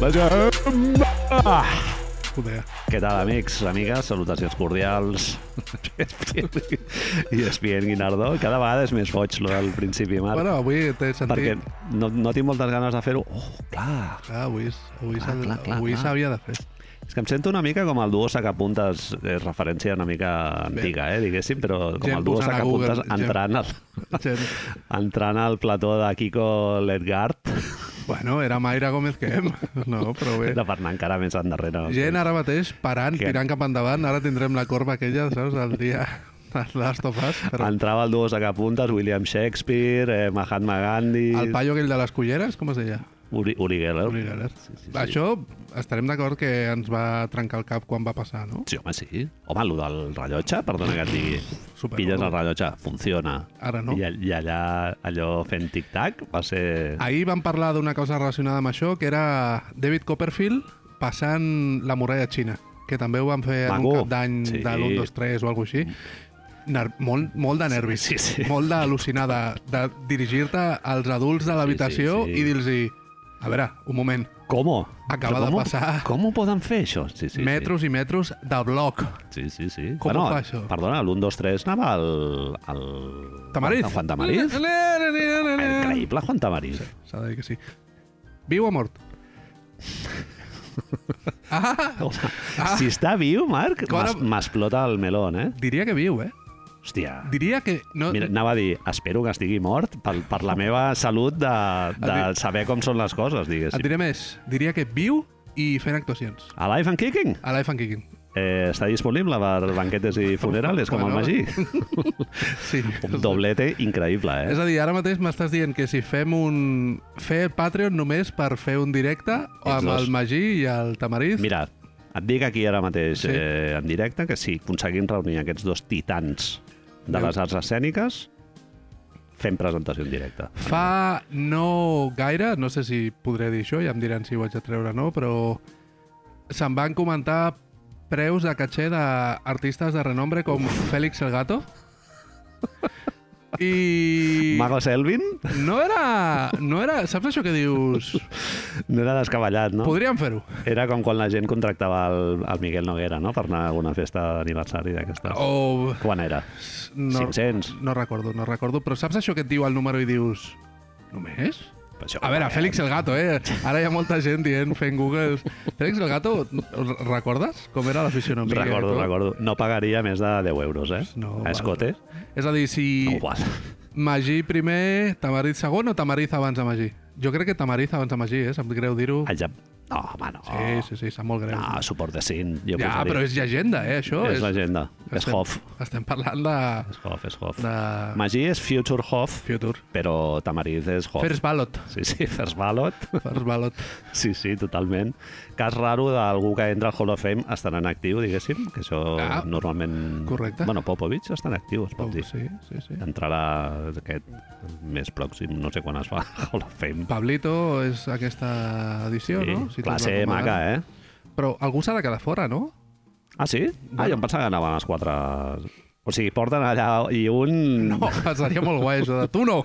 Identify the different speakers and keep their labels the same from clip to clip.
Speaker 1: Vaja. Ah, Joder.
Speaker 2: Què tal, amics, amigues? Salutacions cordials. E I Espien Guinardó. Cada vegada és més boig, lo del principi, Marc.
Speaker 1: Bueno, avui t'he sentit...
Speaker 2: perquè no, no tinc moltes ganes de fer-ho. Oh, clar.
Speaker 1: Clar, avui s- avui
Speaker 2: Clar,
Speaker 1: s'ha-
Speaker 2: Ah, clar, clar,
Speaker 1: avui
Speaker 2: clar.
Speaker 1: s'havia de fer.
Speaker 2: És que em sento una mica com el duo sacapuntes, és referència una mica antiga, eh, diguéssim, però com
Speaker 1: Gent
Speaker 2: el duo
Speaker 1: posant a Google,
Speaker 2: sacapuntes
Speaker 1: gent-
Speaker 2: entrant al,
Speaker 1: Gent...
Speaker 2: entrant al plató de Kiko Ledgard,
Speaker 1: Bueno, era Mayra Gómez que hem. No, però bé.
Speaker 2: de Fernand encara més endarrere. no sé.
Speaker 1: Gent ara mateix parant,
Speaker 2: Que-
Speaker 1: tirant cap endavant. Ara tindrem la corba aquella, saps? El dia de Last of Us. Però
Speaker 2: Entrava el duo sacapuntes, William Shakespeare, eh, Mahatma Gandhi,
Speaker 1: el paio aquell de les culleres, com es deia?
Speaker 2: Uri, Uri Geller.
Speaker 1: Uri Geller.
Speaker 2: Sí, sí, sí.
Speaker 1: Això estarem d'acord que ens va trencar el cap quan va passar, no?
Speaker 2: Sí, home, sí. Home, el del rellotge, perdona que et digui.
Speaker 1: Super.
Speaker 2: Pilles el rellotge, funciona.
Speaker 1: Ara no.
Speaker 2: I, all- I allà, allò fent tic-tac, va ser...
Speaker 1: Ahir vam parlar d'una cosa relacionada amb això, que era David Copperfield passant la muralla xina, que també ho van fer en un
Speaker 2: Maco.
Speaker 1: cap d'any
Speaker 2: Sí.
Speaker 1: de l'1, 2, 3 o alguna cosa així. Ner molt, molt de nervis,
Speaker 2: Sí, sí.
Speaker 1: molt d'al·lucinar, de, de dirigir-te als adults de l'habitació
Speaker 2: sí.
Speaker 1: i dir-los a veure, un moment,
Speaker 2: ¿Cómo?
Speaker 1: Acaba
Speaker 2: Però
Speaker 1: de
Speaker 2: com ho-
Speaker 1: passar.
Speaker 2: Com ho poden fer, això? Sí, sí,
Speaker 1: metros i metros de bloc.
Speaker 2: Sí, sí, sí. sí.
Speaker 1: Com ho fa, això?
Speaker 2: Perdona, l'1, 2, 3 anava al... al...
Speaker 1: Tamariz.
Speaker 2: Juan Tamariz. Increïble, Juan Tamariz.
Speaker 1: S'ha de dir que sí. Viu o mort? ah,
Speaker 2: Ah. Si està viu, Marc,
Speaker 1: Com ara-
Speaker 2: m'es- m'explota el melón, eh?
Speaker 1: diria que viu, eh?
Speaker 2: Hòstia.
Speaker 1: Diria que... No,
Speaker 2: Mira, anava a dir, espero que estigui mort per, per la meva salut de, de
Speaker 1: Et
Speaker 2: saber com són les coses,
Speaker 1: Et
Speaker 2: diguéssim.
Speaker 1: diré més, diria que viu i fent actuacions.
Speaker 2: Alive and Kicking
Speaker 1: A Life and Kicking.
Speaker 2: eh, està disponible per banquetes i funerales, com el
Speaker 1: Bueno.
Speaker 2: Magí.
Speaker 1: Sí.
Speaker 2: Un doblete increïble, eh?
Speaker 1: És a dir, ara mateix m'estàs dient que si fem un... Fer Patreon només per fer un directe amb
Speaker 2: dos.
Speaker 1: el Magí i el Tamariz...
Speaker 2: Mira, et dic aquí ara mateix
Speaker 1: Sí.
Speaker 2: sí. eh, en directe que si aconseguim reunir aquests dos titans de
Speaker 1: Déu.
Speaker 2: les arts escèniques, fem presentació en directe.
Speaker 1: Fa no gaire, no sé si podré dir això, ja em diran si ho haig de treure o no, però se'n van comentar preus de catxer d'artistes de renombre com Félix el Gato i...
Speaker 2: Mago Selvin
Speaker 1: No era... No era... Saps això que dius?
Speaker 2: no era descabellat, no?
Speaker 1: Podríem fer-ho.
Speaker 2: Era com quan la gent contractava el, el Miguel Noguera, no?, per anar a alguna festa d'aniversari d'aquestes.
Speaker 1: O...
Speaker 2: Quan era?
Speaker 1: No,
Speaker 2: 500.
Speaker 1: no recordo, no recordo. Però saps això que et diu el número i dius... Només?
Speaker 2: Això,
Speaker 1: A veure, Félix el Gato, eh? Ara hi ha molta gent dient, fent Google... Félix el Gato, r- recordes com era l'aficionamiga?
Speaker 2: Recordo, recordo. No pagaria més de 10 euros, eh?
Speaker 1: No,
Speaker 2: a Escote.
Speaker 1: És a dir,
Speaker 2: No
Speaker 1: si
Speaker 2: ho val.
Speaker 1: Magí primer, Tamariz segon o Tamariz abans de Magí? Jo crec que Tamariz abans de Magí, eh? Sap greu dir-ho.
Speaker 2: El Jap... No, home, no.
Speaker 1: Sí, sí, sí, sap molt greu.
Speaker 2: No, suport de cint. Ah, Jo
Speaker 1: ja,
Speaker 2: posaria.
Speaker 1: però és llegenda, eh, això?
Speaker 2: és llegenda. És
Speaker 1: estem-
Speaker 2: Hoff.
Speaker 1: Estem parlant de...
Speaker 2: És Hoff, és Hoff.
Speaker 1: de...
Speaker 2: Magí és Future Hoff,
Speaker 1: Futur.
Speaker 2: però Tamariz és Hoff.
Speaker 1: First ballot.
Speaker 2: Sí, sí, First Ballot.
Speaker 1: First ballot.
Speaker 2: Sí, sí, totalment. Cas raro d'algú que entra al Hall of Fame estant en actiu, diguéssim, que això
Speaker 1: Ah,
Speaker 2: normalment...
Speaker 1: correcte.
Speaker 2: Bueno, Popovich està en actiu, es pot
Speaker 1: Oh,
Speaker 2: dir.
Speaker 1: sí, sí, sí.
Speaker 2: Entrarà aquest més pròxim, no sé quan es fa, Hall of Fame.
Speaker 1: Pablito és aquesta edició, no?
Speaker 2: sí,
Speaker 1: tot
Speaker 2: classe
Speaker 1: va com ha
Speaker 2: maca,
Speaker 1: d'anar.
Speaker 2: eh?
Speaker 1: Però algú s'ha de quedar fora, no?
Speaker 2: Ah, sí? Ah, jo em pensava que anaven els quatre... O sigui, porten allà i un...
Speaker 1: No, seria molt guai això de tu no,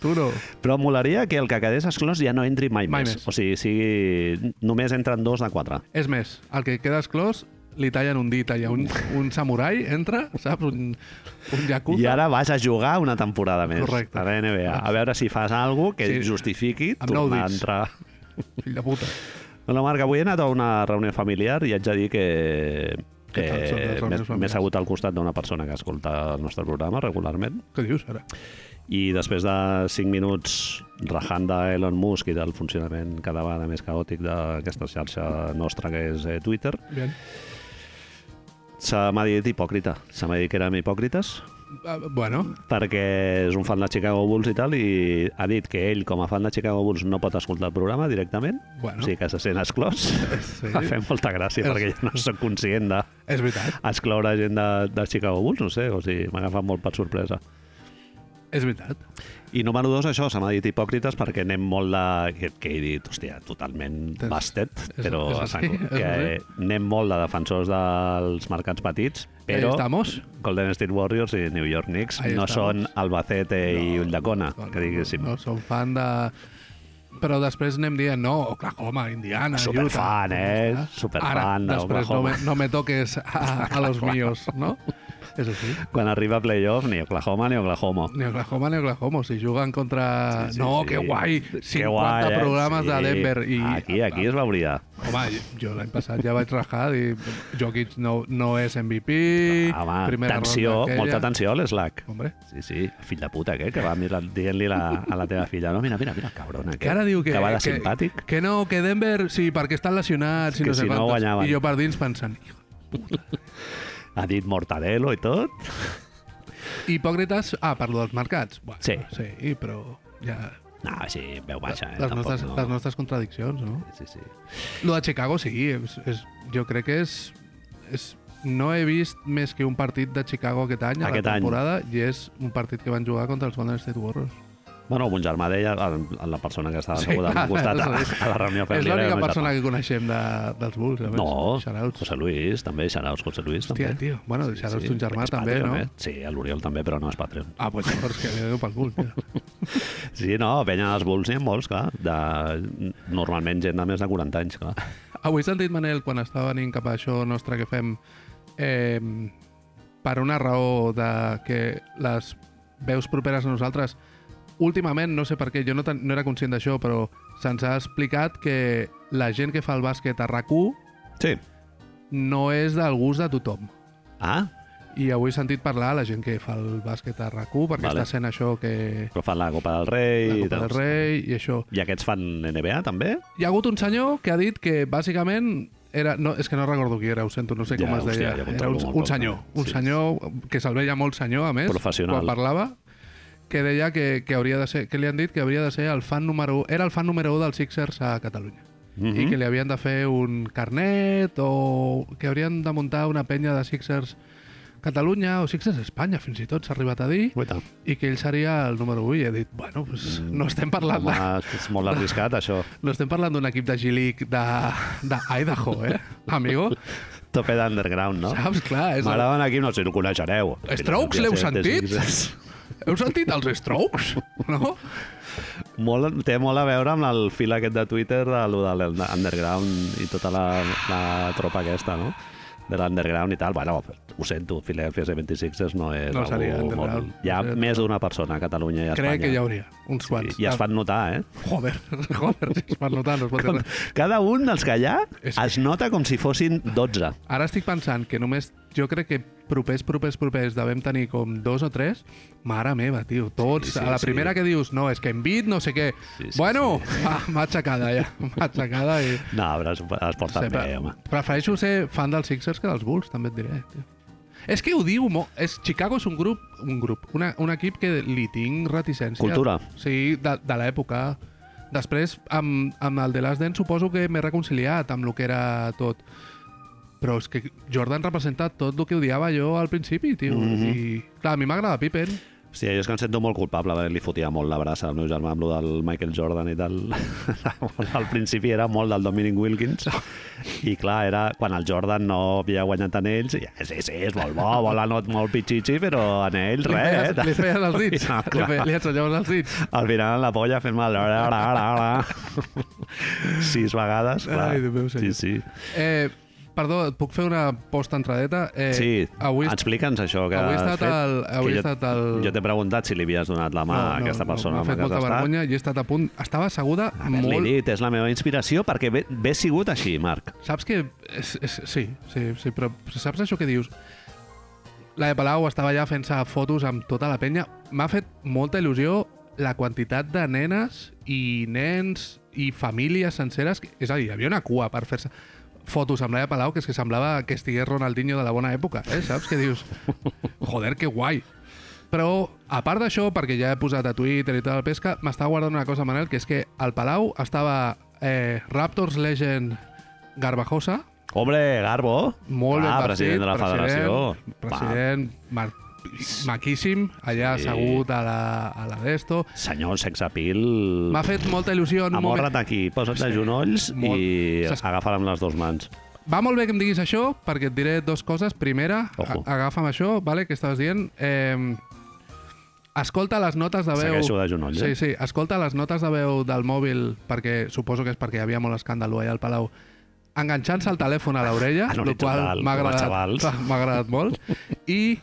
Speaker 1: tu no.
Speaker 2: Però molaria que el que quedés exclòs ja no entri mai,
Speaker 1: Mai
Speaker 2: més.
Speaker 1: més.
Speaker 2: O sigui, sigui, només entren dos de quatre.
Speaker 1: És més, el que queda esclòs li tallen un dit allà, un, un samurai entra, saps? Un, un yakuza.
Speaker 2: I ara vas a jugar una temporada més
Speaker 1: Correcte.
Speaker 2: a la NBA. A veure si fas alguna que
Speaker 1: Sí.
Speaker 2: sí. justifiqui
Speaker 1: Amb nou
Speaker 2: tornar a
Speaker 1: dits.
Speaker 2: entrar.
Speaker 1: Fill de puta.
Speaker 2: Bueno, Marc, avui he anat a una reunió familiar i haig de dir que
Speaker 1: Què tal són les
Speaker 2: eh,
Speaker 1: reunions
Speaker 2: m'he- m'he
Speaker 1: familiars?
Speaker 2: segut al costat d'una persona que escolta el nostre programa regularment
Speaker 1: Què dius ara?
Speaker 2: i després de 5 minuts rajant d'Elon Musk i del funcionament cada vegada més caòtic d'aquesta xarxa nostra que és eh, Twitter,
Speaker 1: Bien.
Speaker 2: Se m'ha dit hipòcrita. Se m'ha dit que érem hipòcrites
Speaker 1: Ah, bueno,
Speaker 2: perquè és un fan de Chicago Bulls i tal i ha dit que ell, com a fan de Chicago Bulls, no pot escoltar el programa directament.
Speaker 1: Bueno.
Speaker 2: O sigui que se sent exclòs.
Speaker 1: Sí.
Speaker 2: Sí. Fem molta gràcia
Speaker 1: És-
Speaker 2: perquè jo no sóc conscient de
Speaker 1: és veritat,
Speaker 2: excloure gent de, de Chicago Bulls, no sé, o sigui, m'ha agafat molt per sorpresa.
Speaker 1: és veritat.
Speaker 2: I número dos, això, se m'ha dit hipòcrites perquè anem molt de... que, que he dit, hòstia, totalment
Speaker 1: Tens-
Speaker 2: bastet,
Speaker 1: és-
Speaker 2: però
Speaker 1: és
Speaker 2: a saco,
Speaker 1: així, és
Speaker 2: que eh,
Speaker 1: així.
Speaker 2: anem molt de defensors dels mercats petits,
Speaker 1: Ahí
Speaker 2: però...
Speaker 1: estamos.
Speaker 2: Golden State Warriors i New York Knicks
Speaker 1: Ahí
Speaker 2: no
Speaker 1: estamos.
Speaker 2: són Albacete no, i Ulldecona,
Speaker 1: No,
Speaker 2: que Ah, diguéssim.
Speaker 1: No, no, som fan de... Però després anem dient, no, Oklahoma, Indiana,
Speaker 2: Superfan, eh? Superfan
Speaker 1: Ara,
Speaker 2: de
Speaker 1: després no
Speaker 2: Oklahoma.
Speaker 1: me, no me toques a, a los míos, no? És així.
Speaker 2: Quan arriba a playoff, ni Oklahoma ni Oklahoma.
Speaker 1: Ni Oklahoma ni Oklahoma, si juguen contra...
Speaker 2: Sí, sí,
Speaker 1: Ah, no,
Speaker 2: sí.
Speaker 1: que guai! 50
Speaker 2: Que guai, eh?
Speaker 1: programes de
Speaker 2: Sí.
Speaker 1: Denver. I,
Speaker 2: Aquí, aquí es veuria.
Speaker 1: Home, jo l'any passat ja vaig rajar i Jokic no, no és MVP,
Speaker 2: Ah, Home,
Speaker 1: primera
Speaker 2: tensió,
Speaker 1: ronda aquella...
Speaker 2: molta tensió a l'Slack.
Speaker 1: Hombre,
Speaker 2: Sí, sí, fill de puta, aquest, que va mirar- dient-li la, a la teva filla, no, mira, mira, mira, cabrona,
Speaker 1: que ara diu que...
Speaker 2: que va de
Speaker 1: que,
Speaker 2: simpàtic.
Speaker 1: Que no, que Denver, sí, perquè estan lesionats i
Speaker 2: Que
Speaker 1: no sé
Speaker 2: si no
Speaker 1: quantos.
Speaker 2: guanyaven.
Speaker 1: I jo per dins pensant... "Hijo
Speaker 2: Ha dit mortadelo i tot.
Speaker 1: Hipòcrites, ah, parlo dels mercats. Bueno,
Speaker 2: Sí.
Speaker 1: Sí, però ja...
Speaker 2: No, sí, en veu baixa, eh?
Speaker 1: les, nostres,
Speaker 2: no.
Speaker 1: les nostres contradiccions, no?
Speaker 2: Sí, sí.
Speaker 1: Lo de Chicago sí, és, és, jo crec que és, és... No he vist més que un partit de Chicago aquest any,
Speaker 2: Aquest
Speaker 1: a la
Speaker 2: any.
Speaker 1: temporada, i és un partit que van jugar contra els Golden State Warriors.
Speaker 2: Bueno, mon germà deia, el- la persona que estava
Speaker 1: Sí,
Speaker 2: asseguda al meu
Speaker 1: clar,
Speaker 2: costat a,
Speaker 1: és-
Speaker 2: a la reunió per
Speaker 1: és l'única persona que coneixem de, dels Bulls, a més.
Speaker 2: No,
Speaker 1: Shoutouts.
Speaker 2: José Luis, també, xarauts José Luis,
Speaker 1: Hòstia,
Speaker 2: també.
Speaker 1: tio. Bueno, sí, shoutouts sí. un germà
Speaker 2: És
Speaker 1: també,
Speaker 2: Patreon,
Speaker 1: no?
Speaker 2: Eh? Sí, a l'Oriol també, però no és Patreon.
Speaker 1: Ah, doncs llavors que li dono pel cul. tio.
Speaker 2: Sí, no, penya dels Bulls n'hi ha molts, clar. De, normalment gent de més de 40 anys, clar.
Speaker 1: Avui he sentit, Manel, quan estava venint cap a això nostre que fem, eh, per una raó de que les veus properes a nosaltres, últimament, no sé per què, jo no, ten- no era conscient d'això, però se'ns ha explicat que la gent que fa el bàsquet a rac
Speaker 2: Sí.
Speaker 1: no és del gust de tothom.
Speaker 2: Ah,
Speaker 1: I avui he sentit parlar a la gent que fa el bàsquet a rac perquè
Speaker 2: Vale.
Speaker 1: està sent això que...
Speaker 2: però fan la Copa del Rei...
Speaker 1: La
Speaker 2: i
Speaker 1: Copa del
Speaker 2: tal.
Speaker 1: Rei i això.
Speaker 2: I aquests fan NBA, també?
Speaker 1: Hi ha hagut un senyor que ha dit que bàsicament era... No, és que no recordo qui era, ho sento, no sé
Speaker 2: Ja,
Speaker 1: com es
Speaker 2: hòstia,
Speaker 1: deia.
Speaker 2: ja
Speaker 1: era
Speaker 2: controlo
Speaker 1: un,
Speaker 2: molt
Speaker 1: un
Speaker 2: poc,
Speaker 1: senyor,
Speaker 2: eh?
Speaker 1: un
Speaker 2: Sí,
Speaker 1: senyor que se'l veia molt senyor, a més,
Speaker 2: Professional.
Speaker 1: quan parlava, que deia que, que hauria de ser... Que li han dit que hauria de ser el fan número 1... Era el fan número 1 dels Sixers a Catalunya.
Speaker 2: Mhm.
Speaker 1: I que li havien de fer un carnet o que haurien de muntar una penya de Sixers Catalunya o Sixers Espanya, fins i tot s'ha arribat a dir,
Speaker 2: Guaita.
Speaker 1: i que ell seria el número 1 i he dit, bueno, pues, no estem parlant
Speaker 2: Home,
Speaker 1: de,
Speaker 2: és molt arriscat, això.
Speaker 1: no estem parlant d'un equip de G-League de, de Idaho, eh, amigo?
Speaker 2: Tope d'underground, no?
Speaker 1: Saps? Clar, és... El...
Speaker 2: M'agraden aquí, no sé si ho coneixereu.
Speaker 1: Strokes, l'heu sentit? Heu sentit els Strokes? No?
Speaker 2: Molt, té molt a veure amb el fil aquest de Twitter, allò de l'underground i tota la, la tropa aquesta, no? de l'underground i tal. Bueno, ho sento, Philadelphia 76ers no és...
Speaker 1: No
Speaker 2: algú
Speaker 1: seria underground.
Speaker 2: Hi ha
Speaker 1: No seria
Speaker 2: més d'una persona a Catalunya i a Espanya.
Speaker 1: Crec que hi hauria uns quants. Ah,
Speaker 2: I, I es fan notar, eh?
Speaker 1: Joder, joder, si es fan notar, no es pot dir res.
Speaker 2: Cada un dels que hi ha
Speaker 1: És
Speaker 2: es nota com si fossin 12.
Speaker 1: Ara estic pensant que només... Jo crec que propers, propers, propers devem tenir com dos o tres. Mare meva, tio, tots.
Speaker 2: Sí,
Speaker 1: Sí,
Speaker 2: sí,
Speaker 1: sí, a la
Speaker 2: sí.
Speaker 1: primera sí. que dius, no, és que en bit, no sé què.
Speaker 2: Sí,
Speaker 1: Sí,
Speaker 2: sí,
Speaker 1: sí, bueno, sí. Ah, matxacada ja, matxacada i...
Speaker 2: No, però es, es porten
Speaker 1: Sempre-
Speaker 2: bé, home.
Speaker 1: Prefereixo ser fan dels Sixers que dels Bulls, també et diré. Tio. És que ho diu molt. És, Chicago és un grup, un grup, una, un equip que li tinc reticència.
Speaker 2: Cultura.
Speaker 1: Sí, de, de l'època. Després, amb, amb el de Last Dance suposo que m'he reconciliat amb el que era tot. Però és que Jordan representa tot el que odiava jo al principi, tio. Mm
Speaker 2: Mhm.
Speaker 1: -hmm. I, clar, a mi m'agrada Pippen.
Speaker 2: Hòstia, jo és que em sento molt culpable perquè li fotia molt la brassa al meu germà amb lo del Michael Jordan i tal. al principi era molt del Dominic Wilkins i clar, era quan el Jordan no havia guanyat en ells i sí, sí, és molt bo, vol anot molt pitxitxi però en ells
Speaker 1: li,
Speaker 2: res,
Speaker 1: feies, li
Speaker 2: eh?
Speaker 1: feies els dits.
Speaker 2: No,
Speaker 1: li,
Speaker 2: clar.
Speaker 1: feia, li ensenyaves els dits.
Speaker 2: Al final la polla fent mal ara, ara, ara, ara. sis vegades, clar.
Speaker 1: Ai, Déu meu senyor.
Speaker 2: sí, sí.
Speaker 1: Eh, perdó, et puc fer una post-entradeta? Eh,
Speaker 2: sí,
Speaker 1: Avui, est-
Speaker 2: explica'ns això que
Speaker 1: avui he
Speaker 2: has
Speaker 1: estat
Speaker 2: fet,
Speaker 1: al-
Speaker 2: que
Speaker 1: avui he
Speaker 2: jo,
Speaker 1: estat al-
Speaker 2: jo t'he preguntat si li havies donat la mà a aquesta persona
Speaker 1: m'ha
Speaker 2: amb la
Speaker 1: fet
Speaker 2: que has
Speaker 1: molta
Speaker 2: estat.
Speaker 1: vergonya i he estat a punt... Estava asseguda
Speaker 2: Haver-li
Speaker 1: molt...
Speaker 2: dit, és la meva inspiració perquè ve, ve sigut així, Marc.
Speaker 1: Saps que... És, és, sí, sí, sí, però saps això que dius? La de Palau estava allà fent-se fotos amb tota la penya. M'ha fet molta il·lusió la quantitat de nenes i nens i famílies senceres... que- És a dir, hi havia una cua per fer-se fotos amb Laia Palau, que és que semblava que estigués Ronaldinho de la bona època, eh? saps? Que dius, joder, que guai. Però, a part d'això, perquè ja he posat a Twitter i tot el pesca, m'estava guardant una cosa, Manel, que és que al Palau estava eh, Raptors Legend Garbajosa,
Speaker 2: Hombre, Garbo.
Speaker 1: molt
Speaker 2: ah,
Speaker 1: ben vestit,
Speaker 2: president de la
Speaker 1: president,
Speaker 2: federació.
Speaker 1: president mar maquíssim, allà
Speaker 2: Sí.
Speaker 1: sí. assegut a la, a la d'esto.
Speaker 2: Va, senyor sexapil...
Speaker 1: M'ha fet molta il·lusió en un moment...
Speaker 2: Amorra't aquí, posa't de genolls
Speaker 1: Molt.
Speaker 2: i
Speaker 1: Saps-
Speaker 2: agafa'l amb les dues mans.
Speaker 1: Va molt bé que em diguis això, perquè et diré dues coses. Primera, a-
Speaker 2: Ojo.
Speaker 1: agafa'm això, vale, que estaves dient. Eh, Escolta les notes de veu...
Speaker 2: Segueixo de genoll,
Speaker 1: Sí,
Speaker 2: eh?
Speaker 1: sí. Escolta les notes de veu del mòbil, perquè suposo que és perquè hi havia molt escàndalo allà al Palau, enganxant-se el telèfon a l'orella,
Speaker 2: En
Speaker 1: el qual
Speaker 2: horitzontal,
Speaker 1: m'ha
Speaker 2: com els
Speaker 1: agradat,
Speaker 2: xavals.
Speaker 1: m'ha agradat molt. I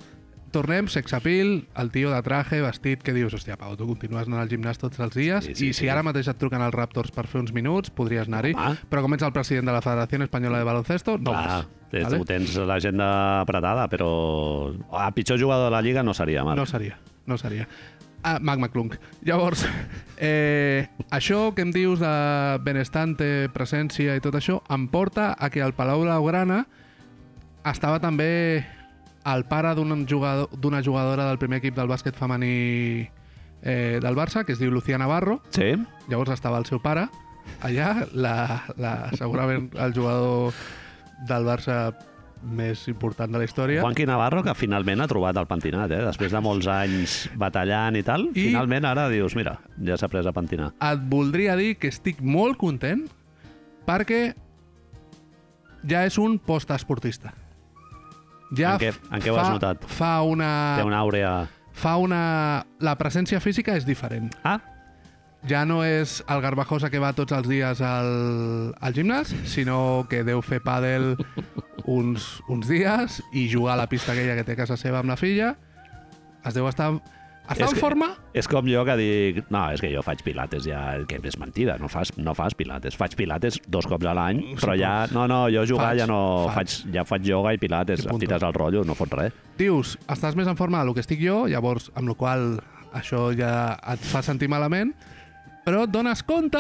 Speaker 1: tornem, sexapil, el tio de traje, vestit, que dius, hòstia, Pau, tu continues anant al gimnàs tots els dies,
Speaker 2: Sí,
Speaker 1: sí,
Speaker 2: sí,
Speaker 1: sí, i si
Speaker 2: sí.
Speaker 1: ara mateix et truquen als Raptors per fer uns minuts, podries anar-hi,
Speaker 2: Home.
Speaker 1: però com ets el president de la Federació Espanyola de Baloncesto, no
Speaker 2: Clar,
Speaker 1: vas.
Speaker 2: tens,
Speaker 1: Vale?
Speaker 2: ho tens l'agenda apretada, però... Ah, pitjor jugador de la Lliga no seria, Marc.
Speaker 1: No seria, no seria. Ah, Magma Clunk. Llavors, eh, això que em dius de benestante, presència i tot això, em porta a que al Palau Blaugrana estava també el pare d'un jugador- d'una jugadora del primer equip del bàsquet femení eh, del Barça, que es diu Lucía Navarro.
Speaker 2: Sí?
Speaker 1: Llavors estava el seu pare allà, la, la, segurament el jugador del Barça més important de la història.
Speaker 2: Juanqui Navarro, que finalment ha trobat el pentinat, eh? Després de molts anys batallant i tal,
Speaker 1: I-
Speaker 2: finalment ara dius, mira, ja s'ha pres a pentinar.
Speaker 1: et voldria dir que estic molt content perquè ja és un postesportista. Ja
Speaker 2: En què- en què ho
Speaker 1: fa,
Speaker 2: has notat?
Speaker 1: Fa una,
Speaker 2: Té una àurea...
Speaker 1: fa una... La presència física és diferent.
Speaker 2: Ah,
Speaker 1: Ja no és el garbajosa que va tots els dies al, al gimnàs, sinó que deu fer pàdel uns, uns dies i jugar a la pista aquella que té a casa seva amb la filla. Es deu estar... Està
Speaker 2: És
Speaker 1: en
Speaker 2: que-
Speaker 1: forma?
Speaker 2: és com jo que dic, no, és que jo faig pilates ja, el que és mentida, no fas, no fas pilates, faig pilates dos cops a l'any, però ja, no, no, jo jugar
Speaker 1: Faig,
Speaker 2: ja no
Speaker 1: faig. eh?
Speaker 2: faig, ja faig ioga i pilates, et
Speaker 1: I punto.
Speaker 2: tires al rotllo, no fots res.
Speaker 1: dius, estàs més en forma del que estic jo, llavors, amb la qual cosa això ja et fa sentir malament, però et dones compte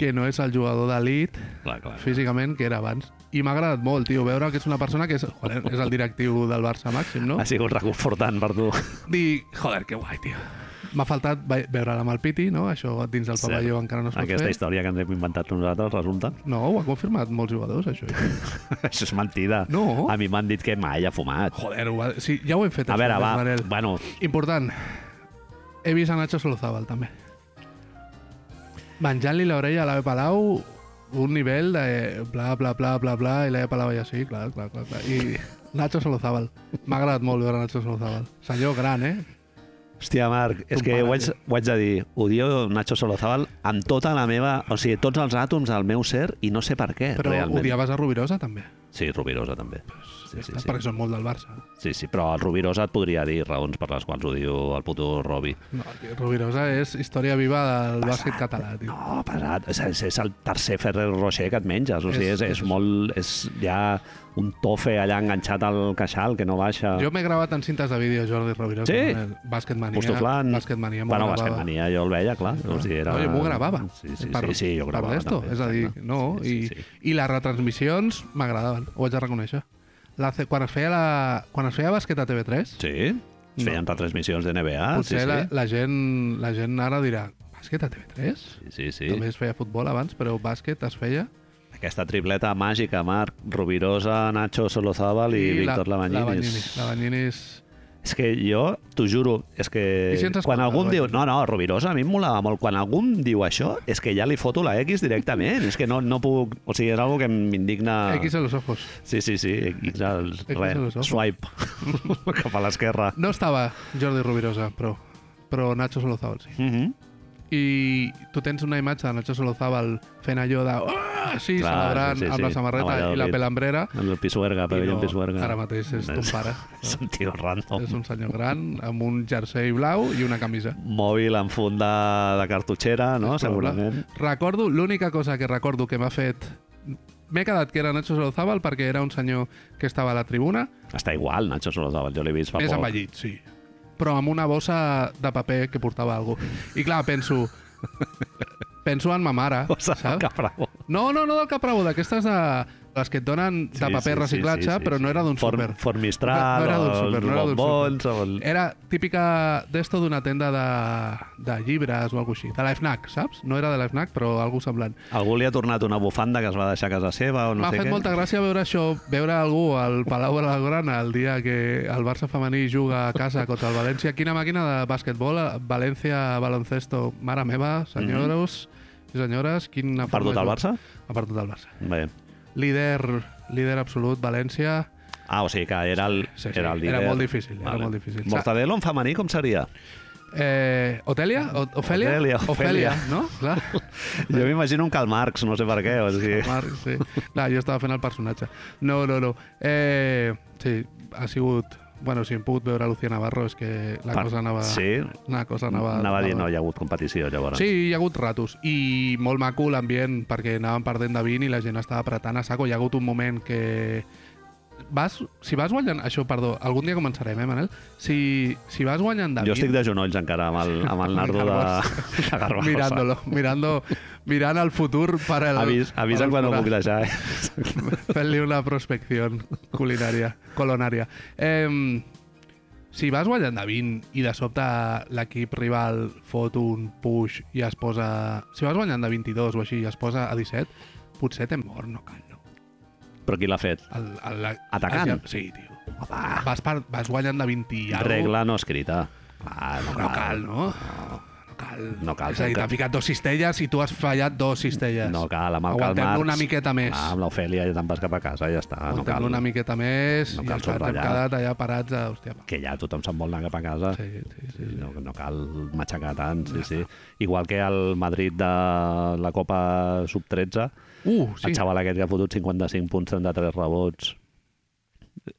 Speaker 1: que no és el jugador d'elit
Speaker 2: Clar, clar.
Speaker 1: físicament que era abans. I m'ha agradat molt, tio, veure que és una persona que és, joder, és el directiu del Barça màxim, no?
Speaker 2: Ha sigut reconfortant per tu.
Speaker 1: Dic, joder, que guai, tio. M'ha faltat ve- veure-la amb el Piti, no? Això dins del
Speaker 2: Cert.
Speaker 1: pavelló encara no es pot
Speaker 2: Aquesta
Speaker 1: fer.
Speaker 2: història que ens hem inventat nosaltres resulta...
Speaker 1: No, ho ha confirmat molts jugadors, això. eh?
Speaker 2: Això és mentida.
Speaker 1: No.
Speaker 2: A mi m'han dit que mai ha fumat.
Speaker 1: Joder, ho ha... sí, ja ho hem fet.
Speaker 2: A
Speaker 1: això,
Speaker 2: veure, va,
Speaker 1: Manel.
Speaker 2: bueno,
Speaker 1: Important. He vist a Nacho Solozabal, també. Menjant-li l'orella a l'Ave Palau, un nivell de bla, bla, bla, bla, bla, i l'Ave Palau ja sí, clar, clar, clar, clar. I Nacho Solozabal. M'ha agradat molt veure Nacho Solozabal. Senyor gran, eh?
Speaker 2: hòstia, Marc, és
Speaker 1: Ton
Speaker 2: que
Speaker 1: pare,
Speaker 2: ho haig,
Speaker 1: tio.
Speaker 2: ho haig de dir. Odio Nacho Solozabal amb tota la meva... O sigui, tots els àtoms del meu ser i no sé per què,
Speaker 1: Però
Speaker 2: realment.
Speaker 1: odiaves a Rovirosa, també.
Speaker 2: Sí, Rovirosa també. Sí, sí,
Speaker 1: Sí,
Speaker 2: sí.
Speaker 1: Perquè són molt del Barça.
Speaker 2: sí, sí, però el Rovirosa et podria dir raons per les quals odio el puto Robi.
Speaker 1: No, tio, Rovirosa és història viva del bàsquet català, tio.
Speaker 2: No, pesat. És, és, és el tercer Ferrer Rocher que et menges. O sigui,
Speaker 1: És-
Speaker 2: és, és,
Speaker 1: és-
Speaker 2: molt... És ja un tofe allà enganxat al queixal que no baixa.
Speaker 1: Jo m'he gravat en cintes de vídeo, Jordi Rovirosa.
Speaker 2: Sí?
Speaker 1: Manel. Bàsquetmania.
Speaker 2: Postoflan.
Speaker 1: Bàsquetmania. m'ho
Speaker 2: Bueno,
Speaker 1: gravava.
Speaker 2: Basquetmania jo el veia, clar. O sigui, era...
Speaker 1: No, jo m'ho gravava.
Speaker 2: Sí, sí,
Speaker 1: per-
Speaker 2: sí, sí, jo
Speaker 1: per
Speaker 2: gravava
Speaker 1: d'esto.
Speaker 2: també.
Speaker 1: És a dir,
Speaker 2: exacte.
Speaker 1: no,
Speaker 2: Sí,
Speaker 1: i,
Speaker 2: sí, sí.
Speaker 1: i les retransmissions m'agradaven, ho haig de reconèixer. La, ce- quan, es feia la, quan es feia basquet a TV3,
Speaker 2: Sí? Es
Speaker 1: No.
Speaker 2: feien retransmissions de NBA, Ah, sí,
Speaker 1: potser
Speaker 2: sí.
Speaker 1: la, la, gent, la gent ara dirà bàsquet a TV3?
Speaker 2: Sí, sí, sí.
Speaker 1: També es feia futbol abans, però bàsquet es feia...
Speaker 2: Aquesta tripleta màgica, Marc Rovirosa, Nacho Solozabal i, Víctor Lavanyinis.
Speaker 1: La Banyini. La Banyini és...
Speaker 2: És que jo, t'ho juro, és que
Speaker 1: I si ens escolta,
Speaker 2: quan algú em
Speaker 1: Roger?
Speaker 2: diu... No, no, Rovirosa, a mi em molava molt. Quan algú em diu això, és que ja li foto la X directament. és que no, no puc... O sigui, és algo que m'indigna...
Speaker 1: X a los ojos.
Speaker 2: Sí, sí, sí. X al...
Speaker 1: a los
Speaker 2: Res,
Speaker 1: ojos.
Speaker 2: swipe. Cap a l'esquerra.
Speaker 1: No estava Jordi Rovirosa, però, però Nacho Solozabal sí.
Speaker 2: Mhm.
Speaker 1: i tu tens una imatge de Nacho Solozabal fent allò de "Ah!", sí,
Speaker 2: Clar,
Speaker 1: celebrant
Speaker 2: sí, sí,
Speaker 1: amb la
Speaker 2: sí.
Speaker 1: samarreta
Speaker 2: Amb allò
Speaker 1: i la
Speaker 2: dit.
Speaker 1: pelambrera
Speaker 2: En el Pisuerga,
Speaker 1: I
Speaker 2: però no,
Speaker 1: no,
Speaker 2: en Pisuerga.
Speaker 1: ara mateix és ton pare.
Speaker 2: És un tio random.
Speaker 1: és un senyor gran amb un jersei blau i una camisa
Speaker 2: Mòbil amb funda de cartutxera, no?
Speaker 1: És probable.
Speaker 2: Segurament.
Speaker 1: recordo, l'única cosa que recordo que m'ha fet m'he quedat que era Nacho Solozabal perquè era un senyor que estava a la tribuna
Speaker 2: Està igual, Nacho Solozabal, jo l'he vist fa
Speaker 1: més
Speaker 2: poc.
Speaker 1: envellit, sí però amb una bossa de paper que portava algú i clar, penso penso en ma mare,
Speaker 2: Cosa del
Speaker 1: saps?
Speaker 2: Caprabo.
Speaker 1: No, no, no del Caprabo, d'aquestes de... Les que et donen de
Speaker 2: Sí,
Speaker 1: paper
Speaker 2: sí, sí,
Speaker 1: reciclatge,
Speaker 2: sí, sí,
Speaker 1: però
Speaker 2: sí.
Speaker 1: no era d'un
Speaker 2: Forn-
Speaker 1: súper.
Speaker 2: Forn Mistral,
Speaker 1: No era d'un
Speaker 2: o
Speaker 1: súper,
Speaker 2: els
Speaker 1: no era d'un
Speaker 2: bombons, o el-
Speaker 1: Era típica d'esto d'una tenda de, de llibres o alguna així. De la FNAC, saps? No era de la FNAC, però algú semblant.
Speaker 2: Algú li ha tornat una bufanda que es va deixar a casa seva o no
Speaker 1: M'ha
Speaker 2: sé
Speaker 1: fet
Speaker 2: què.
Speaker 1: molta gràcia veure això, veure algú al Palau de la Grana el dia que el Barça femení juga a casa contra el València. Quina màquina de bàsquetbol, eh, València, baloncesto, mare meva, senyors i senyores, quina
Speaker 2: Per
Speaker 1: forma
Speaker 2: tot Mm-hmm. el
Speaker 1: de-
Speaker 2: Barça?
Speaker 1: Ha perdut el Barça.
Speaker 2: Bé.
Speaker 1: Líder, líder absolut, València.
Speaker 2: Ah, o sigui que era el,
Speaker 1: Sí, sí,
Speaker 2: era el
Speaker 1: era
Speaker 2: líder.
Speaker 1: molt difícil, era molt difícil.
Speaker 2: Mortadelo en femení com seria?
Speaker 1: Eh, Otelia? O Ofèlia?
Speaker 2: Otelia, Ofèlia.
Speaker 1: no? Clar.
Speaker 2: Jo m'imagino un Karl Marx, no sé per què. O sigui,
Speaker 1: Marc, sí. Clar, jo estava fent el personatge. No, no, no. Eh, sí, ha sigut... Bueno, si hem pogut veure Lucía Navarro és que la
Speaker 2: Per-
Speaker 1: cosa anava...
Speaker 2: Sí?
Speaker 1: La cosa anava...
Speaker 2: anava a dir, no hi ha hagut competició, llavors.
Speaker 1: Sí, hi ha hagut ratos. I molt maco l'ambient, perquè anàvem perdent de 20 i la gent estava apretant a saco. Hi ha hagut un moment que... Vas, si vas guanyant... Això, perdó, algun dia començarem, eh, Manel? Si, si vas guanyant de 20...
Speaker 2: Jo estic de genolls encara amb el, amb el nardo de, de Garbajosa.
Speaker 1: Mirándolo, mirando, mirant el futur per al...
Speaker 2: Avis,
Speaker 1: per
Speaker 2: avisa
Speaker 1: al
Speaker 2: quan ho
Speaker 1: forat.
Speaker 2: puc deixar. Eh?
Speaker 1: Fent-li una prospecció culinària, colonària. Eh, si vas guanyant de 20 i de sobte l'equip rival fot un push i es posa... Si vas guanyant de 22 o així i es posa a 17, potser t'hem mort, no cal, no.
Speaker 2: Però qui l'ha fet?
Speaker 1: El, el, la-
Speaker 2: Atacant?
Speaker 1: Sí, tio.
Speaker 2: Home,
Speaker 1: Vas, per, vas guanyant de 20 i alguna
Speaker 2: regla no escrita. Ah, no
Speaker 1: No cal,
Speaker 2: cal.
Speaker 1: no? No cal.
Speaker 2: No cal,
Speaker 1: És a
Speaker 2: no cal.
Speaker 1: dir, t'han ficat dos cistelles i tu has fallat dos cistelles.
Speaker 2: No cal, amb el Karl
Speaker 1: Aguantem-lo
Speaker 2: Marx.
Speaker 1: una miqueta més.
Speaker 2: Ah, amb l'Ofèlia ja te'n vas cap a casa, ja està. No
Speaker 1: Aguantem-lo
Speaker 2: cal.
Speaker 1: una miqueta més
Speaker 2: No
Speaker 1: i
Speaker 2: cal
Speaker 1: ja està, ens hem
Speaker 2: subratllar.
Speaker 1: quedat allà parats a... Hòstia, va.
Speaker 2: Que ja tothom se'n vol anar cap a casa.
Speaker 1: Sí, sí, sí.
Speaker 2: No, no cal matxacar tant, sí, sí. Igual que el Madrid de la Copa Sub-13,
Speaker 1: Uh,
Speaker 2: sí.
Speaker 1: sí.
Speaker 2: el xaval aquest que ha fotut 55 punts, 33 rebots...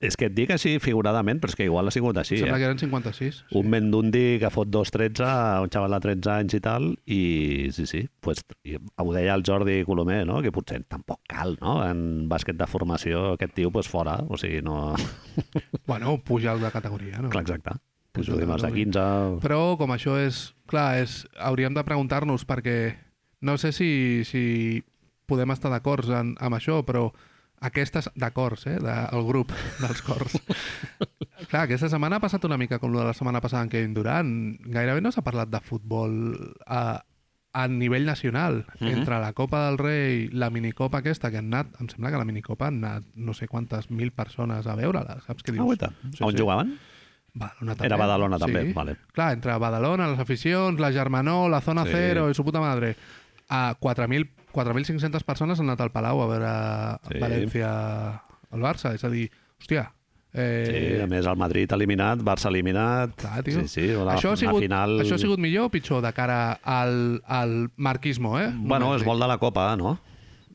Speaker 2: És que et dic així figuradament, però és que igual ha sigut així,
Speaker 1: Sembla
Speaker 2: eh?
Speaker 1: que eren 56.
Speaker 2: un Mendundi que fot 2-13, un xaval de 13 anys i tal, i sí, sí, pues, i ho deia el Jordi Colomer, no? que potser tampoc cal, no? en bàsquet de formació aquest tio pues, fora, o sigui, no...
Speaker 1: Bueno, puja de categoria, no?
Speaker 2: Clar, exacte. Pues, ho dius, de 15...
Speaker 1: Però com això és... Clar, és, hauríem de preguntar-nos perquè no sé si, si podem estar d'acords en- amb això, però aquestes... D'acords, eh? Del grup dels cors. Clar, aquesta setmana ha passat una mica com la de la setmana passada en Kevin Durant. Gairebé no s'ha parlat de futbol a, a nivell nacional. Mm -hmm. Entre la Copa del Rei, la minicopa aquesta, que han anat... Em sembla que a la minicopa han anat no sé quantes mil persones a veure-la, saps què dius?
Speaker 2: Ah, guaita.
Speaker 1: Sí,
Speaker 2: On
Speaker 1: sí.
Speaker 2: jugaven?
Speaker 1: Badalona també.
Speaker 2: Era Badalona
Speaker 1: sí.
Speaker 2: també, vale.
Speaker 1: Clar, entre Badalona, les aficions, la Germanó, la Zona
Speaker 2: Sí.
Speaker 1: sí. Cero i su puta madre. A 4.000 4.500 persones han anat al Palau a veure
Speaker 2: Sí.
Speaker 1: sí. València al Barça. És a dir, hòstia... Eh,
Speaker 2: Sí, a més el Madrid eliminat, Barça eliminat...
Speaker 1: Clar, tio.
Speaker 2: Sí, sí, la,
Speaker 1: això, ha sigut,
Speaker 2: la final...
Speaker 1: això ha sigut millor o pitjor de cara al, al marquismo, eh?
Speaker 2: Bueno,
Speaker 1: Només
Speaker 2: és
Speaker 1: dic.
Speaker 2: molt de la Copa, no?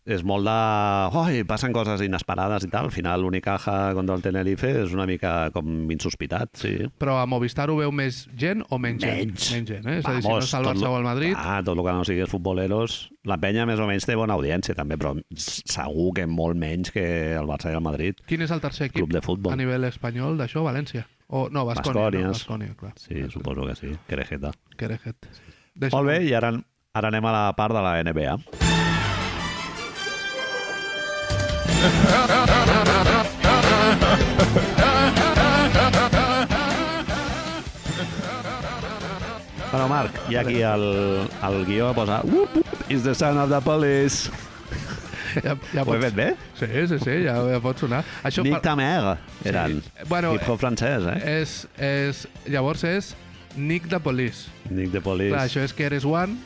Speaker 2: És molt de... Oi, passen coses inesperades i tal. Al final, l'Unicaja contra el Tenerife és una mica com insospitat, sí.
Speaker 1: Però a Movistar ho veu més gent o menys,
Speaker 2: Menys.
Speaker 1: gent? Menys gent, eh? És a dir, si no
Speaker 2: Vamos,
Speaker 1: és el
Speaker 2: tot
Speaker 1: Barça
Speaker 2: lo-
Speaker 1: o el Madrid...
Speaker 2: Ah, tot el que no siguis futboleros. La penya més o menys té bona audiència també, però segur que molt menys que el Barça i el Madrid.
Speaker 1: Quin és el tercer equip
Speaker 2: Club de futbol.
Speaker 1: a nivell espanyol d'això? València? O, no, Bascònia. No?
Speaker 2: Bascònies.
Speaker 1: Bascònia, clar.
Speaker 2: Sí, suposo que sí. Querejeta.
Speaker 1: Querejet.
Speaker 2: Molt bé, i ara, ara anem a la part de la NBA. Bueno, Marc, hi ha aquí el, el guió posa "Whoop, whoop, Is the son of the police.
Speaker 1: Ah, Ja, ja
Speaker 2: Ho he fet bé?
Speaker 1: Sí, sí, sí, ja, ja pot sonar. Això
Speaker 2: Nick
Speaker 1: per-
Speaker 2: Tamer eren.
Speaker 1: Sí. Bueno,
Speaker 2: Hip-hop francès, eh?
Speaker 1: és, és... Llavors és Nick de Police.
Speaker 2: Nick the
Speaker 1: Sí.
Speaker 2: Police.
Speaker 1: Clar, això és que eres one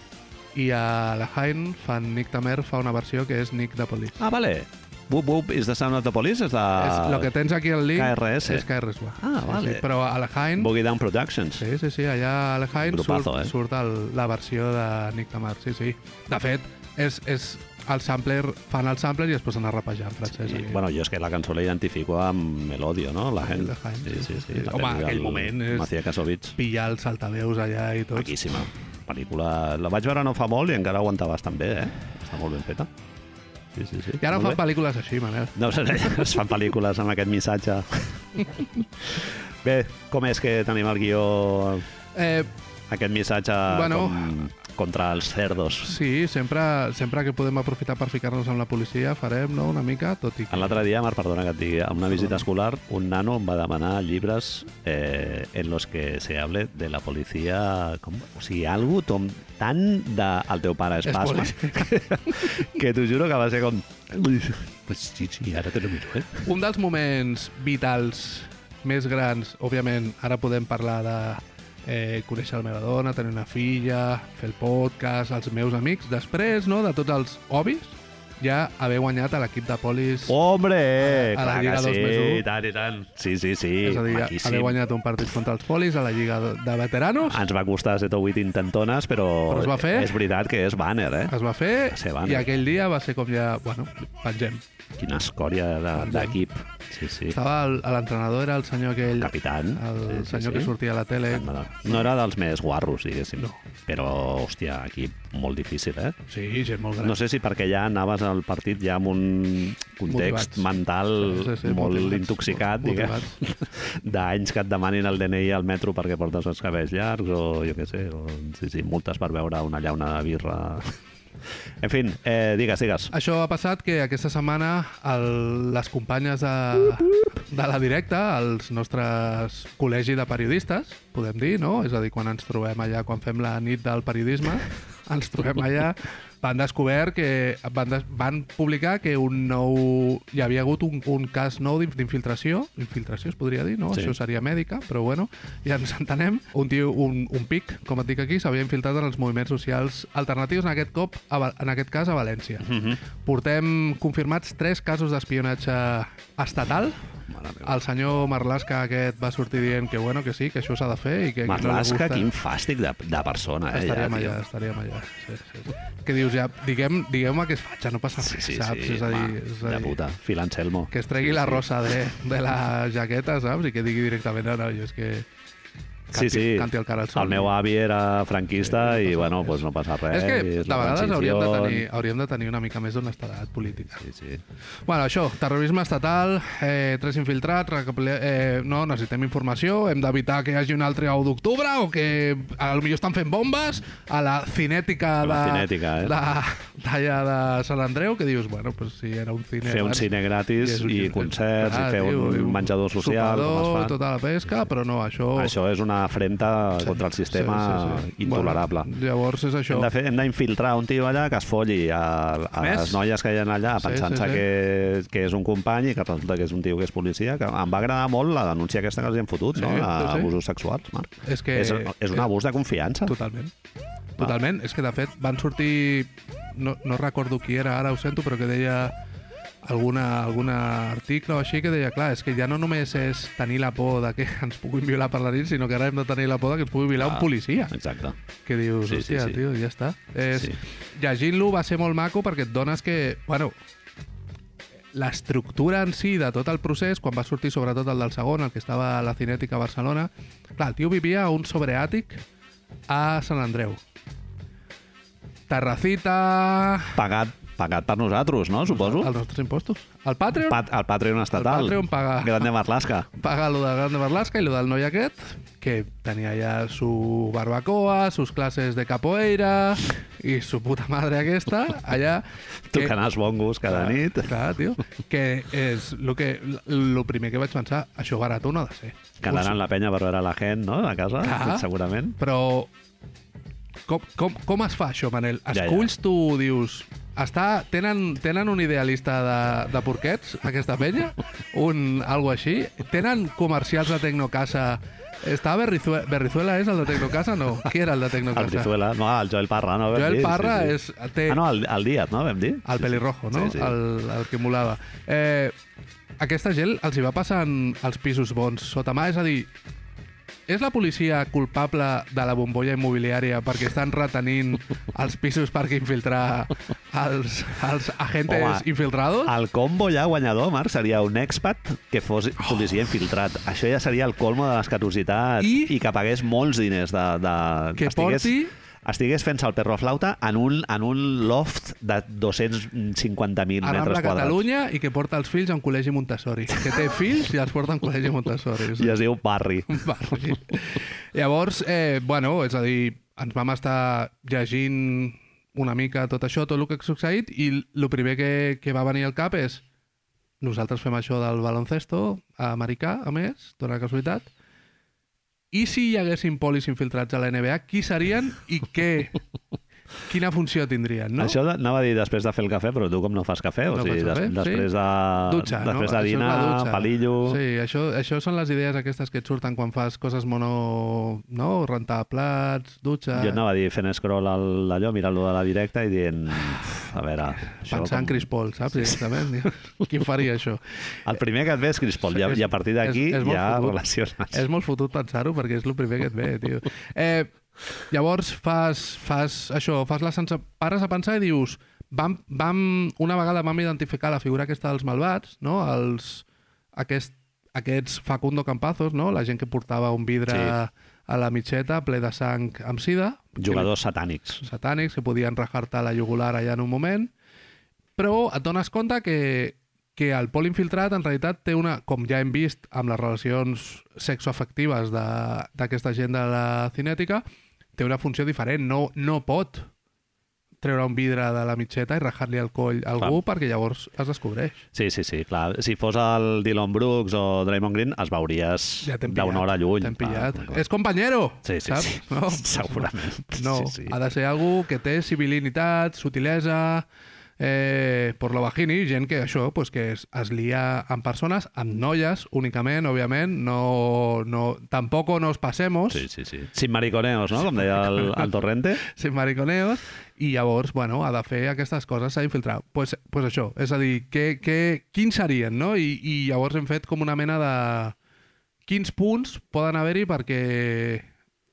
Speaker 1: i a la Hain fan Nick Tamer fa una versió que és Nick de Police.
Speaker 2: Ah, vale. Whoop, whoop, is the son of the police és la...
Speaker 1: és, lo que tens aquí al link
Speaker 2: KRS.
Speaker 1: és KRS1.
Speaker 2: Ah, vale.
Speaker 1: Sí, sí, però a la Hain...
Speaker 2: Boogie Down Productions.
Speaker 1: Sí, sí, sí, allà a la Hain
Speaker 2: Grupazo,
Speaker 1: surt,
Speaker 2: eh?
Speaker 1: surt el, la versió de Nick Tamer, sí, sí. De fet, és, és el sampler, fan el sampler i es posen a rapejar en francès.
Speaker 2: Sí,
Speaker 1: aquí.
Speaker 2: bueno, jo és que la cançó la identifico amb Melodio, no? La gent.
Speaker 1: la gent,
Speaker 2: Sí, sí, sí.
Speaker 1: sí.
Speaker 2: La
Speaker 1: Home,
Speaker 2: pel·li del
Speaker 1: aquell moment és-
Speaker 2: Macía Casovich.
Speaker 1: pillar els altaveus allà i tot.
Speaker 2: Maquíssima. Pel·lícula... La vaig veure no fa molt i encara aguanta bastant bé, eh? Està molt ben feta. Sí, sí, sí.
Speaker 1: I ara
Speaker 2: Molt
Speaker 1: fan
Speaker 2: bé.
Speaker 1: pel·lícules així, Manel.
Speaker 2: No, ho sé, es fan pel·lícules amb aquest missatge. bé, com és que tenim el guió...
Speaker 1: Eh,
Speaker 2: Aquest missatge
Speaker 1: Bueno.
Speaker 2: com, contra els cerdos.
Speaker 1: sí, sempre, sempre que podem aprofitar per ficar-nos amb la policia, farem no, una mica, tot i que...
Speaker 2: L'altre dia, Marc, perdona que et digui, en una visita escolar, un nano em va demanar llibres eh, en los que se hable de la policia... Com, o sigui, algo tom, tan de el teu pare és
Speaker 1: És
Speaker 2: pasma,
Speaker 1: policia.
Speaker 2: que t'ho juro que va ser com... Pues sí, sí, ara te lo miro, eh?
Speaker 1: Un dels moments vitals més grans, òbviament, ara podem parlar de eh, conèixer la meva dona, tenir una filla, fer el podcast, els meus amics, després no, de tots els hobbies, ja haver guanyat a l'equip de polis.
Speaker 2: Oh, Hombre!
Speaker 1: A la- a la
Speaker 2: clar
Speaker 1: Lliga
Speaker 2: que
Speaker 1: dos
Speaker 2: sí,
Speaker 1: més un.
Speaker 2: i tant, i tant. Sí, sí, sí.
Speaker 1: és a dir,
Speaker 2: maquíssim.
Speaker 1: haver guanyat un partit contra els polis a la Lliga de- de Veteranos.
Speaker 2: Ens va costar 7 o 8 intentones, però,
Speaker 1: Però es va fer. Ah.
Speaker 2: és veritat que és banner, eh?
Speaker 1: Es va fer
Speaker 2: Se van.
Speaker 1: i aquell dia va ser com ja... Bueno, pengem.
Speaker 2: Quina escòria de- d'equip. Sí, sí.
Speaker 1: Estava el- l'entrenador, era el senyor aquell...
Speaker 2: Capitan.
Speaker 1: El
Speaker 2: Sí, sí,
Speaker 1: senyor
Speaker 2: sí.
Speaker 1: que sortia a la tele.
Speaker 2: No era dels més guarros, diguéssim. No. Però, hòstia, equip molt difícil, eh?
Speaker 1: Sí, gent molt gran.
Speaker 2: No sé si perquè ja anaves al partit ja amb un context
Speaker 1: Motivats.
Speaker 2: mental
Speaker 1: Sí, sí, sí,
Speaker 2: molt
Speaker 1: motivats,
Speaker 2: intoxicat,
Speaker 1: molt
Speaker 2: diguem, d'anys que et demanin el DNI al metro perquè portes els cabells llargs o jo què sé, o, sí, sí, multes per veure una llauna de birra. En fi, eh, digues, digues.
Speaker 1: Això ha passat que aquesta setmana el, les companyes de, de la directa, els nostres col·legi de periodistes, podem dir, no? És a dir, quan ens trobem allà, quan fem la nit del periodisme, ens trobem allà, van descobert que... Van, des, van publicar que un nou... Hi havia hagut un, un cas nou d'inf- d'infiltració, infiltració es podria dir, no?
Speaker 2: Sí.
Speaker 1: Sí. Això seria mèdica, però bueno, ja ens entenem. Un tio, un, un pic, com et dic aquí, s'havia infiltrat en els moviments socials alternatius, en aquest cop, a, Val- en aquest cas, a València. Mm
Speaker 2: Mhm.
Speaker 1: -hmm. Portem confirmats tres casos d'espionatge estatal.
Speaker 2: Mare meva.
Speaker 1: El senyor Marlaska aquest va sortir dient que bueno, que sí, que això s'ha de fer i que a qui
Speaker 2: Marlaska,
Speaker 1: no li gusta-
Speaker 2: quin fàstic de, de persona, eh?
Speaker 1: Estaríem
Speaker 2: tio.
Speaker 1: allà, estaríem allà. Sí, sí, sí. Que dius, ja, diguem, diguem-me que és fatxa, no passa res,
Speaker 2: Sí, sí,
Speaker 1: saps?
Speaker 2: sí,
Speaker 1: és a dir,
Speaker 2: home,
Speaker 1: és a
Speaker 2: de
Speaker 1: dir,
Speaker 2: puta. Phil Anselmo.
Speaker 1: que es tregui
Speaker 2: Sí,
Speaker 1: sí, la
Speaker 2: sí.
Speaker 1: rosa de, de la jaqueta, saps? I que digui directament, no, no, jo és que...
Speaker 2: Sí, sí.
Speaker 1: Canti el cara al sol.
Speaker 2: El meu avi era franquista
Speaker 1: Sí, no
Speaker 2: i,
Speaker 1: passa
Speaker 2: bueno,
Speaker 1: res.
Speaker 2: pues no passa res.
Speaker 1: és que
Speaker 2: i
Speaker 1: de
Speaker 2: la
Speaker 1: vegades hauríem de,
Speaker 2: transició-
Speaker 1: tenir, hauríem de tenir una mica més d'honestedat política.
Speaker 2: Sí, sí.
Speaker 1: Bueno, això, terrorisme estatal, eh, tres infiltrats, recapile- eh, no, necessitem informació, hem d'evitar que hi hagi un altre 1 d'octubre o que a lo millor estan fent bombes a la cinètica,
Speaker 2: A la
Speaker 1: de,
Speaker 2: cinètica, eh?
Speaker 1: de, d'allà de Sant Andreu, que dius, bueno, pues si era un cine...
Speaker 2: Fer un
Speaker 1: abans,
Speaker 2: cine gratis
Speaker 1: és un
Speaker 2: i
Speaker 1: cine-
Speaker 2: concerts i fer un
Speaker 1: i
Speaker 2: menjador social, com es
Speaker 1: Sopador
Speaker 2: fa.
Speaker 1: i tota la pesca, però no, això...
Speaker 2: Això és una afrenta contra el sistema intolerable.
Speaker 1: Bueno, llavors és això.
Speaker 2: Hem de fer- Hem d'infiltrar un tio allà que es folli a, a
Speaker 1: Més?
Speaker 2: les noies que hi ha allà
Speaker 1: Sí,
Speaker 2: pensant-se
Speaker 1: sí, sí.
Speaker 2: que, que és un company i que resulta que és un tio que és policia. Que em va agradar molt la denúncia aquesta que els hi hem fotut,
Speaker 1: Sí,
Speaker 2: no?
Speaker 1: sí, sí.
Speaker 2: Abusos sexuals, Marc.
Speaker 1: És que-
Speaker 2: és, és un abús de confiança.
Speaker 1: Totalment. Totalment. És que, de fet, van sortir... No, no recordo qui era, ara ho sento, però que deia alguna, alguna article o així que deia, clar, és que ja no només és tenir la por de que ens puguin violar per la nit, sinó que ara hem de tenir la por de que ens pugui violar
Speaker 2: Ah,
Speaker 1: un policia.
Speaker 2: Exacte.
Speaker 1: Que dius,
Speaker 2: Sí, sí,
Speaker 1: sí, hòstia,
Speaker 2: sí.
Speaker 1: sí, tio, ja està. És...
Speaker 2: Sí.
Speaker 1: Sí. Llegint-lo va ser molt maco perquè et dones que... Bueno, l'estructura en si de tot el procés, quan va sortir sobretot el del segon, el que estava a la Cinètica a Barcelona, clar, el tio vivia a un sobreàtic a Sant Andreu. Terracita...
Speaker 2: Pagat, pagat per nosaltres, no? Suposo.
Speaker 1: Els nostres impostos. El Patreon
Speaker 2: Pat, el Patreon estatal.
Speaker 1: El Patreon paga.
Speaker 2: Grande Marlaska.
Speaker 1: paga lo de Grande Barlasca i lo del noi aquest, que tenia ja su barbacoa, sus clases de capoeira i su puta madre aquesta, allà... que-
Speaker 2: Tocant els bongos cada
Speaker 1: Ah.
Speaker 2: nit.
Speaker 1: Clar, tio. Que és el que... El primer que vaig pensar, això barat no ha de ser.
Speaker 2: Quedant
Speaker 1: Un-
Speaker 2: en la penya per veure la gent, no? A casa,
Speaker 1: Clar.
Speaker 2: segurament.
Speaker 1: Però... Com, com, com es fa això, Manel?
Speaker 2: Ja, ja.
Speaker 1: Esculls tu, dius... Està, tenen, tenen un idealista de, de porquets, aquesta penya? Un, algo així? Tenen comercials de Tecnocasa? Està Berrizuela, Berrizuela és el de Tecnocasa? No. Qui era el de Tecnocasa?
Speaker 2: El Brizuela, no, el Joel Parra, no? Vam
Speaker 1: Joel
Speaker 2: dir,
Speaker 1: Parra és- té-
Speaker 2: Ah, no, el, el Díaz, no? Vam dir?
Speaker 1: El pelirrojo, no?
Speaker 2: Sí, sí.
Speaker 1: El, el que molava. Eh, aquesta gent els hi va passant als pisos bons sota mà, és a dir, és la policia culpable de la bombolla immobiliària perquè estan retenint els pisos perquè infiltrar els, els agentes
Speaker 2: Home,
Speaker 1: infiltrados?
Speaker 2: El combo ja guanyador, Marc, seria un expat que fos
Speaker 1: Oh.
Speaker 2: policia infiltrat. Això ja seria el colmo de l'escatositat
Speaker 1: I-
Speaker 2: i que pagués molts diners de... de
Speaker 1: Que porti-
Speaker 2: estigués fent-se el perro flauta en un, en un loft de 250.000
Speaker 1: a
Speaker 2: metres
Speaker 1: Rambla
Speaker 2: quadrats.
Speaker 1: Catalunya i que porta els fills a un col·legi Montessori. Que té fills i els porta a un col·legi Montessori.
Speaker 2: I es diu Barri.
Speaker 1: barri. Llavors, eh, bueno, és a dir, ens vam estar llegint una mica tot això, tot el que ha succeït, i el primer que, que va venir al cap és nosaltres fem això del baloncesto americà, a més, dona casualitat, i si hi haguessin polis infiltrats a la NBA, qui serien i què? Quina funció tindrien,
Speaker 2: No?
Speaker 1: no?
Speaker 2: Això de- anava a dir després de fer el cafè, però tu com no fas cafè, o
Speaker 1: No
Speaker 2: sigui,
Speaker 1: faig
Speaker 2: des,
Speaker 1: cafè, sí.
Speaker 2: després de,
Speaker 1: Dutxa,
Speaker 2: després
Speaker 1: no?
Speaker 2: de
Speaker 1: Això és la
Speaker 2: dinar,
Speaker 1: dutxa.
Speaker 2: palillo...
Speaker 1: Sí, això, això són les idees aquestes que et surten quan fas coses mono... No? Rentar plats, dutxa...
Speaker 2: Jo anava a dir fent scroll al- allò, mirant-lo de la directa i dient... "Uf, A veure... això
Speaker 1: Pensar en
Speaker 2: com-
Speaker 1: Chris Paul, saps? Directament. dius, Qui faria això?
Speaker 2: El primer que et ve és Chris Paul, i, a-
Speaker 1: És-
Speaker 2: i a partir d'aquí
Speaker 1: és- és molt
Speaker 2: ja
Speaker 1: fotut.
Speaker 2: relaciones.
Speaker 1: És molt fotut pensar-ho perquè és el primer que et ve, tio. Eh, llavors fas, fas això, fas la sensa... pares a pensar i dius vam, vam, una vegada vam identificar la figura aquesta dels malvats, no? Els, aquest, aquests Facundo Campazos, no? la gent que portava un vidre sí. a la mitxeta ple de sang amb sida,
Speaker 2: Jugadors satànics.
Speaker 1: satànics que podien rajar-te la jugular allà en un moment, però et dones compte que, que el pol infiltrat en realitat té una, com ja hem vist amb les relacions sexoafectives de- d'aquesta gent de la cinètica, té una funció diferent, no, no pot treure un vidre de la mitxeta i rajar-li el coll a algú perquè llavors es descobreix.
Speaker 2: Sí, sí, sí, clar. Si fos el Dylan Brooks o Draymond Green, els veuries
Speaker 1: Ja t'hem pillat.
Speaker 2: d'una hora lluny.
Speaker 1: T'hem
Speaker 2: Clar,
Speaker 1: pillat.
Speaker 2: clar, clar.
Speaker 1: És companyero!
Speaker 2: Sí, sí,
Speaker 1: saps?
Speaker 2: sí.
Speaker 1: No?
Speaker 2: Segurament.
Speaker 1: No,
Speaker 2: Sí, sí.
Speaker 1: ha de ser algú que té civilitat, sutilesa, eh, por lo bajini, gent que això, pues, que es, es lia amb persones, amb noies únicament, òbviament, no, no, tampoc no os pasemos,
Speaker 2: Sí, sí, sí. Sin mariconeos, no? Com deia el, el Torrente.
Speaker 1: sin mariconeos, i llavors, bueno, ha de fer aquestes coses, s'ha d'infiltrar. Pues, pues això, és a dir, que, que, quins serien, no? I, I llavors hem fet com una mena de... Quins punts poden haver-hi perquè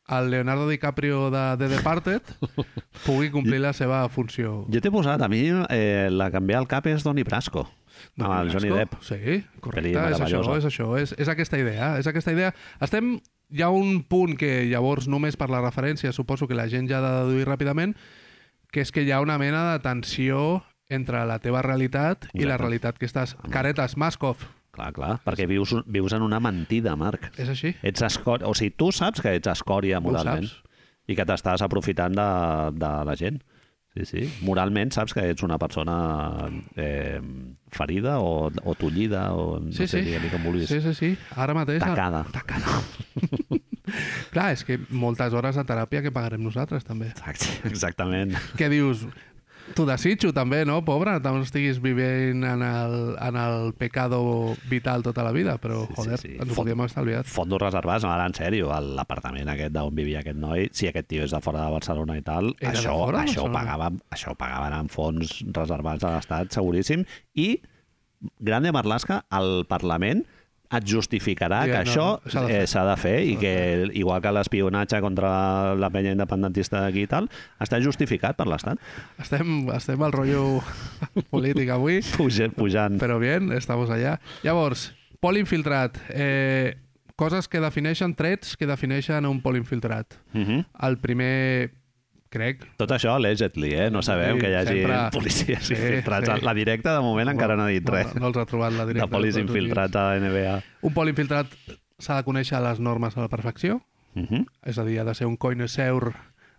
Speaker 1: el Leonardo DiCaprio de The Departed pugui complir la seva funció.
Speaker 2: Jo t'he posat, a mi, eh, la que em ve al cap és Donnie Brasco, amb el Johnny Depp.
Speaker 1: Sí, correcte,
Speaker 2: Pel·li
Speaker 1: és això,
Speaker 2: meravellosa.
Speaker 1: és això, és, és aquesta idea, és aquesta idea. Estem, hi ha un punt que llavors només per la referència suposo que la gent ja ha de deduir ràpidament, que és que hi ha una mena de tensió entre la teva realitat Exacte. i la
Speaker 2: Exacte.
Speaker 1: realitat que estàs... Caretes, Maskov,
Speaker 2: Clar, clar, perquè vius, vius en una mentida, Marc.
Speaker 1: és així?
Speaker 2: Ets escòria, o sigui, tu saps que ets escòria
Speaker 1: ho
Speaker 2: moralment
Speaker 1: saps.
Speaker 2: i que t'estàs aprofitant de, de la gent. Sí, sí. Moralment saps que ets una persona eh, ferida o, o tullida o no
Speaker 1: Sí,
Speaker 2: sé,
Speaker 1: sí.
Speaker 2: digue-li com vulguis.
Speaker 1: Sí, sí, sí. Ara mateix...
Speaker 2: Tacada.
Speaker 1: Tacada. Clar, és que moltes hores de teràpia que pagarem nosaltres, també.
Speaker 2: Exacte, exactament.
Speaker 1: que dius, t'ho desitjo també, no, pobre? No estiguis vivint en el, en el pecado vital tota la vida, però,
Speaker 2: Sí, sí,
Speaker 1: sí, joder,
Speaker 2: sí.
Speaker 1: sí, sí. ens ho
Speaker 2: Fot-
Speaker 1: podíem haver estalviat.
Speaker 2: Fondos reservats, no, ara en sèrio, a l'apartament aquest d'on vivia aquest noi, si aquest tio és de fora de Barcelona i tal,
Speaker 1: Era de
Speaker 2: això,
Speaker 1: fora de
Speaker 2: això, ho
Speaker 1: Barcelona?
Speaker 2: pagaven, això ho pagaven en fons reservats a l'Estat, seguríssim, i Grande Marlaska al Parlament et justificarà
Speaker 1: Digue,
Speaker 2: que
Speaker 1: no,
Speaker 2: això
Speaker 1: s'ha de fer.
Speaker 2: eh, s'ha de fer i que igual que l'espionatge contra la penya independentista d'aquí i tal, està justificat per l'Estat.
Speaker 1: Estem, estem al rotllo polític avui,
Speaker 2: Pujant, pujant.
Speaker 1: però bien, estamos allà. Llavors, pol infiltrat. Eh, coses que defineixen, trets que defineixen un pol infiltrat.
Speaker 2: Uh -huh.
Speaker 1: El primer, crec,
Speaker 2: Tot això, allegedly, eh? No sabem
Speaker 1: Sí,
Speaker 2: que hi hagi
Speaker 1: sempre-
Speaker 2: policies
Speaker 1: Sí,
Speaker 2: infiltrats.
Speaker 1: sí.
Speaker 2: La directa, de moment, encara no ha dit
Speaker 1: no,
Speaker 2: res.
Speaker 1: no els ha trobat la
Speaker 2: de
Speaker 1: directa.
Speaker 2: polis
Speaker 1: dels Estats
Speaker 2: infiltrats a la NBA.
Speaker 1: Units. Un pol infiltrat s'ha de conèixer les normes a la perfecció,
Speaker 2: Uh -huh.
Speaker 1: És a dir, ha de ser un coneixeur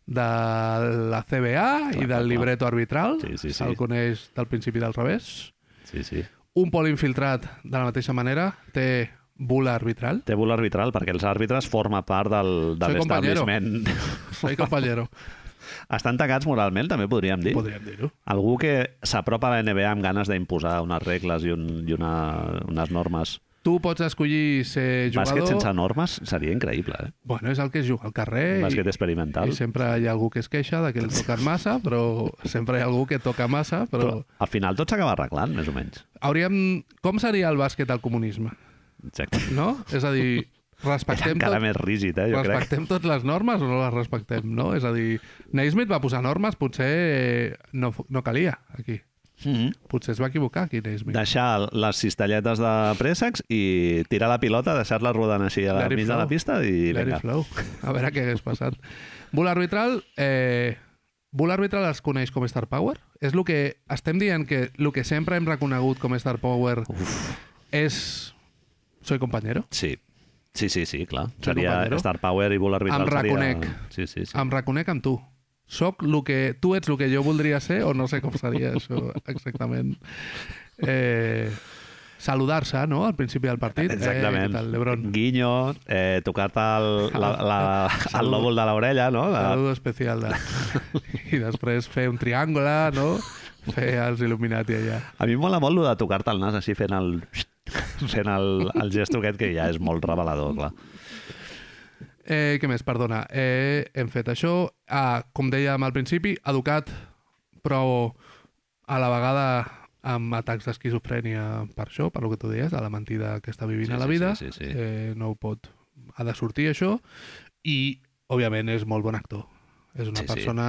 Speaker 1: de la CBA
Speaker 2: clar,
Speaker 1: i
Speaker 2: clar.
Speaker 1: del libreto arbitral.
Speaker 2: Sí, sí, sí.
Speaker 1: Se'l coneix del principi del revés.
Speaker 2: Sí, sí.
Speaker 1: Un pol infiltrat, de la mateixa manera, té bula arbitral.
Speaker 2: Té bula arbitral perquè els àrbitres forma part del, de
Speaker 1: Soy compañero.
Speaker 2: l'establishment.
Speaker 1: Soy compañero,
Speaker 2: Estan tacats moralment, també podríem dir.
Speaker 1: podríem dir-ho.
Speaker 2: Algú que s'apropa a la NBA amb ganes d'imposar unes regles i, un, i una, unes normes.
Speaker 1: Tu pots escollir ser
Speaker 2: Bàsquet
Speaker 1: jugador...
Speaker 2: sense normes seria increïble, eh?
Speaker 1: Bueno, és el que es juga al carrer
Speaker 2: Bàsquet
Speaker 1: i,
Speaker 2: experimental.
Speaker 1: i sempre hi ha algú que es queixa de que li toquen massa, però sempre hi ha algú que toca massa, però...
Speaker 2: Però al final tot s'acaba arreglant, més o menys.
Speaker 1: Hauríem... Com seria el bàsquet al comunisme?
Speaker 2: Exacte.
Speaker 1: No? És a dir,
Speaker 2: Era
Speaker 1: respectem tot,
Speaker 2: encara més rígid, eh, jo crec.
Speaker 1: respectem totes les normes o no les respectem, no? És a dir, Naismith va posar normes, potser eh, no, no calia aquí.
Speaker 2: Mm -hmm.
Speaker 1: Potser es va equivocar aquí Naismith.
Speaker 2: deixar les cistelletes de préssecs i tirar la pilota, deixar-la rodant així a la
Speaker 1: Let it
Speaker 2: mig de la
Speaker 1: flow.
Speaker 2: pista i
Speaker 1: Let it
Speaker 2: vinga.
Speaker 1: flow. A veure què hagués passat. Bull arbitral, eh, Bull arbitral es coneix com Star Power? És el que estem dient que el que sempre hem reconegut com Star Power Uf. és... Soy compañero?
Speaker 2: Sí. Sí, sí, sí, clar.
Speaker 1: Soy
Speaker 2: Seria
Speaker 1: compañero.
Speaker 2: Star Power i Bull Arbitral.
Speaker 1: Em
Speaker 2: seria-
Speaker 1: reconec.
Speaker 2: Sí, sí, sí.
Speaker 1: Em reconec amb tu. Soc lo que... Tu ets el que jo voldria ser o no sé com seria això exactament. Eh, Saludar-se, no?, al principi del partit. Eh,
Speaker 2: Exactament.
Speaker 1: què tal, Lebron?
Speaker 2: Guinyo, eh, tocar-te el, la, la, el
Speaker 1: Salut.
Speaker 2: lòbul de l'orella, no? La,
Speaker 1: Saludo especial. De... I després fer un triangle, no?, fer els Illuminati allà.
Speaker 2: a mi em mola molt el de tocar-te el nas així fent el fent el, el gesto aquest que ja és molt revelador, clar.
Speaker 1: Eh, què més? Perdona. Eh, hem fet això. Ah, com dèiem al principi, educat, però a la vegada amb atacs d'esquizofrènia per això, per lo que tu deies, de la mentida que està vivint
Speaker 2: Sí,
Speaker 1: a la
Speaker 2: sí,
Speaker 1: vida,
Speaker 2: sí, sí, sí.
Speaker 1: Eh, no ho pot... Ha de sortir això i, òbviament, és molt bon actor. És una
Speaker 2: Sí, sí.
Speaker 1: persona...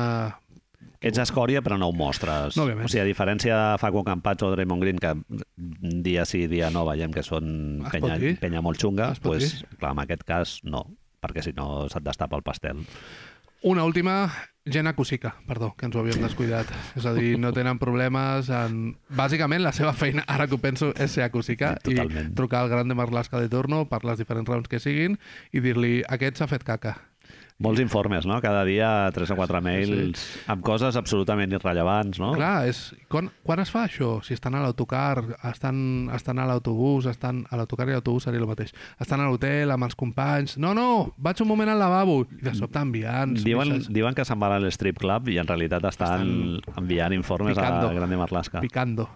Speaker 2: Ets escòria, però no ho mostres.
Speaker 1: No, òbviament.
Speaker 2: o sigui, a diferència de Facu Campazzo o Draymond Green, que dia sí, dia no, veiem que són
Speaker 1: Es pot
Speaker 2: penya,
Speaker 1: dir.
Speaker 2: penya molt xunga,
Speaker 1: Es pot
Speaker 2: pues, clar, en aquest cas, no perquè si no se't destapa el pastel.
Speaker 1: Una última, Jenna Kusica, perdó, que ens ho havíem descuidat. És a dir, no tenen problemes en... Bàsicament, la seva feina, ara que ho penso, és ser a Kusica
Speaker 2: Sí, totalment.
Speaker 1: i trucar al gran de Marlaska de torno per les diferents raons que siguin i dir-li, aquest s'ha fet caca.
Speaker 2: Molts informes, no? Cada dia tres o quatre mails amb coses absolutament irrellevants, no?
Speaker 1: Clar, és... Quan, quan es fa això? Si estan a l'autocar, estan, estan a l'autobús, estan a l'autocar i l'autobús seria el mateix. Estan a l'hotel amb els companys. No, no, vaig un moment al lavabo. I de sobte enviant...
Speaker 2: Diuen,
Speaker 1: missatges.
Speaker 2: diuen que se'n van a l'strip club i en realitat estan, enviant informes
Speaker 1: picando.
Speaker 2: a Grande Marlaska.
Speaker 1: Picando.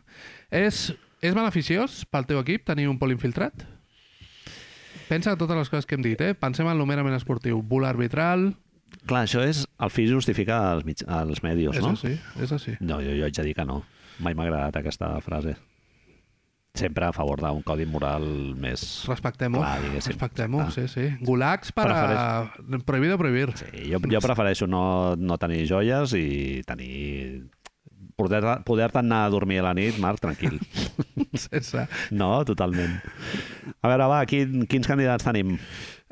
Speaker 1: És, és beneficiós pel teu equip tenir un pol infiltrat? Pensa en totes les coses que hem dit, eh? Pensem en l'homenament esportiu. Bula arbitral...
Speaker 2: Clar, això és... El fi justifica els, mig, els medios,
Speaker 1: és
Speaker 2: no?
Speaker 1: així, és així.
Speaker 2: No, jo, jo haig de dir que no. Mai m'ha agradat aquesta frase. Sempre a favor d'un codi moral més...
Speaker 1: Respectem-ho.
Speaker 2: Clar, diguéssim.
Speaker 1: Respectem-ho,
Speaker 2: Ah.
Speaker 1: sí, sí. Gulags per a... Prohibido prohibir.
Speaker 2: Sí, jo, jo prefereixo no, no tenir joies i tenir... Poder-te poder anar a dormir a la nit, Marc, tranquil.
Speaker 1: Sense...
Speaker 2: No, totalment. A veure, va, quin, quins candidats tenim?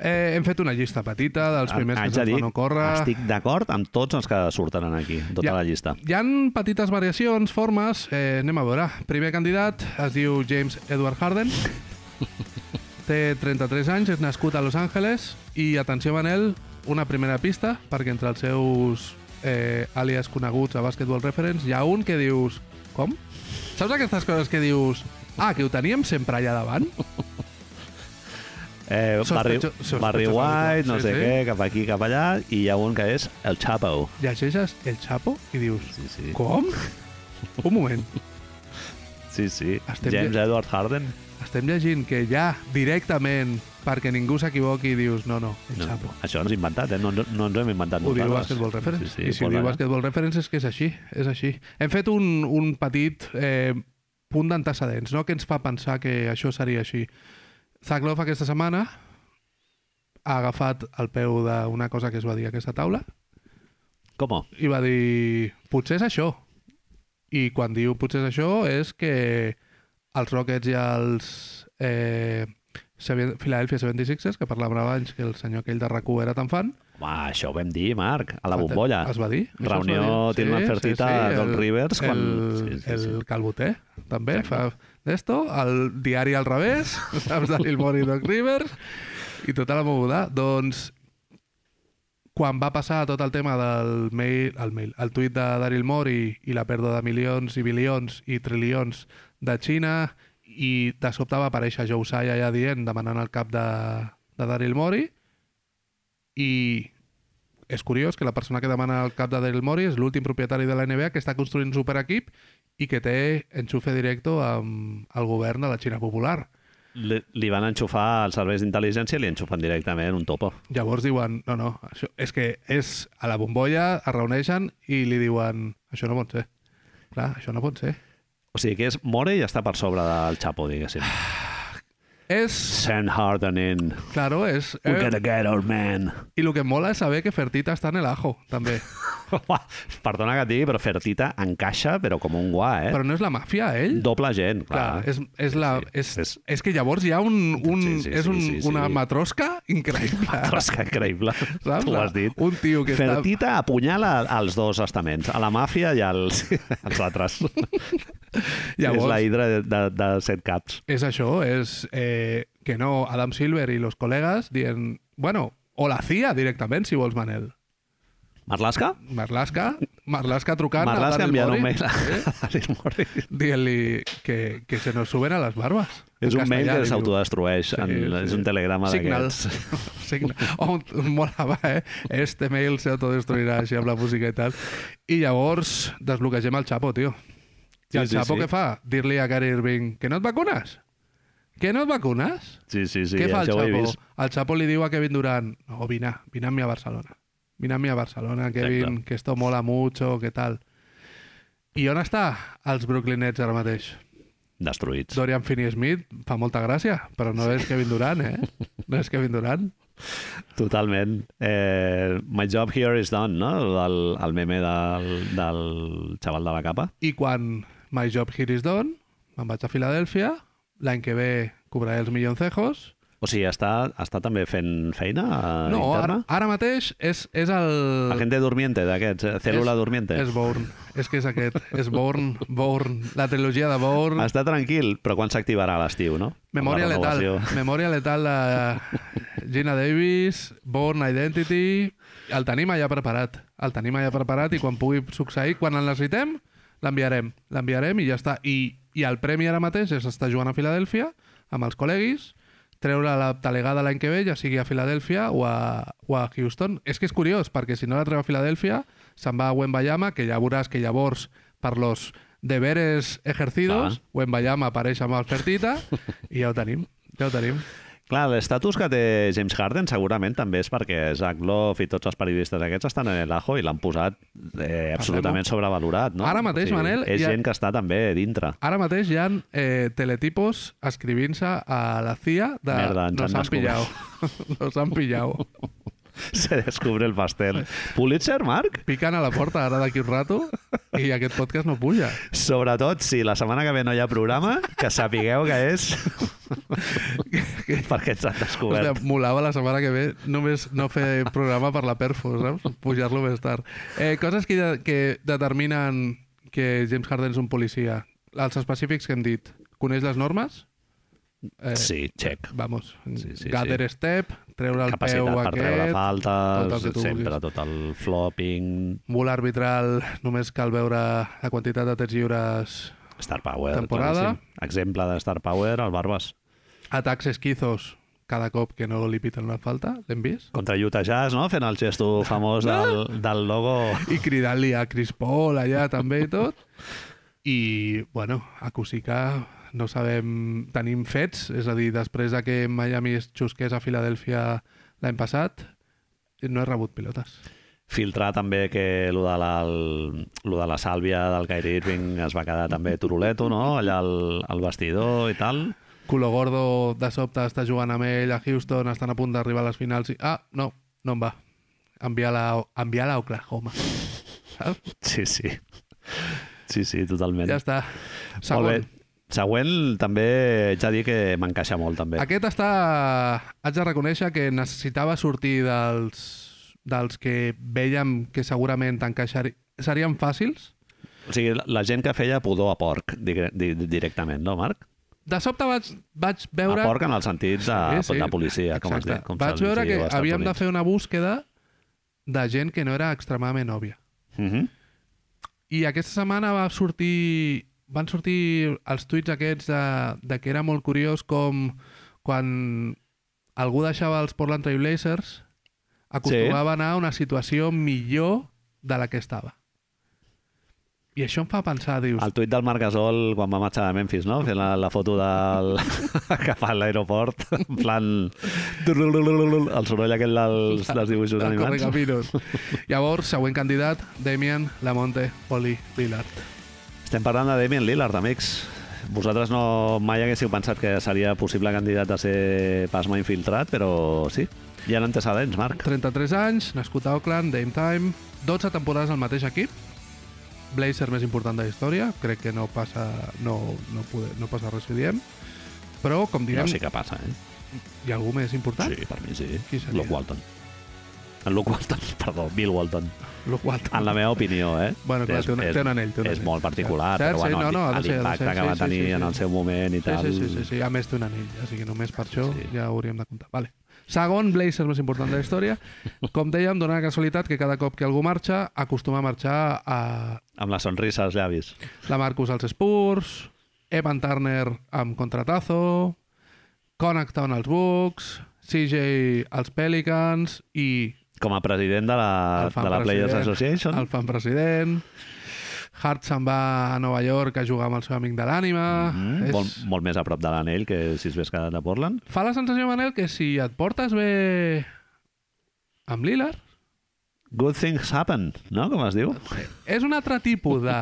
Speaker 1: Eh, hem fet una llista petita dels primers
Speaker 2: Haig
Speaker 1: que
Speaker 2: de
Speaker 1: se'ns van ocórrer.
Speaker 2: Estic d'acord amb tots els que surten aquí, tota la llista.
Speaker 1: Hi han petites variacions, formes. Eh, anem a veure. Primer candidat es diu James Edward Harden. Té 33 anys, és nascut a Los Angeles i, atenció Manel, una primera pista, perquè entre els seus eh, àlies coneguts a Basketball Reference hi ha un que dius... Com? Saps aquestes coses que dius... Ah, que ho teníem sempre allà davant?
Speaker 2: Eh, Barry,
Speaker 1: Sospecho- sospecho-
Speaker 2: Barry White, no
Speaker 1: sí,
Speaker 2: sé
Speaker 1: sí.
Speaker 2: què, cap aquí, cap allà, i hi ha un que és el Chapo.
Speaker 1: Llegeixes El Chapo i dius...
Speaker 2: Sí, sí.
Speaker 1: Com? Un moment.
Speaker 2: Sí, sí.
Speaker 1: Estem
Speaker 2: James
Speaker 1: lle-
Speaker 2: Edward Harden.
Speaker 1: Estem llegint que ja directament, perquè ningú s'equivoqui, dius no, no, el
Speaker 2: No,
Speaker 1: Chapo.
Speaker 2: això ens inventat, eh? No, no, no ens ho hem inventat
Speaker 1: Ho diu
Speaker 2: nosaltres.
Speaker 1: Basketball Reference.
Speaker 2: Sí, sí,
Speaker 1: I si ho
Speaker 2: posa
Speaker 1: diu
Speaker 2: allà.
Speaker 1: Basketball Reference és que és així, és així. Hem fet un, un petit eh, punt d'antecedents, no? que ens fa pensar que això seria així. Zach Love aquesta setmana ha agafat el peu d'una cosa que es va dir a aquesta taula
Speaker 2: Com?
Speaker 1: i va dir, potser és això. I quan diu potser és això és que els Rockets i els eh, Seven- Philadelphia 76ers, que parlàvem abans que el senyor aquell de rac era tan fan,
Speaker 2: Home, això ho vam dir, Marc, a la bombolla.
Speaker 1: Es va dir. això es va
Speaker 2: Reunió
Speaker 1: dir.
Speaker 2: Tilman Fertitta, Doc Rivers, quan-
Speaker 1: El,
Speaker 2: sí, sí,
Speaker 1: el
Speaker 2: sí.
Speaker 1: Calboter, també, fa d'esto, el diari al revés, saps, de Lil Mori i Doc Rivers, i tota la moguda. Doncs, quan va passar tot el tema del mail, el, mail, el tuit de Daryl Mori i la pèrdua de milions i bilions i trilions de Xina i de sobte va aparèixer Joe Tsai allà dient, demanant el cap de, de Daryl Mori i és curiós que la persona que demana el cap de Daryl Mori és l'últim propietari de la NBA que està construint un superequip i que té enxufe directe amb el govern de la Xina Popular.
Speaker 2: Li, li van enxufar els serveis d'intel·ligència i li enxufen directament un topo.
Speaker 1: Llavors diuen, no, no, això, és que és a la bombolla, es reuneixen i li diuen, això no pot ser. Clar, això no pot ser.
Speaker 2: O sigui que és Morey i està per sobre del Chapo, diguéssim.
Speaker 1: Ah. És,
Speaker 2: Send Harden in.
Speaker 1: claro, és...
Speaker 2: We
Speaker 1: Eh,
Speaker 2: gotta get our man.
Speaker 1: I el que mola és saber que Fertita està en el ajo, també.
Speaker 2: Eh? Home, Perdona que et digui, però Fertita encaixa, però com un guà, eh?
Speaker 1: Però no és la màfia, ell?
Speaker 2: Doble gent, clar.
Speaker 1: Clar, és, és, la,
Speaker 2: Ah, sí.
Speaker 1: és, és,
Speaker 2: És-
Speaker 1: que llavors hi ha un, un,
Speaker 2: Sí, sí,
Speaker 1: és
Speaker 2: sí,
Speaker 1: un,
Speaker 2: sí, sí.
Speaker 1: una matrosca increïble.
Speaker 2: Ostres, que increïble.
Speaker 1: Saps?
Speaker 2: Tu ho has dit.
Speaker 1: Un tio que està-
Speaker 2: Fertita apunyala els dos estaments, a la màfia i als, als altres.
Speaker 1: Llavors,
Speaker 2: És la hidra de, de, de set caps.
Speaker 1: és això, és eh, que no Adam Silver i los col·legues dient, bueno, o la CIA directament, si vols, Manel.
Speaker 2: Marlaska?
Speaker 1: Marlaska, Marlaska trucant
Speaker 2: Marlaska
Speaker 1: a
Speaker 2: enviant
Speaker 1: Daryl
Speaker 2: un
Speaker 1: Morey,
Speaker 2: mail a a Daryl Morey.
Speaker 1: dient-li que, que se nos suben a les barbes.
Speaker 2: És
Speaker 1: En
Speaker 2: un mail
Speaker 1: castellà,
Speaker 2: que
Speaker 1: li diu.
Speaker 2: s'autodestrueix. en- És un telegrama
Speaker 1: Signal.
Speaker 2: d'aquests.
Speaker 1: Signal. Oh, molava, eh? Este mail s'autodestruirà així amb la música i tal. I llavors desbloquegem el Chapo, tio. I
Speaker 2: Sí,
Speaker 1: el
Speaker 2: sí,
Speaker 1: Chapo
Speaker 2: sí.
Speaker 1: què fa? Dir-li a Gary Irving que no et vacunes? Que no et vacunes?
Speaker 2: Sí, sí, sí.
Speaker 1: Què fa el
Speaker 2: això ho he
Speaker 1: Chapo?
Speaker 2: vist.
Speaker 1: El Chapo li diu a Kevin Durant, no, vine, vine amb mi a Barcelona. Vine amb mi a Barcelona, Kevin,
Speaker 2: Exacte.
Speaker 1: que esto mola mucho, que tal. I on està els Brooklyn Nets ara mateix?
Speaker 2: Destruïts.
Speaker 1: Dorian Finney-Smith fa molta gràcia, però no és Kevin Durant, eh? No és Kevin Durant.
Speaker 2: Totalment. Eh, my job here is done, no? El, el meme del, del xaval de la capa.
Speaker 1: I quan My Job Here is Done, me'n vaig a Filadèlfia, l'any que ve cobraré els milloncejos.
Speaker 2: O sigui, està, està també fent feina eh,
Speaker 1: No, ara,
Speaker 2: interna?
Speaker 1: ara mateix és, és
Speaker 2: La
Speaker 1: el...
Speaker 2: gente durmiente d'aquests, eh, cèl·lula
Speaker 1: És-
Speaker 2: durmiente.
Speaker 1: És Bourne. És que és aquest. És Bourne, Bourne. La trilogia de Bourne.
Speaker 2: Està tranquil, però quan s'activarà a l'estiu, no?
Speaker 1: Memòria
Speaker 2: Amb la
Speaker 1: letal.
Speaker 2: renovació.
Speaker 1: Memòria letal de Gina Davis, Born Identity... El tenim allà preparat. El tenim allà preparat i quan pugui succeir, quan el necessitem, l'enviarem. L'enviarem i ja està. I, I el premi ara mateix és estar jugant a Filadèlfia amb els col·leguis, treure la talegada l'any que ve, ja sigui a Filadèlfia o a, o a Houston. És que és curiós, perquè si no la treu a Filadèlfia, se'n va a Wembayama, que ja veuràs que llavors per los deberes ejercidos,
Speaker 2: Clar.
Speaker 1: Wembayama apareix amb el Fertita i ja ho tenim, ja ho tenim.
Speaker 2: Clar, l'estatus que té James Harden segurament també és perquè Zach Love i tots els periodistes aquests estan en el ajo i l'han posat eh, absolutament sobrevalorat, no?
Speaker 1: Ara mateix, Manel,
Speaker 2: És
Speaker 1: hi ha-
Speaker 2: gent que està també dintre.
Speaker 1: Ara mateix hi ha eh, teletipos escrivint-se a la CIA de
Speaker 2: Merda, ens
Speaker 1: nos
Speaker 2: han
Speaker 1: han pillado, nos han pillado.
Speaker 2: Se descubre el pastel. Pulitzer, Marc?
Speaker 1: Piquen a la porta ara d'aquí un rato i aquest podcast no puja.
Speaker 2: Sobretot si la setmana que ve no hi ha programa, que sapigueu que és perquè ens han descobert.
Speaker 1: Hòstia, molava la setmana que ve només no fer programa per la perfo, saps? Pujar-lo més tard. Eh, coses que, de, que determinen que James Harden és un policia. Els específics que hem dit. Coneix les normes? Eh,
Speaker 2: Sí, check.
Speaker 1: Vamos.
Speaker 2: Sí, sí,
Speaker 1: Gather step, treure el
Speaker 2: Capacitat
Speaker 1: peu
Speaker 2: per treure
Speaker 1: aquest... tot el
Speaker 2: faltes,
Speaker 1: que tu
Speaker 2: sempre
Speaker 1: vulguis.
Speaker 2: tot el flopping,
Speaker 1: Mul arbitral, només cal veure la quantitat de tirs lliures.
Speaker 2: Star Power.
Speaker 1: Temporada.
Speaker 2: claríssim. Exemple de Star Power, el Barbas.
Speaker 1: Atacs esquizos, cada cop que no li piten una falta, l'hem vist?
Speaker 2: Contra Utah Jazz, no? Fent el gesto famós del, del logo.
Speaker 1: i cridant-li a Chris Paul allà també i tot. I, bueno, a Cusica no sabem... Tenim fets, és a dir, després de que Miami es xusqués a Filadèlfia l'any passat, no he rebut pilotes.
Speaker 2: Filtrar també que lo de, la, el, lo de la sàlvia del Kyrie Irving es va quedar també turuleto, no? Allà al, al vestidor i tal.
Speaker 1: Culo Gordo, de sobte, està jugant amb ell a Houston, estan a punt d'arribar a les finals i... Ah, no, no em va. Enviar-la enviar a Oklahoma. Saps?
Speaker 2: Sí, sí. Sí, sí, totalment.
Speaker 1: Ja està.
Speaker 2: Molt bé.
Speaker 1: Segon.
Speaker 2: Següent, també ja dir que m'encaixa molt, també.
Speaker 1: Aquest està... Haig de reconèixer que necessitava sortir dels, dels que vèiem que segurament encaixari... serien fàcils.
Speaker 2: O sigui, la- la gent que feia pudor a porc, digre- di, di- directament, no, Marc?
Speaker 1: De sobte vaig, vaig veure...
Speaker 2: A porc en el sentit de,
Speaker 1: Sí, sí.
Speaker 2: de policia, com es
Speaker 1: Exacte.
Speaker 2: diu. Com
Speaker 1: Vaig
Speaker 2: se'ls
Speaker 1: veure
Speaker 2: diu
Speaker 1: que
Speaker 2: als Estats
Speaker 1: havíem de
Speaker 2: Units.
Speaker 1: fer una búsqueda de gent que no era extremadament òbvia.
Speaker 2: Mhm.
Speaker 1: I aquesta setmana va sortir, van sortir els tuits aquests de, de que era molt curiós com quan algú deixava els Portland Trailblazers acostumava sí. a anar a una situació millor de la que estava. I això em fa pensar, dius...
Speaker 2: El tuit del Marc Gasol quan va marxar de Memphis, no? Fent la, la foto del... cap a l'aeroport, en plan... El soroll aquell dels, dels dibuixos
Speaker 1: del
Speaker 2: animats.
Speaker 1: correcaminos. Llavors, següent candidat, Damian Lamonte Oli Lillard.
Speaker 2: Estem parlant de Damien Lillard, amics. Vosaltres no mai haguéssiu pensat que seria possible candidat a ser pasma infiltrat, però sí. Hi ha antecedents, Marc.
Speaker 1: 33 anys, nascut a Oakland, Dame Time, 12 temporades al mateix equip, Blazer més important de la història, crec que no passa, no, no, pode, no passa res si diem, però, com diem,
Speaker 2: No
Speaker 1: no,
Speaker 2: sé què passa, eh?
Speaker 1: hi ha algú més important?
Speaker 2: Sí, per mi sí.
Speaker 1: Ah? Qui seria?
Speaker 2: Luke Walton. En Luke Walton, perdó, Bill Walton.
Speaker 1: Lo qual...
Speaker 2: En la meva opinió, eh?
Speaker 1: Bueno, clar,
Speaker 2: És-
Speaker 1: té un-
Speaker 2: és-
Speaker 1: té un anell, té un
Speaker 2: És
Speaker 1: anell.
Speaker 2: molt particular,
Speaker 1: Cert,
Speaker 2: però
Speaker 1: sí,
Speaker 2: bueno,
Speaker 1: no, no, ha de ser, ha de
Speaker 2: l'impacte
Speaker 1: ser,
Speaker 2: que va
Speaker 1: sí, sí,
Speaker 2: tenir
Speaker 1: sí,
Speaker 2: en
Speaker 1: sí.
Speaker 2: el seu moment i
Speaker 1: Sí,
Speaker 2: tal...
Speaker 1: sí, sí, sí, sí, a més té un anell, així que només per això
Speaker 2: Sí.
Speaker 1: sí. ja ho hauríem de comptar. Vale. Segon Blazer més important de la història, com dèiem, dona la casualitat que cada cop que algú marxa, acostuma a marxar a
Speaker 2: Amb la sonrisa als llavis.
Speaker 1: La Marcus als Spurs, Evan Turner amb contratazo, Connaughton als Bucks, CJ als Pelicans i
Speaker 2: Com a president de la,
Speaker 1: El
Speaker 2: Ah,
Speaker 1: fan
Speaker 2: de la Players
Speaker 1: president.
Speaker 2: Association.
Speaker 1: el fan president. Hart se'n va a Nova York a jugar amb el seu amic de l'ànima.
Speaker 2: Mm,
Speaker 1: eh, És...
Speaker 2: molt, molt més a prop de l'anell que si es ves quedat a Portland.
Speaker 1: Fa la sensació, Manel, que si et portes bé amb Lillard,
Speaker 2: Good things happen, no? Com es diu?
Speaker 1: és un altre tipus de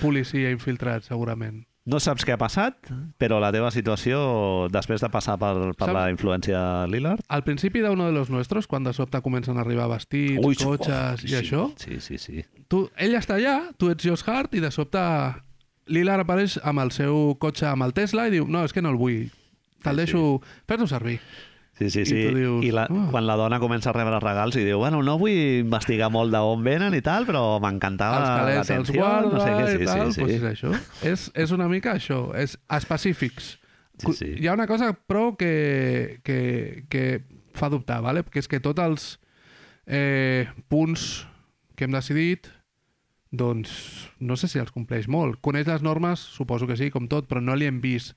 Speaker 1: policia infiltrat, segurament.
Speaker 2: No saps què ha passat, però la teva situació, després de passar per, per
Speaker 1: Saps-
Speaker 2: la influència Lillard...
Speaker 1: Al principi de uno de los nuestros, quan de sobte comencen a arribar vestits, Ui, cotxes i
Speaker 2: sí,
Speaker 1: això,
Speaker 2: Sí, sí, sí.
Speaker 1: tu, ell està allà, tu ets Josh Hart, i de sobte Lillard apareix amb el seu cotxe, amb el Tesla, i diu, no, és que no el vull. Te'l deixo... Fes-ho servir.
Speaker 2: Sí, sí,
Speaker 1: I
Speaker 2: sí.
Speaker 1: tu
Speaker 2: I,
Speaker 1: dius,
Speaker 2: I la,
Speaker 1: "Ah".
Speaker 2: quan la dona comença a rebre regals i diu, bueno, no vull investigar molt d'on venen i tal, però m'encantava
Speaker 1: els calés els
Speaker 2: Ah, l'atenció,
Speaker 1: guarda
Speaker 2: no sé què,
Speaker 1: i
Speaker 2: sí,
Speaker 1: tal,
Speaker 2: sí,
Speaker 1: Doncs és
Speaker 2: sí.
Speaker 1: això. És, és una mica això, és específics.
Speaker 2: Sí,
Speaker 1: Cu-
Speaker 2: sí.
Speaker 1: Hi ha una cosa, però, que, que, que fa dubtar, ¿vale? que és que tots els eh, punts que hem decidit, doncs no sé si els compleix molt. Coneix les normes, suposo que sí, com tot, però no li hem vist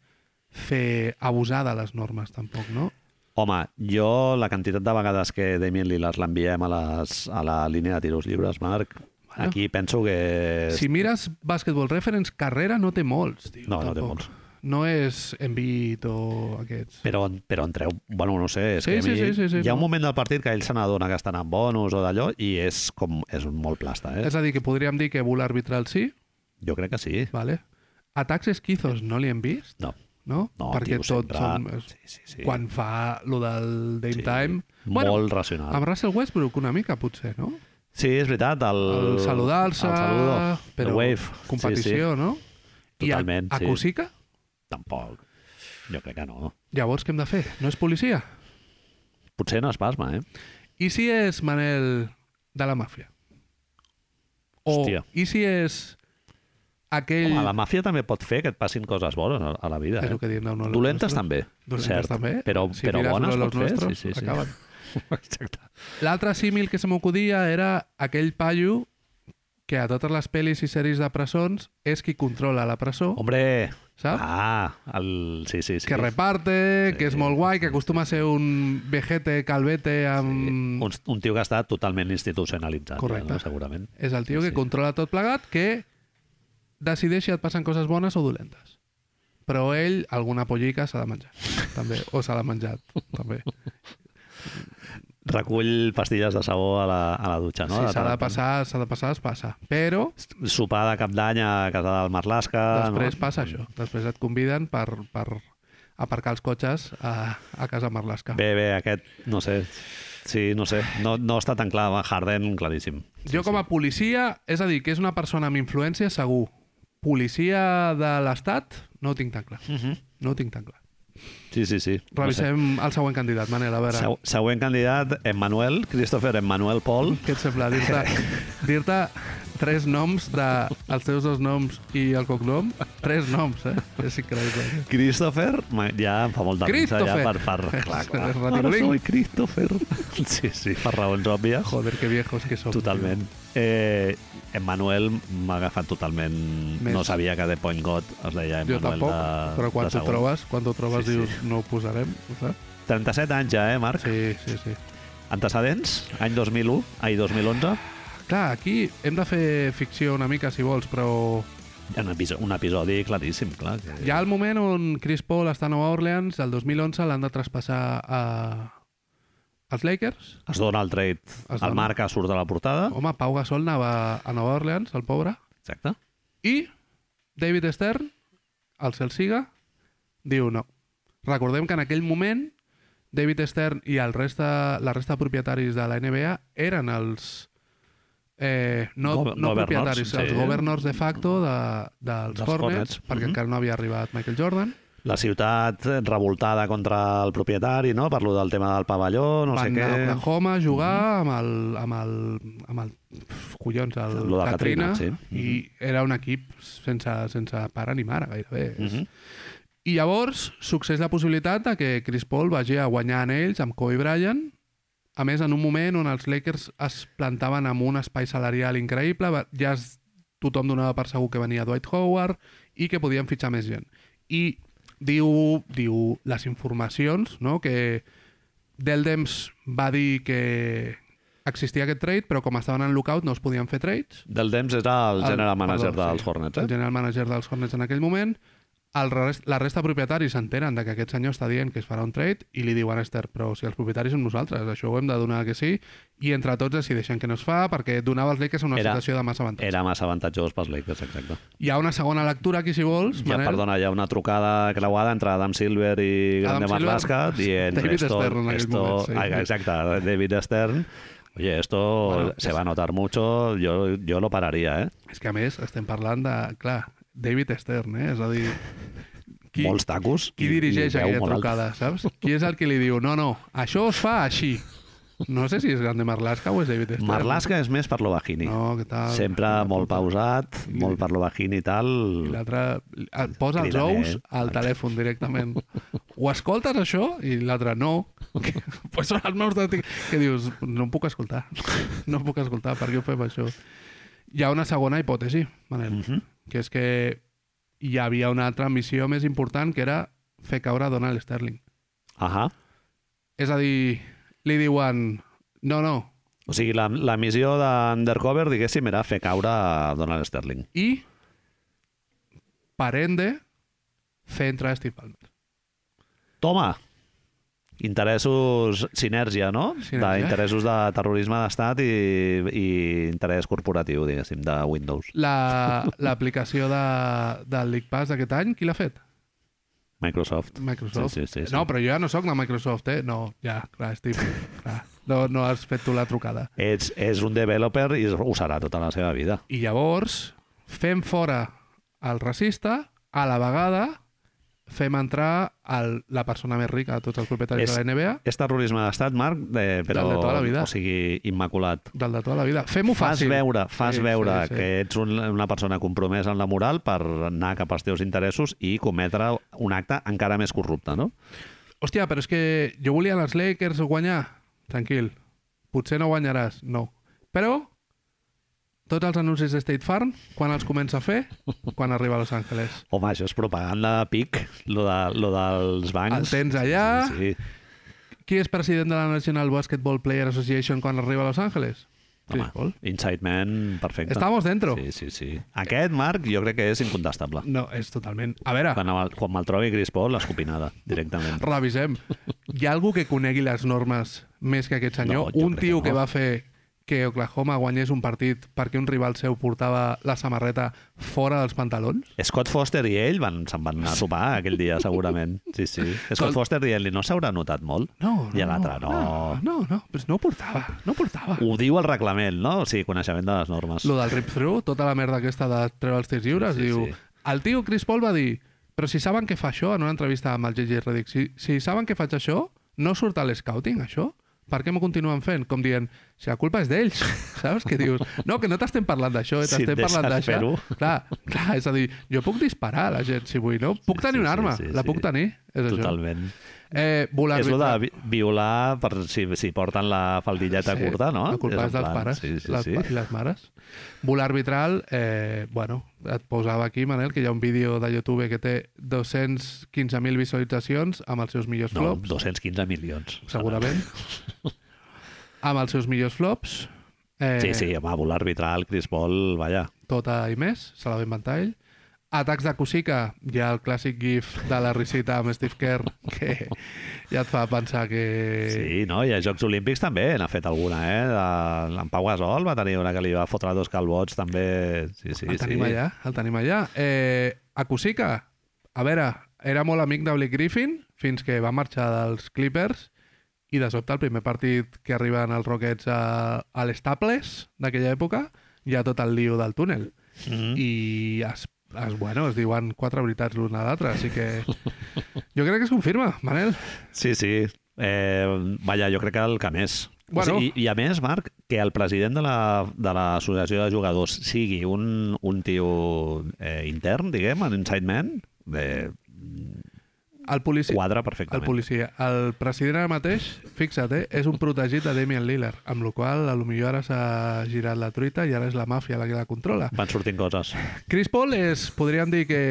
Speaker 1: fer abusar de les normes, tampoc, no?
Speaker 2: Home, jo la quantitat de vegades que Damien Lillard l'enviem a, les, a la línia de tiros lliures, Marc,
Speaker 1: Bueno.
Speaker 2: aquí penso que...
Speaker 1: Si mires Basketball Reference, carrera no té molts, tio.
Speaker 2: No, no té
Speaker 1: tampoc.
Speaker 2: molts.
Speaker 1: No és Embiid o aquests.
Speaker 2: Però, on- però entreu... Bueno, no sé, és
Speaker 1: Sí,
Speaker 2: que a
Speaker 1: sí,
Speaker 2: mi
Speaker 1: sí, sí, sí,
Speaker 2: hi ha un
Speaker 1: no.
Speaker 2: moment del partit que ell se n'adona que estan en bonus o d'allò i és com... és un molt plasta, eh?
Speaker 1: És a dir, que podríem dir que bull arbitral sí,
Speaker 2: Jo crec que sí.
Speaker 1: vale? atacs esquizos no li hem vist,
Speaker 2: No,
Speaker 1: no?
Speaker 2: no,
Speaker 1: Perquè
Speaker 2: tio,
Speaker 1: tot
Speaker 2: sempre...
Speaker 1: som... eh,
Speaker 2: Sí, sí, sí.
Speaker 1: Quan fa lo del Dame
Speaker 2: Sí,
Speaker 1: Time...
Speaker 2: Molt racional.
Speaker 1: Amb Russell Westbrook una mica, potser, no?
Speaker 2: Sí, és veritat. El,
Speaker 1: El saludar-se...
Speaker 2: El saludo.
Speaker 1: Però
Speaker 2: el wave.
Speaker 1: competició,
Speaker 2: Sí,
Speaker 1: no?
Speaker 2: Totalment,
Speaker 1: I a, a
Speaker 2: sí.
Speaker 1: Kusica?
Speaker 2: sí. Tampoc. Jo crec que no.
Speaker 1: Llavors, què hem de fer? No és policia?
Speaker 2: Potser no es pasma, eh?
Speaker 1: I si és Manel de la màfia? O,
Speaker 2: Hòstia.
Speaker 1: i si és aquell...
Speaker 2: Home, la màfia també pot fer que et passin coses bones a, a la vida.
Speaker 1: És el
Speaker 2: Eh?
Speaker 1: que diem, no, no,
Speaker 2: Dolentes
Speaker 1: nostres.
Speaker 2: també,
Speaker 1: Dolentes
Speaker 2: cert,
Speaker 1: també.
Speaker 2: però-
Speaker 1: si
Speaker 2: però
Speaker 1: mires
Speaker 2: bones
Speaker 1: uno de
Speaker 2: pot fer,
Speaker 1: los
Speaker 2: sí,
Speaker 1: nuestros,
Speaker 2: sí, sí.
Speaker 1: acaben.
Speaker 2: Exacte.
Speaker 1: L'altre símil que se m'acudia era aquell paio que a totes les pel·lis i sèries de presons és qui controla la presó,
Speaker 2: Hombre,
Speaker 1: saps?
Speaker 2: ah, el... sí, sí, sí.
Speaker 1: Que reparte, que és
Speaker 2: Sí,
Speaker 1: molt guai, que acostuma a ser un vejete, calvete, amb...
Speaker 2: Un, un tio que està totalment institucionalitzat, eh,
Speaker 1: Correcte.
Speaker 2: No? segurament.
Speaker 1: És el tio
Speaker 2: Sí,
Speaker 1: que
Speaker 2: sí.
Speaker 1: controla tot plegat, que decideix si et passen coses bones o dolentes. Però ell alguna pollica s'ha de menjar, també. O s'ha de menjar, també.
Speaker 2: Recull pastilles de sabó a la, a la dutxa, no?
Speaker 1: si s'ha
Speaker 2: tant en
Speaker 1: de
Speaker 2: tant.
Speaker 1: passar, s'ha de passar, es passa. Però
Speaker 2: Sopar de cap d'any a casa del Marlaska...
Speaker 1: Després
Speaker 2: Ah, no?
Speaker 1: passa això. Després et conviden per, per aparcar els cotxes a, a casa Marlaska.
Speaker 2: Bé, bé, aquest, no sé. Sí, no sé. No, no està tan clar. Harden, claríssim.
Speaker 1: jo com a policia, és a dir, que és una persona amb influència, segur. Policia de l'Estat, no ho tinc tan clar. No ho tinc tan clar.
Speaker 2: Sí, sí, sí. Mhm. No sé.
Speaker 1: Revisem el següent candidat, Manel, a veure.
Speaker 2: Seu- Següent candidat, Emmanuel, Christopher Emmanuel Paul.
Speaker 1: Què et sembla? Dir-te dir tres noms de... Els teus dos noms i el cognom? Tres noms, eh? És increïble.
Speaker 2: Christopher, ma- ja em fa molta risa ja per,
Speaker 1: Christopher.
Speaker 2: per clar, clar. Ara
Speaker 1: Ratibolín.
Speaker 2: soy Christopher. Sí, sí, per raons òbvies.
Speaker 1: Joder, que viejos que som.
Speaker 2: Totalment. Eh, Emmanuel m'ha agafat totalment...
Speaker 1: Més.
Speaker 2: No sabia que de Point God es deia
Speaker 1: Jo
Speaker 2: Emmanuel
Speaker 1: tampoc,
Speaker 2: de,
Speaker 1: però quan
Speaker 2: de
Speaker 1: t'ho
Speaker 2: segon.
Speaker 1: trobes, quan t'ho trobes
Speaker 2: Sí, sí.
Speaker 1: dius no ho posarem, ho saps?
Speaker 2: 37 anys ja, eh, Marc?
Speaker 1: Sí, sí, sí.
Speaker 2: Antecedents, any 2001, any 2011.
Speaker 1: Clar, aquí hem de fer ficció una mica, si vols, però
Speaker 2: Hi ha un episodi, un episodi claríssim, clar. Que...
Speaker 1: hi ha el moment on Chris Paul està a Nova Orleans, el 2011 l'han de traspassar a... als Lakers.
Speaker 2: Es dona el trade,
Speaker 1: Es
Speaker 2: el
Speaker 1: dona. Oh.
Speaker 2: marca surt de la portada.
Speaker 1: Home, Pau Gasol anava a Nova Orleans, el pobre.
Speaker 2: Exacte.
Speaker 1: I David Stern, el Celsiga, diu no. Recordem que en aquell moment David Stern i el resta, la resta de propietaris de la NBA eren els eh, no,
Speaker 2: Go-
Speaker 1: no
Speaker 2: governors,
Speaker 1: propietaris,
Speaker 2: sí.
Speaker 1: els governors de facto de, dels
Speaker 2: Dels
Speaker 1: Hornets,
Speaker 2: Hornets,
Speaker 1: perquè
Speaker 2: mhm.
Speaker 1: encara no havia arribat Michael Jordan.
Speaker 2: La ciutat revoltada contra el propietari, no? Parlo del tema del pavelló, no
Speaker 1: Van
Speaker 2: sé
Speaker 1: a
Speaker 2: què...
Speaker 1: Oklahoma a jugar amb el, amb el, amb el pf, collons, el
Speaker 2: Lo de Katrina, sí.
Speaker 1: i era un equip sense, sense para ni mare, gairebé. És-
Speaker 2: Mhm.
Speaker 1: I llavors succeeix la possibilitat de que Chris Paul vagi a guanyar en ells amb Kobe Bryant. A més, en un moment on els Lakers es plantaven amb un espai salarial increïble, va- ja es, tothom donava per segur que venia Dwight Howard i que podien fitxar més gent. I diu, diu les informacions, no?, que Deldems va dir que existia aquest trade, però com estaven en lookout no es podien fer trades
Speaker 2: Del Dems era el general manager
Speaker 1: perdó,
Speaker 2: dels
Speaker 1: sí,
Speaker 2: Hornets,
Speaker 1: El
Speaker 2: eh?
Speaker 1: general manager dels Hornets en aquell moment. el rest, la resta de propietaris s'enteren de que aquest senyor està dient que es farà un trade i li diuen a Esther, però si els propietaris són nosaltres, això ho hem de donar que sí, i entre tots decideixen que no es fa perquè donava als Lakers una
Speaker 2: Era-
Speaker 1: situació de massa avantatge.
Speaker 2: Era massa avantatjós pels Lakers, exacte.
Speaker 1: Hi ha una segona lectura aquí, si vols,
Speaker 2: Ja,
Speaker 1: Manel.
Speaker 2: perdona, hi ha una trucada creuada entre Adam Silver i Grande
Speaker 1: Silver,
Speaker 2: Marlaska dient
Speaker 1: David
Speaker 2: esto,
Speaker 1: Stern en aquell
Speaker 2: esto,
Speaker 1: moment, sí.
Speaker 2: ah, exacte, David Stern Oye, esto
Speaker 1: Bueno,
Speaker 2: se
Speaker 1: és-
Speaker 2: va a notar mucho, yo, yo lo pararía, ¿eh?
Speaker 1: És que, a més, estem parlant de, clar, David Stern, eh? És a dir...
Speaker 2: Qui, Molts tacos.
Speaker 1: qui
Speaker 2: i-
Speaker 1: dirigeix
Speaker 2: i veu
Speaker 1: aquella
Speaker 2: molt alta.
Speaker 1: trucada, saps? Qui és el que li diu, no, no, això es fa així. No sé si és Grande Marlaska o és David Stern.
Speaker 2: Marlaska és més per lo bajini.
Speaker 1: No, què tal?
Speaker 2: Sempre molt pausat, molt per lo bajini i tal.
Speaker 1: I l'altre eh, posa els
Speaker 2: Crida-li,
Speaker 1: ous
Speaker 2: eh?
Speaker 1: al telèfon directament. Ho escoltes, això? I l'altre, no. pues són els meus de... Que dius, no em puc escoltar. No em puc escoltar, per què ho fem, això? Hi ha una segona hipòtesi, Manel,
Speaker 2: Mm.
Speaker 1: que és que hi havia una altra missió més important, que era fer caure Donald Sterling.
Speaker 2: Ahà.
Speaker 1: És a dir, li diuen, no, no,
Speaker 2: O sigui, la, la missió d'Undercover, diguéssim, era fer caure a Donald Sterling.
Speaker 1: i, per ende, fer entrar Steve Ballmer.
Speaker 2: Toma! Interessos, sinèrgia, no?
Speaker 1: Sinèrgia.
Speaker 2: D'interessos de terrorisme d'estat i, i interès corporatiu, diguéssim, de Windows.
Speaker 1: La- L'aplicació de, del League Pass d'aquest any, qui l'ha fet?
Speaker 2: Microsoft.
Speaker 1: Microsoft.
Speaker 2: Sí, sí, sí, sí.
Speaker 1: No, però jo ja no sóc de Microsoft, eh? No, ja, clar, Steve, clar. No, no has fet tu la trucada.
Speaker 2: Ets, és un developer i ho serà tota la seva vida.
Speaker 1: I llavors, fem fora el racista, a la vegada fem entrar el, la persona més rica de tots els propietaris
Speaker 2: És-
Speaker 1: de la NBA,
Speaker 2: És terrorisme d'estat, Marc, eh, però...
Speaker 1: Del de tota la vida.
Speaker 2: O sigui, immaculat.
Speaker 1: del de tota la vida. Fem-ho
Speaker 2: Fas
Speaker 1: fàcil.
Speaker 2: veure, fas
Speaker 1: Sí,
Speaker 2: sí, veure sí,
Speaker 1: sí, sí.
Speaker 2: que ets un, una persona compromesa en la moral per anar cap als teus interessos i cometre un acte encara més corrupte, no?
Speaker 1: Hòstia, però és que jo volia els Lakers guanyar. Tranquil. Potser no guanyaràs. No. Però tots els anuncis de State Farm, quan els comença a fer? Quan arriba a Los Angeles.
Speaker 2: Home, Oh, això és propaganda de pic, lo, de, lo dels
Speaker 1: El
Speaker 2: bancs.
Speaker 1: tens allà.
Speaker 2: Sí,
Speaker 1: Qui és president de la National Basketball Player Association quan arriba a Los Angeles?
Speaker 2: Home,
Speaker 1: Chris Paul.
Speaker 2: Inside Man, perfecte.
Speaker 1: Estamos dentro.
Speaker 2: Sí, sí, sí. Aquest, Marc, jo crec que és incontestable.
Speaker 1: No, és totalment... A veure,
Speaker 2: Quan, el, quan me'l trobi Chris Paul, l'escopinada, directament.
Speaker 1: revisem. Hi ha algú que conegui les normes més que aquest senyor?
Speaker 2: No, jo
Speaker 1: un
Speaker 2: crec
Speaker 1: tio
Speaker 2: que
Speaker 1: que,
Speaker 2: no.
Speaker 1: va fer que Oklahoma guanyés un partit perquè un rival seu portava la samarreta fora dels pantalons?
Speaker 2: Scott Foster i ell van, se'n van anar a sopar aquell dia, segurament. Sí, sí. Scott Foster dient-li, no s'haurà notat molt?
Speaker 1: No, no.
Speaker 2: I l'altre, no.
Speaker 1: No, no, no, pues no portava, no portava.
Speaker 2: Ho diu el reglament, no? O sigui, coneixement de les normes.
Speaker 1: Lo del rip-through, tota la merda aquesta de treure els tirs lliures,
Speaker 2: sí,
Speaker 1: diu...
Speaker 2: sí.
Speaker 1: El tio Chris Paul va dir però si saben que fa això, en una entrevista amb el JJ Redick, si, si saben que faig això, no surt a l'escouting, això? Per què m'ho continuen fent? Com dient, si la culpa és d'ells, saps? Que dius, no, que no t'estem parlant d'això, eh?
Speaker 2: Si et
Speaker 1: t'estem parlant
Speaker 2: deixes
Speaker 1: d'això.
Speaker 2: fer-ho.
Speaker 1: Clar, clar, és a dir, jo puc disparar a la gent si vull, no? Puc
Speaker 2: Sí,
Speaker 1: tenir
Speaker 2: sí,
Speaker 1: una
Speaker 2: sí,
Speaker 1: arma,
Speaker 2: sí,
Speaker 1: la
Speaker 2: sí.
Speaker 1: puc tenir, és
Speaker 2: Totalment.
Speaker 1: això. Eh, volar
Speaker 2: És el de vi- violar per si, si porten la faldilleta curta, no?
Speaker 1: La culpa és,
Speaker 2: en
Speaker 1: dels
Speaker 2: plan,
Speaker 1: pares
Speaker 2: Sí, sí,
Speaker 1: les,
Speaker 2: sí.
Speaker 1: i les mares. Volar arbitral, eh, bueno, et posava aquí, Manel, que hi ha un vídeo de YouTube que té 215.000 visualitzacions amb els seus millors
Speaker 2: No,
Speaker 1: flops,
Speaker 2: 215 milions.
Speaker 1: segurament. amb els seus millors flops. Eh,
Speaker 2: Sí, sí, home, volar arbitral, Chris Paul, vaja.
Speaker 1: Tota i més, se la va inventar ell. Atacs de Cosica, hi ha el clàssic gif de la risita amb Steve Kerr que ja et fa pensar que...
Speaker 2: Sí, no? I als Jocs Olímpics també n'ha fet alguna, eh? De... En Pau Gasol va tenir una que li va fotre dos calbots, també. Sí, sí,
Speaker 1: el tenim
Speaker 2: sí.
Speaker 1: allà, el tenim allà. Eh, a Cusica, a veure, era molt amic de Blake Griffin fins que va marxar dels Clippers i de sobte el primer partit que arriben els Rockets a, a l'Estaples d'aquella època hi ha tot el lío del túnel
Speaker 2: Mm.
Speaker 1: i es, es, bueno, es diuen quatre veritats l'una a l'altra, així que jo crec que es confirma, Manel.
Speaker 2: Sí, sí. Eh, vaja, jo crec que el que més.
Speaker 1: Bueno.
Speaker 2: O sigui, i, I a més, Marc, que el president de la- de l'Associació la, de, de Jugadors sigui un, un tio eh, intern, diguem, un inside man, eh,
Speaker 1: El policia,
Speaker 2: quadra
Speaker 1: el
Speaker 2: perfectament.
Speaker 1: policia, el president ara mateix, fixa't, eh, és un protegit de Damian Lillard, amb la qual cosa potser ara s'ha girat la truita i ara és la màfia la que la controla.
Speaker 2: Van sortint coses.
Speaker 1: Chris Paul és, podríem dir que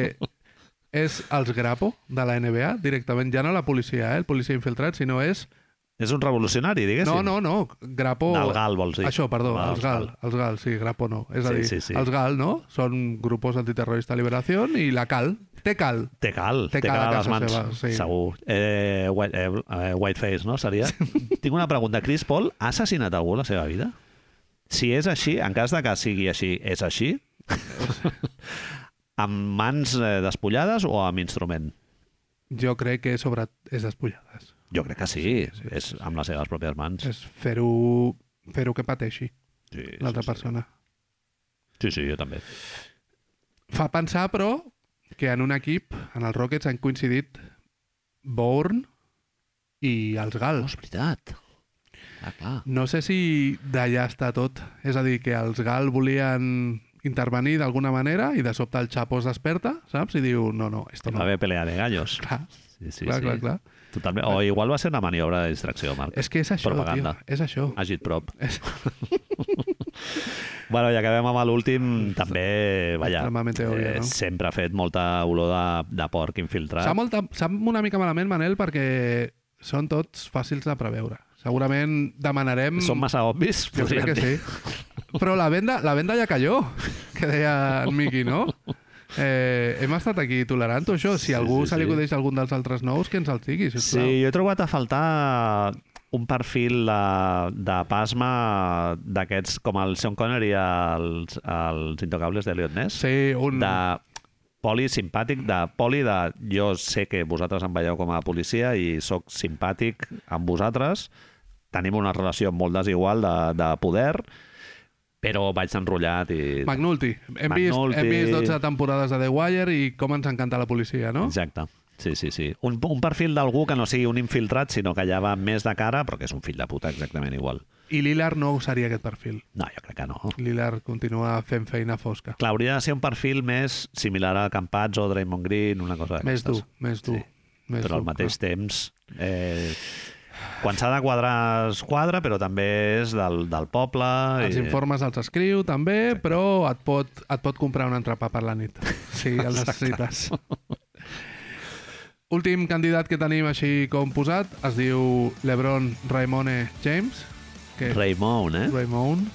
Speaker 1: és els grapo de la NBA, directament, ja no la policia, eh, el policia infiltrat, sinó és...
Speaker 2: És un revolucionari, diguéssim.
Speaker 1: No, no, no, grapo...
Speaker 2: Del Gal, vols dir.
Speaker 1: Això, perdó,
Speaker 2: Va,
Speaker 1: els GAL, els GAL, sí, grapo no. És a
Speaker 2: Sí,
Speaker 1: dir,
Speaker 2: sí, sí.
Speaker 1: els GAL, no? Són grupos antiterrorista de liberació i la CAL, té cal.
Speaker 2: Té cal, té,
Speaker 1: Té
Speaker 2: té
Speaker 1: cal a
Speaker 2: cal a les
Speaker 1: casa
Speaker 2: mans,
Speaker 1: seva,
Speaker 2: sí.
Speaker 1: sí.
Speaker 2: segur. Eh, white, eh, eh, whiteface, no? Seria. Tinc una pregunta. Chris Paul ha assassinat algú a la seva vida? Si és així, en cas de que sigui així, és així? amb mans eh, despullades o amb instrument?
Speaker 1: Jo crec que sobre és despullades.
Speaker 2: Jo crec que sí, és amb les seves pròpies mans.
Speaker 1: És fer-ho fer que pateixi
Speaker 2: Sí,
Speaker 1: l'altra
Speaker 2: sí,
Speaker 1: persona.
Speaker 2: Sí, sí, jo també.
Speaker 1: Fa pensar, però, que en un equip, en els Rockets, han coincidit Bourne i els
Speaker 2: Oh,
Speaker 1: Gals.
Speaker 2: és veritat. Ah, clar.
Speaker 1: No sé si d'allà està tot. És a dir, que els Gal volien intervenir d'alguna manera i de sobte el Chapo es desperta, saps? I diu, no, no, esto
Speaker 2: Va
Speaker 1: no.
Speaker 2: haver pelea de gallos.
Speaker 1: Clar,
Speaker 2: Sí, sí,
Speaker 1: clar,
Speaker 2: sí.
Speaker 1: clar, clar.
Speaker 2: Totalment. O igual va ser una maniobra de distracció, Marc.
Speaker 1: És que és això,
Speaker 2: Propaganda. Ah,
Speaker 1: tio. És això.
Speaker 2: Agit prop.
Speaker 1: És
Speaker 2: Bueno, i acabem amb l'últim, també, vaja, eh,
Speaker 1: Extremadamente obvio, no?
Speaker 2: sempre ha fet molta olor de, de porc infiltrat.
Speaker 1: Sap, molt, sap una mica malament, Manel, perquè són tots fàcils de preveure. Segurament demanarem...
Speaker 2: Són massa obvis?
Speaker 1: Jo crec que sí. Però la venda, la venda ja calló, que deia en Miqui, no? Eh, hem estat aquí tolerant això. Si
Speaker 2: Sí,
Speaker 1: algú
Speaker 2: sí,
Speaker 1: se li
Speaker 2: sí.
Speaker 1: acudeix algun dels altres nous, que ens el digui,
Speaker 2: Sí,
Speaker 1: sisplau.
Speaker 2: jo he trobat a faltar un perfil de, de pasma d'aquests, com el Sean Connery als, als Intocables d'Eliot Ness,
Speaker 1: Sí, un...
Speaker 2: de poli simpàtic, de poli de jo sé que vosaltres em veieu com a policia i sóc simpàtic amb vosaltres, tenim una relació molt desigual de, de poder, però vaig enrotllat i...
Speaker 1: McNulty. Hem,
Speaker 2: McNulty.
Speaker 1: Vist, hem vist 12 temporades de The Wire i com ens encanta la policia, no?
Speaker 2: Exacte. Sí, sí, sí. Un, un perfil d'algú que no sigui un infiltrat, sinó que ja va més de cara, però que és un fill de puta exactament igual.
Speaker 1: I Lillard no usaria aquest perfil.
Speaker 2: No, jo crec que no.
Speaker 1: Lillard continua fent feina fosca.
Speaker 2: Clar, hauria de ser un perfil més similar a Campats o Draymond Green, una cosa
Speaker 1: Més dur,
Speaker 2: d'aquestes.
Speaker 1: més dur.
Speaker 2: Sí.
Speaker 1: Més
Speaker 2: Però al
Speaker 1: dur,
Speaker 2: mateix temps... Eh, quan s'ha de quadrar, es quadra, però també és del, del poble...
Speaker 1: Ah, Els informes els escriu, també, però et pot, et pot comprar un entrepà per la nit, si el necessites. Últim candidat que tenim així com posat es diu LeBron Raimone James, que
Speaker 2: Raymond, eh?
Speaker 1: Raymond,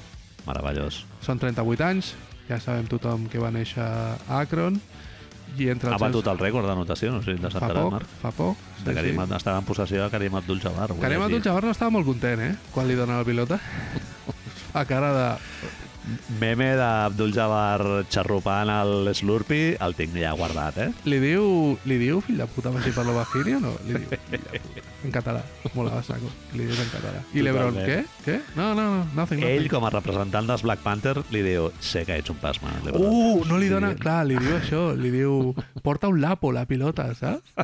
Speaker 2: Meravellós.
Speaker 1: són 38 anys, ja sabem tothom que va néixer a Akron, i entre
Speaker 2: Ha
Speaker 1: els
Speaker 2: batut el rècord d'anotació, no sé si t'has
Speaker 1: fa
Speaker 2: enterat,
Speaker 1: poc,
Speaker 2: Marc.
Speaker 1: fa poc.
Speaker 2: De Karim, sí. Estava en possessió de Karim Abdul-Jabbar. avui
Speaker 1: Karim
Speaker 2: aquí.
Speaker 1: Abdul-Jabbar no estava molt content, eh? Quan li dona la pilota. A cara de...
Speaker 2: Meme d'Abdul-Jabbar xarrupant el Slurpee, el tinc ja guardat, eh?
Speaker 1: Li diu, li diu fill de puta per si parlo bajiri o no? Li diu fill de puta. En català. Molava saco. que Li dius en català. I l'Ebron,
Speaker 2: Totalment.
Speaker 1: què? Què? No, no, no. Nothing,
Speaker 2: Ell,
Speaker 1: nothing.
Speaker 2: com a representant dels Black Panther, li diu, sé que ets un pasma. LeBron."
Speaker 1: Uh, no li dona... Clar, li diu això. Li diu... Porta un lapo, la pilota, saps?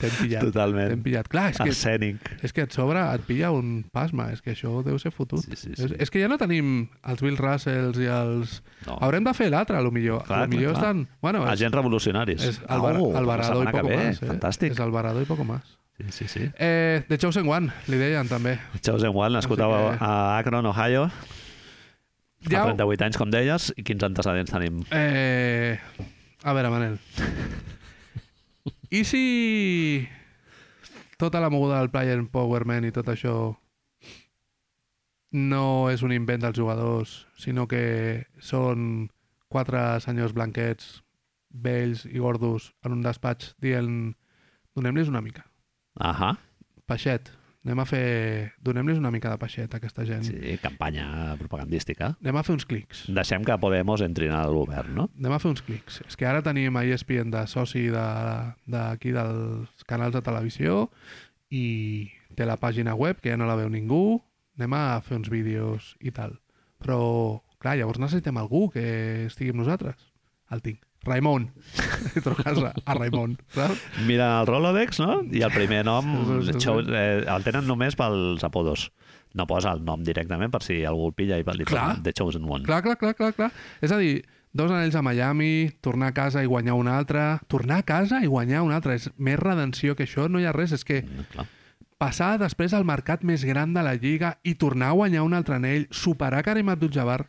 Speaker 1: T'hem pillat.
Speaker 2: Totalment.
Speaker 1: T'hem pillat. Clar, és
Speaker 2: Ah,
Speaker 1: que,
Speaker 2: Arsènic.
Speaker 1: és que et sobra, et pilla un pasma. És que això deu ser fotut.
Speaker 2: Sí, sí, sí.
Speaker 1: És, és que ja no tenim els Bill Russells i els...
Speaker 2: No.
Speaker 1: Haurem de fer l'altre, a lo millor.
Speaker 2: Oh. Clar,
Speaker 1: a lo millor
Speaker 2: clar, clar.
Speaker 1: estan... Bueno, és,
Speaker 2: Agents revolucionaris.
Speaker 1: és Alvar-
Speaker 2: Au,
Speaker 1: Alvarado
Speaker 2: la
Speaker 1: i
Speaker 2: setmana que
Speaker 1: poco
Speaker 2: ve,
Speaker 1: más. Eh?
Speaker 2: Fantàstic.
Speaker 1: És Alvarado i poco más.
Speaker 2: Sí, sí, sí.
Speaker 1: Eh, The Chosen One, li deien també.
Speaker 2: Chosen One, nascut
Speaker 1: Així
Speaker 2: a,
Speaker 1: que-
Speaker 2: a Akron, Ohio, ja... a
Speaker 1: Ja, ho-
Speaker 2: 38 anys, com deies, i quins antecedents tenim?
Speaker 1: eh, a veure, Manel. I si tota la moguda del player empowerment i tot això no és un invent dels jugadors, sinó que són quatre senyors blanquets, vells i gordos, en un despatx dient donem-los una mica.
Speaker 2: Ahà,
Speaker 1: Peixet. Anem a fer... Donem-los una mica de peixet, a aquesta gent.
Speaker 2: sí, campanya propagandística.
Speaker 1: Anem a fer uns clics.
Speaker 2: Deixem que Podemos entrin al govern, no?
Speaker 1: Anem a fer uns clics. És que ara tenim a E ESPN de soci d'aquí de, d'aquí dels canals de televisió i té la pàgina web, que ja no la veu ningú. Anem a fer uns vídeos i tal. Però, clar, llavors necessitem algú que estigui amb nosaltres. El tinc. Raimon. Si truques a, a Raimon, saps?
Speaker 2: Mira el Rolodex, no? I el primer nom
Speaker 1: Sí, sí, sí.
Speaker 2: Cho- eh, el tenen només pels apodos. No posa el nom directament per si algú el pilla i li
Speaker 1: Clar.
Speaker 2: posa The Chosen One.
Speaker 1: Clar, clar, clar, clar, clar. És a dir, dos anells a Miami, tornar a casa i guanyar un altre, tornar a casa i guanyar un altre. És més redenció que això, no hi ha res. És que
Speaker 2: Mm, clar.
Speaker 1: passar després al mercat més gran de la Lliga i tornar a guanyar un altre anell, superar Karim Abdul-Jabbar...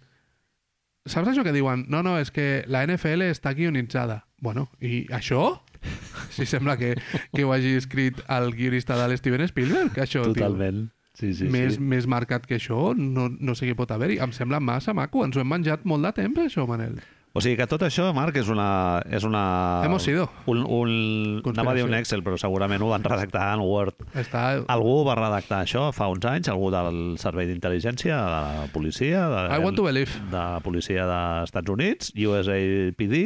Speaker 1: Saps això que diuen? No, no, és que la NFL està guionitzada. Bueno, i això? Si sembla que, que ho hagi escrit el guionista de l'Steven Spielberg, això, tio
Speaker 2: Totalment. Sí, sí,
Speaker 1: més,
Speaker 2: sí.
Speaker 1: més marcat que això, no, no sé què pot haver-hi. Em sembla massa maco. Ens ho hem menjat molt de temps, això, Manel.
Speaker 2: O sigui que tot això, Marc, és una... És una
Speaker 1: Hemos sido.
Speaker 2: Un, un, anava a dir un
Speaker 1: Conspiració.
Speaker 2: Excel, però segurament ho van redactar en Word.
Speaker 1: Està...
Speaker 2: Algú va redactar això fa uns anys, algú del Servei d'Intel·ligència, de la policia, de,
Speaker 1: I want to believe.
Speaker 2: de la policia dels Estats Units, USAPD,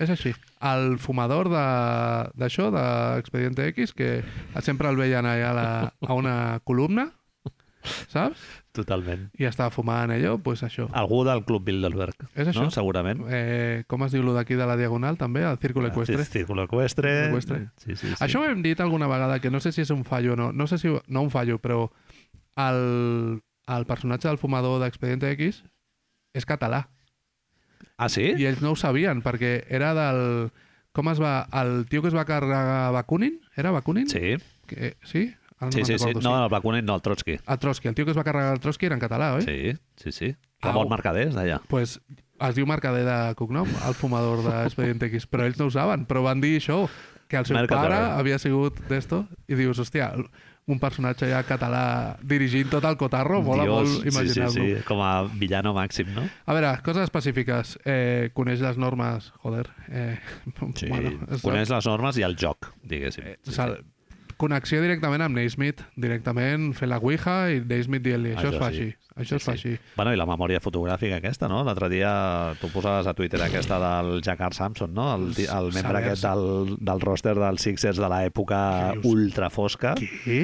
Speaker 1: És així. El fumador de- d'això, de, d'Expediente X, que sempre el veien allà a, la, a una columna, saps?
Speaker 2: totalment.
Speaker 1: I estava fumant allò, doncs pues això.
Speaker 2: Algú del Club Bilderberg,
Speaker 1: És això.
Speaker 2: no? segurament.
Speaker 1: Eh, com es diu lo d'aquí de la Diagonal, també? El Círculo Equestre.
Speaker 2: Sí, Círculo equestre.
Speaker 1: Círculo equestre.
Speaker 2: Sí, sí, sí.
Speaker 1: Sí. Això ho hem dit alguna vegada, que no sé si és un fallo o no. No sé si... No un fallo, però el, el personatge del fumador d'Expediente X és català.
Speaker 2: Ah, sí?
Speaker 1: I ells no ho sabien, perquè era del... Com es va... El tio que es va carregar Bakunin? Era Bakunin?
Speaker 2: Sí,
Speaker 1: Que, sí? Ara no
Speaker 2: sí,
Speaker 1: me'n
Speaker 2: sí. sí.
Speaker 1: recordo,
Speaker 2: No, el Bakunin, no, el Trotsky.
Speaker 1: A Trotsky. El tio que es va carregar el Trotsky era en català, oi?
Speaker 2: Sí, sí, sí.
Speaker 1: Au.
Speaker 2: Ramon Mercader és d'allà.
Speaker 1: pues es diu Mercader de cognom, el fumador d'Expedient X, però ells no ho saben, però van dir això, que el seu
Speaker 2: Mercader.
Speaker 1: pare havia sigut d'esto, i dius, hòstia, un personatge ja català dirigint tot el cotarro, mola molt imaginar-lo.
Speaker 2: Sí, sí, sí, com a villano màxim, no?
Speaker 1: A veure, coses específiques. Eh, coneix les normes, joder. Eh,
Speaker 2: Sí, bueno, coneix les normes i el joc, diguéssim.
Speaker 1: O
Speaker 2: Sí, sí.
Speaker 1: sigui, connexió directament amb Naismith, directament fent la Ouija i Naismith dient-li això,
Speaker 2: Això
Speaker 1: es fa
Speaker 2: sí.
Speaker 1: així, això es fa així.
Speaker 2: Bueno, i la memòria fotogràfica aquesta, no? L'altre dia tu posaves a Twitter aquesta del Jacquard Samson, no? El, ti- el membre
Speaker 1: Saber-se.
Speaker 2: aquest del, del roster dels Sixers de l'època
Speaker 1: Què dius?
Speaker 2: ultra fosca.
Speaker 1: Què?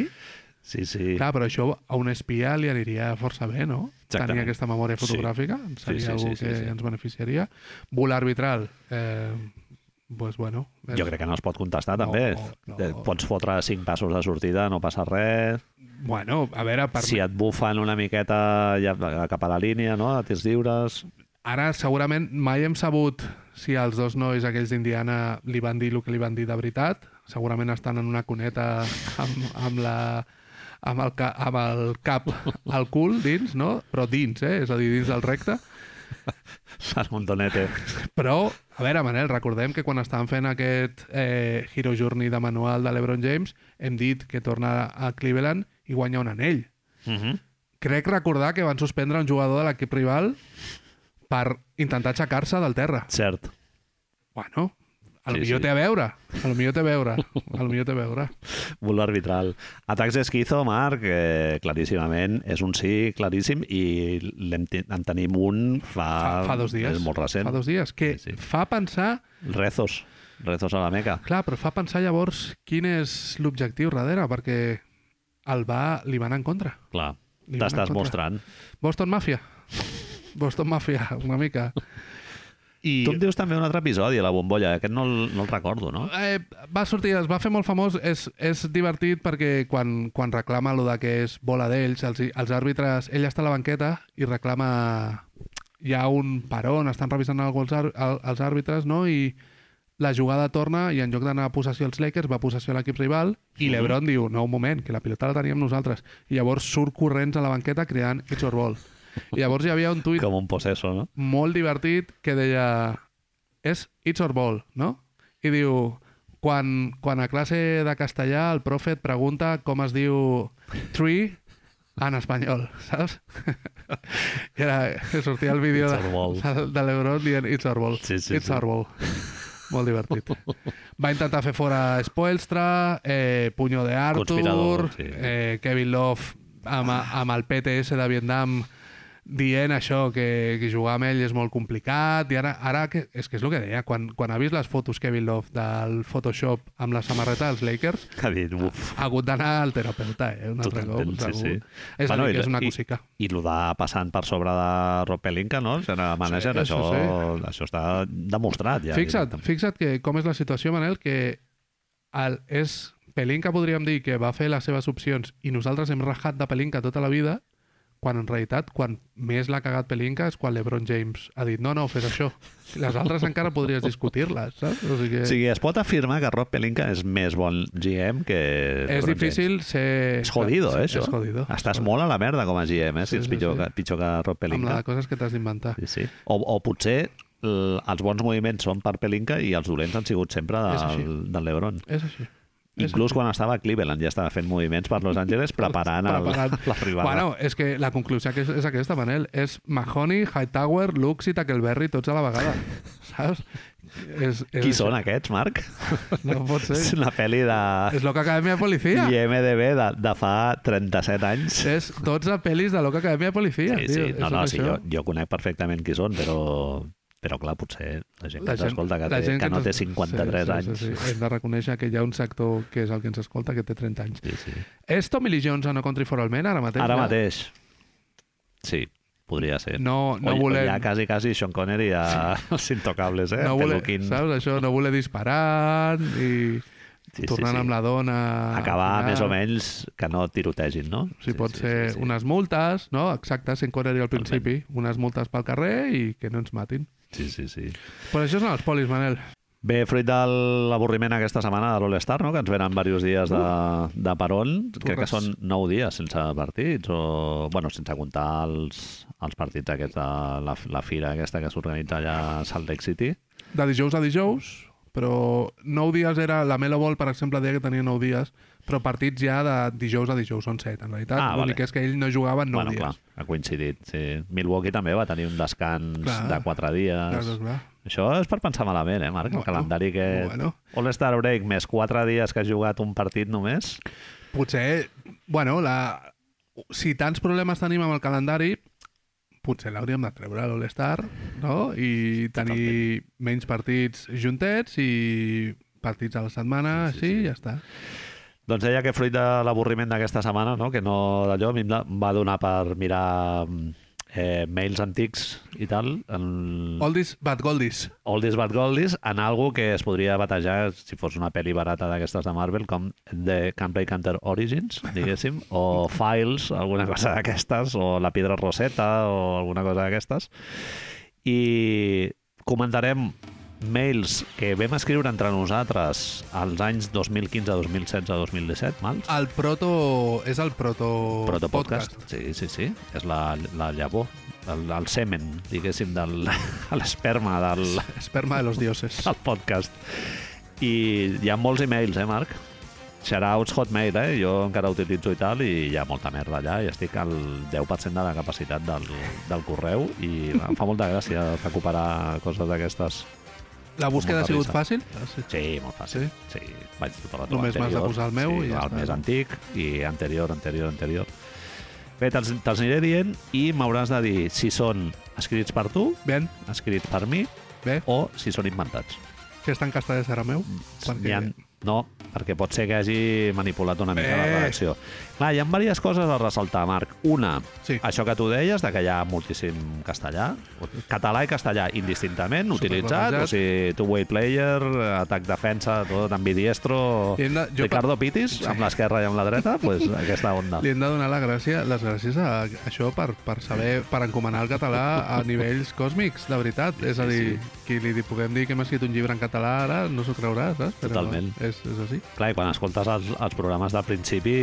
Speaker 2: Sí, sí.
Speaker 1: Clar, però això a un espia li aniria força bé, no?
Speaker 2: Exactament.
Speaker 1: Tenir aquesta memòria fotogràfica, sí. seria sí, sí, algú sí, sí, que
Speaker 2: sí.
Speaker 1: ens beneficiaria. Volar arbitral, eh, pues bueno...
Speaker 2: Jo crec que no es pot contestar,
Speaker 1: No,
Speaker 2: també.
Speaker 1: no.
Speaker 2: Eh, Pots fotre cinc passos de sortida, no passa res.
Speaker 1: Bueno, a veure, per
Speaker 2: Si et bufen una miqueta ja, eh, cap a la línia, no? A tirs lliures...
Speaker 1: ara segurament mai hem sabut si els dos nois aquells d'Indiana li van dir el que li van dir de veritat. Segurament estan en una cuneta amb, amb la amb el, ca, amb el cap al cul dins, no? Però dins, eh? És a dir, dins del recte.
Speaker 2: Fan un donete.
Speaker 1: Però, a veure, Manel, recordem que quan estàvem fent aquest eh, Hero Journey de manual de l'Ebron James hem dit que torna a Cleveland i guanya un anell.
Speaker 2: Mm -hmm.
Speaker 1: Crec recordar que van suspendre un jugador de l'equip rival per intentar aixecar-se del terra.
Speaker 2: Cert.
Speaker 1: Bueno, a lo
Speaker 2: Sí,
Speaker 1: millor
Speaker 2: sí.
Speaker 1: té a veure. A lo millor té a veure. A lo millor té a veure.
Speaker 2: Bulo arbitral. Atacs d'esquizo, Marc, eh, claríssimament, és un sí claríssim i l'hem ti- en tenim un fa,
Speaker 1: Fa, fa dos dies.
Speaker 2: Ah, És molt recent.
Speaker 1: Fa dos dies. Que
Speaker 2: Sí, sí.
Speaker 1: fa pensar...
Speaker 2: Rezos. Rezos a la meca.
Speaker 1: Clar, però fa pensar llavors quin és l'objectiu darrere, perquè el va, li van en contra.
Speaker 2: Clar.
Speaker 1: Li van en
Speaker 2: T'estàs
Speaker 1: contra.
Speaker 2: mostrant.
Speaker 1: Boston Mafia. Boston Mafia, una mica. I...
Speaker 2: Tu em dius també un altre episodi, la bombolla. eh? Aquest no el, no el recordo, no?
Speaker 1: Eh, va sortir, es va fer molt famós, és, és divertit perquè quan, quan reclama lo de que és bola d'ells, els, els àrbitres, ell està a la banqueta i reclama hi ha un peron, estan revisant alguna cosa els, àr- el- els àrbitres, no? I la jugada torna i en lloc d'anar a possessió als Lakers va a possessió a l'equip rival i l'Ebron diu, no, un moment, que la pilota la teníem nosaltres. I llavors surt corrents a la banqueta cridant It's your ball. I llavors hi havia un tuit
Speaker 2: Com un possesso, no?
Speaker 1: molt divertit que deia és It's or Ball, no? I diu, quan, quan a classe de castellà el profe et pregunta com es diu tree en espanyol, saps? I era, sortia el vídeo
Speaker 2: It's
Speaker 1: de,
Speaker 2: or ball.
Speaker 1: de, de l'Ebron dient It's or Ball.
Speaker 2: Sí, sí,
Speaker 1: It's
Speaker 2: sí.
Speaker 1: or Ball. Molt divertit. Va intentar fer fora Spoelstra, eh, Puño de Arthur,
Speaker 2: Conspirador, sí.
Speaker 1: eh, Kevin Love amb, amb el PTS de Vietnam dient això, que, que jugar amb ell és molt complicat, i ara, ara que, és que és el que deia, quan, quan ha vist les fotos Kevin Love del Photoshop amb la samarreta dels Lakers,
Speaker 2: Ha dit, uf.
Speaker 1: ha hagut d'anar al terapeuta, eh? Un altre cop,
Speaker 2: Totalment, sí,
Speaker 1: segur.
Speaker 2: sí.
Speaker 1: És,
Speaker 2: Bueno,
Speaker 1: bueno,
Speaker 2: i
Speaker 1: que és
Speaker 2: la-
Speaker 1: una
Speaker 2: i-
Speaker 1: cosica.
Speaker 2: I el de passant per sobre de Rob Pelinka, no? El general manager,
Speaker 1: Sí,
Speaker 2: això,
Speaker 1: això
Speaker 2: això, està demostrat ja.
Speaker 1: Fixa't,
Speaker 2: directament.
Speaker 1: fixa't que com és la situació, Manel, que el, és Pelinka, podríem dir, que va fer les seves opcions i nosaltres hem rajat de Pelinka tota la vida, quan en realitat, quan més l'ha cagat Pelinka és quan l'Ebron James ha dit no, no, fes això. Les altres encara podries discutir-les, saps? O sigui,
Speaker 2: O
Speaker 1: que
Speaker 2: sigui, es pot afirmar que Rob Pelinka és més bon GM que...
Speaker 1: és
Speaker 2: LeBron James.
Speaker 1: difícil ser...
Speaker 2: És jodido, eh, això.
Speaker 1: És jodido.
Speaker 2: Estàs
Speaker 1: És
Speaker 2: molt a la merda com a GM, eh, si
Speaker 1: Sí,
Speaker 2: ets
Speaker 1: sí,
Speaker 2: pitjor,
Speaker 1: sí.
Speaker 2: Que, pitjor que Rob
Speaker 1: jodido. Amb la
Speaker 2: Pelinka.
Speaker 1: de coses que t'has d'inventar.
Speaker 2: Sí, sí. O, o potser l- els bons moviments són per Pelinka i els dolents han sigut sempre
Speaker 1: És així.
Speaker 2: del, del Lebron.
Speaker 1: És així.
Speaker 2: Inclús quan estava a Cleveland ja estava fent moviments per Los Angeles preparant, el,
Speaker 1: Preparant.
Speaker 2: l'arribada.
Speaker 1: Bueno, és que la conclusió que és, és aquesta, Manel. És Mahoney, Hightower, Lux i Tackleberry tots a la vegada. Saps? És, és
Speaker 2: Qui són aquests, Marc?
Speaker 1: No pot ser.
Speaker 2: És una pel·li de
Speaker 1: És Loca Acadèmia de Policia. Yeah.
Speaker 2: IMDB de, de fa 37 anys.
Speaker 1: És 12 pel·lis de Loca Acadèmia de Policia.
Speaker 2: Sí,
Speaker 1: tio.
Speaker 2: sí, no,
Speaker 1: És
Speaker 2: no,
Speaker 1: una
Speaker 2: sí,
Speaker 1: això.
Speaker 2: jo, jo conec perfectament qui són, però, però clar, potser la gent que
Speaker 1: La
Speaker 2: ens escolta, que,
Speaker 1: la
Speaker 2: té,
Speaker 1: gent
Speaker 2: que no té
Speaker 1: ens-
Speaker 2: 53
Speaker 1: sí,
Speaker 2: anys.
Speaker 1: Sí, sí, sí. Hem de reconèixer que hi ha un sector que és el que ens escolta que té 30 anys.
Speaker 2: Sí, sí.
Speaker 1: És Tommy Lee Jones a No Country for All Men ara mateix?
Speaker 2: Ara
Speaker 1: Ja?
Speaker 2: mateix. Sí, podria ser.
Speaker 1: No, no
Speaker 2: o,
Speaker 1: volem...
Speaker 2: O ja quasi, quasi Sean Connery a els intocables, eh?
Speaker 1: no voler,
Speaker 2: Peluquín.
Speaker 1: saps, això, no voler disparar i
Speaker 2: Sí, sí,
Speaker 1: tornant
Speaker 2: sí.
Speaker 1: amb la dona... al
Speaker 2: Acabar
Speaker 1: final.
Speaker 2: més o menys que no tirotegin, no?
Speaker 1: Si sí, pot sí, ser sí, sí. unes multes, no? Exacte, sent Connery al
Speaker 2: Totalment.
Speaker 1: principi. Unes multes pel carrer i que no ens matin.
Speaker 2: Sí, sí, sí.
Speaker 1: Però això són els polis, Manel.
Speaker 2: Bé, fruit de l'avorriment aquesta setmana de l'All-Star, no? que ens venen diversos dies de, de peron, crec que
Speaker 1: Correcte.
Speaker 2: són nou dies sense partits, o bueno, sense comptar els, els partits aquests de la, la fira aquesta que s'organitza allà a Salt Lake City.
Speaker 1: De dijous a dijous, però nou dies era... La Melo Ball, per exemple, deia que tenia nou dies, però partits ja de dijous a dijous són set, en realitat.
Speaker 2: Ah,
Speaker 1: L'únic
Speaker 2: vale.
Speaker 1: és que ell no jugava en nou
Speaker 2: bueno,
Speaker 1: dies.
Speaker 2: clar, ha coincidit. Sí. Milwaukee també va tenir un descans
Speaker 1: Clar.
Speaker 2: de quatre
Speaker 1: Clar, clar,
Speaker 2: dies.
Speaker 1: clar.
Speaker 2: Això és per pensar malament, eh, Marc? El
Speaker 1: Bueno,
Speaker 2: calendari que...
Speaker 1: bueno.
Speaker 2: All-Star Break més quatre dies que has jugat un partit només.
Speaker 1: Potser, bueno, la... si tants problemes tenim amb el calendari, potser l'hauríem de treure a l'All-Star, no? I tenir menys partits juntets i partits a la setmana, sí, sí, així, sí. ja està.
Speaker 2: Doncs deia que fruit de l'avorriment d'aquesta setmana, no? que no d'allò, a mi em da- em va donar per mirar eh, mails antics i tal, en All,
Speaker 1: Oldies, but goldies.
Speaker 2: This Bad Goldies, en algo que es podria batejar, si fos una pel·li barata d'aquestes de Marvel, com The Can Play Counter Origins, diguéssim, o Files, alguna cosa d'aquestes, o La Piedra Roseta, o alguna cosa d'aquestes. I comentarem mails que vam escriure entre nosaltres als anys 2015, 2016, 2017, mals?
Speaker 1: El proto... És el proto...
Speaker 2: Protopodcast. Sí, sí, sí. És la, la llavor, el, el semen, diguéssim, del- l'esperma del,
Speaker 1: Esperma de los dioses.
Speaker 2: del podcast. I hi ha molts emails, eh, Marc? Shoutouts Hotmail, eh? Jo encara utilitzo i tal, i hi ha molta merda allà, i estic al 10% de la capacitat del, del correu, i em fa molta gràcia recuperar coses d'aquestes.
Speaker 1: La búsqueda ha
Speaker 2: molta
Speaker 1: sigut
Speaker 2: risa.
Speaker 1: fàcil?
Speaker 2: Sí, molt fàcil. Sí? sí vaig tot a
Speaker 1: Només m'has de posar el meu
Speaker 2: sí,
Speaker 1: i ja
Speaker 2: el
Speaker 1: està,
Speaker 2: més
Speaker 1: no?
Speaker 2: antic i anterior, anterior, anterior. Bé, te'ls te aniré dient i m'hauràs de dir si són escrits per tu,
Speaker 1: Ben,
Speaker 2: escrits per mi,
Speaker 1: bé,
Speaker 2: o si són inventats.
Speaker 1: que està en castellà serà meu?
Speaker 2: N'hi Ha, no, perquè pot ser que hagi manipulat una mica la
Speaker 1: Bé.
Speaker 2: redacció. Clar, hi ha diverses coses a ressaltar, Marc. Una,
Speaker 1: Sí.
Speaker 2: això que tu deies, de que hi ha moltíssim castellà, català i castellà indistintament, utilitzat,
Speaker 1: Superbarrejat.
Speaker 2: o sigui, two-way player, atac-defensa, tot, ambidiestro...
Speaker 1: I hem de- jo
Speaker 2: Ricardo Pitis, amb l'esquerra i amb la dreta, pues, aquesta onda.
Speaker 1: Li hem de donar la gràcia, les gràcies a això per, per saber, per encomanar el català a nivells còsmics, de veritat. Sí, és a
Speaker 2: sí,
Speaker 1: dir, qui li puguem dir que hem escrit un llibre en català ara no s'ho creurà, saps? Però
Speaker 2: Totalment.
Speaker 1: És, és així.
Speaker 2: Clar, i quan escoltes els, els programes del principi,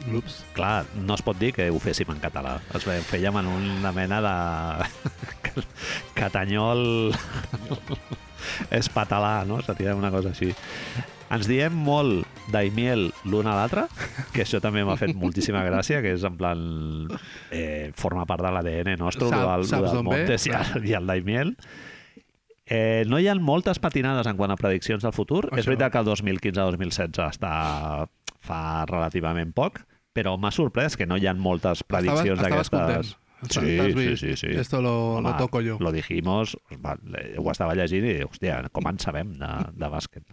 Speaker 1: Ups.
Speaker 2: clar, no es pot dir que ho féssim en català. Es ve- fèiem en una mena de catanyol espatalà, no? Seria una cosa així. Ens diem molt d'aimiel l'un a l'altre, que això també m'ha fet moltíssima gràcia, que és en plan... Eh, forma part de l'ADN nostre, Sap,
Speaker 1: Sap- saps
Speaker 2: del, del
Speaker 1: d'on ve?
Speaker 2: Montes i, el- i el d'aimiel. Eh, no hi ha moltes patinades en quant a prediccions del futur.
Speaker 1: Això.
Speaker 2: Això. És veritat que el 2015-2016 està fa relativament poc, però m'ha sorprès que no hi ha moltes prediccions
Speaker 1: estaves
Speaker 2: d'aquestes.
Speaker 1: content. T'has
Speaker 2: Sí, sí,
Speaker 1: vist,
Speaker 2: sí, sí.
Speaker 1: Esto lo, lo toco yo.
Speaker 2: Lo dijimos, va, le- ho estava llegint i, hòstia, com en sabem de, de bàsquet.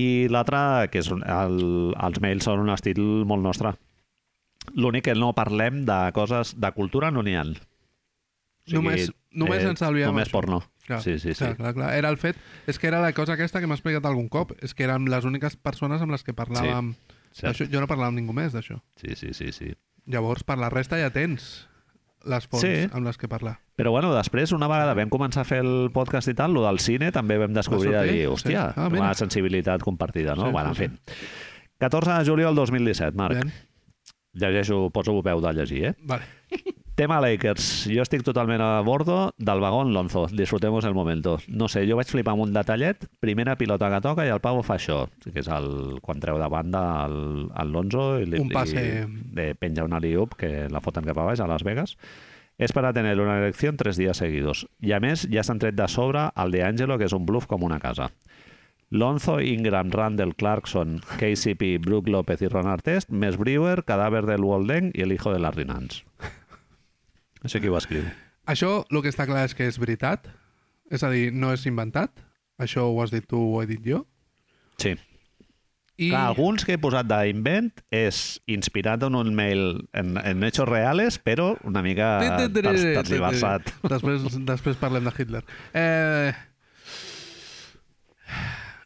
Speaker 2: I l'altre, que és un, el, els mails són un estil molt nostre. L'únic que no parlem de coses de cultura no n'hi ha. O eh,
Speaker 1: Només- només ens salviem
Speaker 2: Només
Speaker 1: això.
Speaker 2: porno. sí, sí, sí.
Speaker 1: Clar, clar, clar. Era el fet... És que era la cosa aquesta que m'ha explicat algun cop. És que érem les úniques persones amb les que parlàvem
Speaker 2: cert.
Speaker 1: d'això. Jo no parlava amb ningú més d'això.
Speaker 2: Sí, sí, sí, sí.
Speaker 1: Llavors, per la resta ja tens les fonts
Speaker 2: Sí.
Speaker 1: amb les que parlar.
Speaker 2: Però bueno, després, una vegada vam començar a fer el podcast i tal, lo del cine també vam descobrir
Speaker 1: Va
Speaker 2: de
Speaker 1: sortir?
Speaker 2: dir, hòstia,
Speaker 1: Sí. Ah, mira.
Speaker 2: una sensibilitat compartida, no?
Speaker 1: Sí,
Speaker 2: Sí, bueno, en fi.
Speaker 1: sí,
Speaker 2: 14 de juliol del 2017, Marc.
Speaker 1: Ben,
Speaker 2: Llegeixo, poso veu de llegir, eh?
Speaker 1: vale.
Speaker 2: Tema Lakers. Jo estic totalment a bordo del vagón Lonzo. Disfrutemos el momento. No sé, jo vaig flipar amb un detallet. Primera pilota que toca i el Pau fa això, que és el, quan treu de banda el, el Lonzo i, li,
Speaker 1: Un passe.
Speaker 2: i eh, penja una liup que la foten cap a baix a Las Vegas. És per a tenir una elecció en tres dies seguidos. I a més, ja s'han tret de sobre el de Angelo, que és un bluff com una casa. Lonzo, Ingram, Randall, Clarkson, KCP, Brook López i Ron Artest, més Brewer, Cadàver del Walden i el hijo de Larry Nance. Això qui ho va escriure?
Speaker 1: Això el que està clar és que és veritat, és a dir, no és inventat. Això ho has dit tu, ho he dit jo.
Speaker 2: Sí.
Speaker 1: I
Speaker 2: Clar, alguns que he posat d'invent és inspirat en un mail en, en hechos reales, però una mica tars- tergiversat.
Speaker 1: Després, després parlem de Hitler. Eh...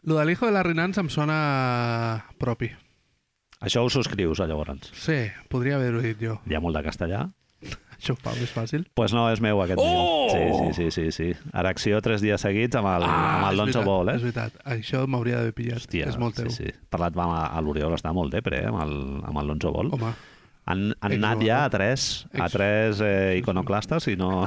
Speaker 1: Lo del hijo de la Rinanza em sona propi.
Speaker 2: Això ho subscrius, eh, llavors.
Speaker 1: Sí, podria haver-ho dit jo.
Speaker 2: Hi ha molt de castellà.
Speaker 1: Això ho fa més fàcil.
Speaker 2: Doncs pues no, és meu aquest
Speaker 1: Oh!
Speaker 2: mail. Sí, sí, sí, sí, sí. Erecció tres dies seguits amb el, amb el Lonzo
Speaker 1: veritat,
Speaker 2: Ball, eh?
Speaker 1: Ah, És veritat, això m'hauria d'haver pillat.
Speaker 2: Hòstia,
Speaker 1: és molt teu.
Speaker 2: Sí, sí. Parlat amb a l'Oriol, està molt depre, eh, amb el- amb el Lonzo Ball.
Speaker 1: Home,
Speaker 2: Han, han anat
Speaker 1: Exjugador.
Speaker 2: ja a tres, a
Speaker 1: Ex-
Speaker 2: tres eh, iconoclastes i no...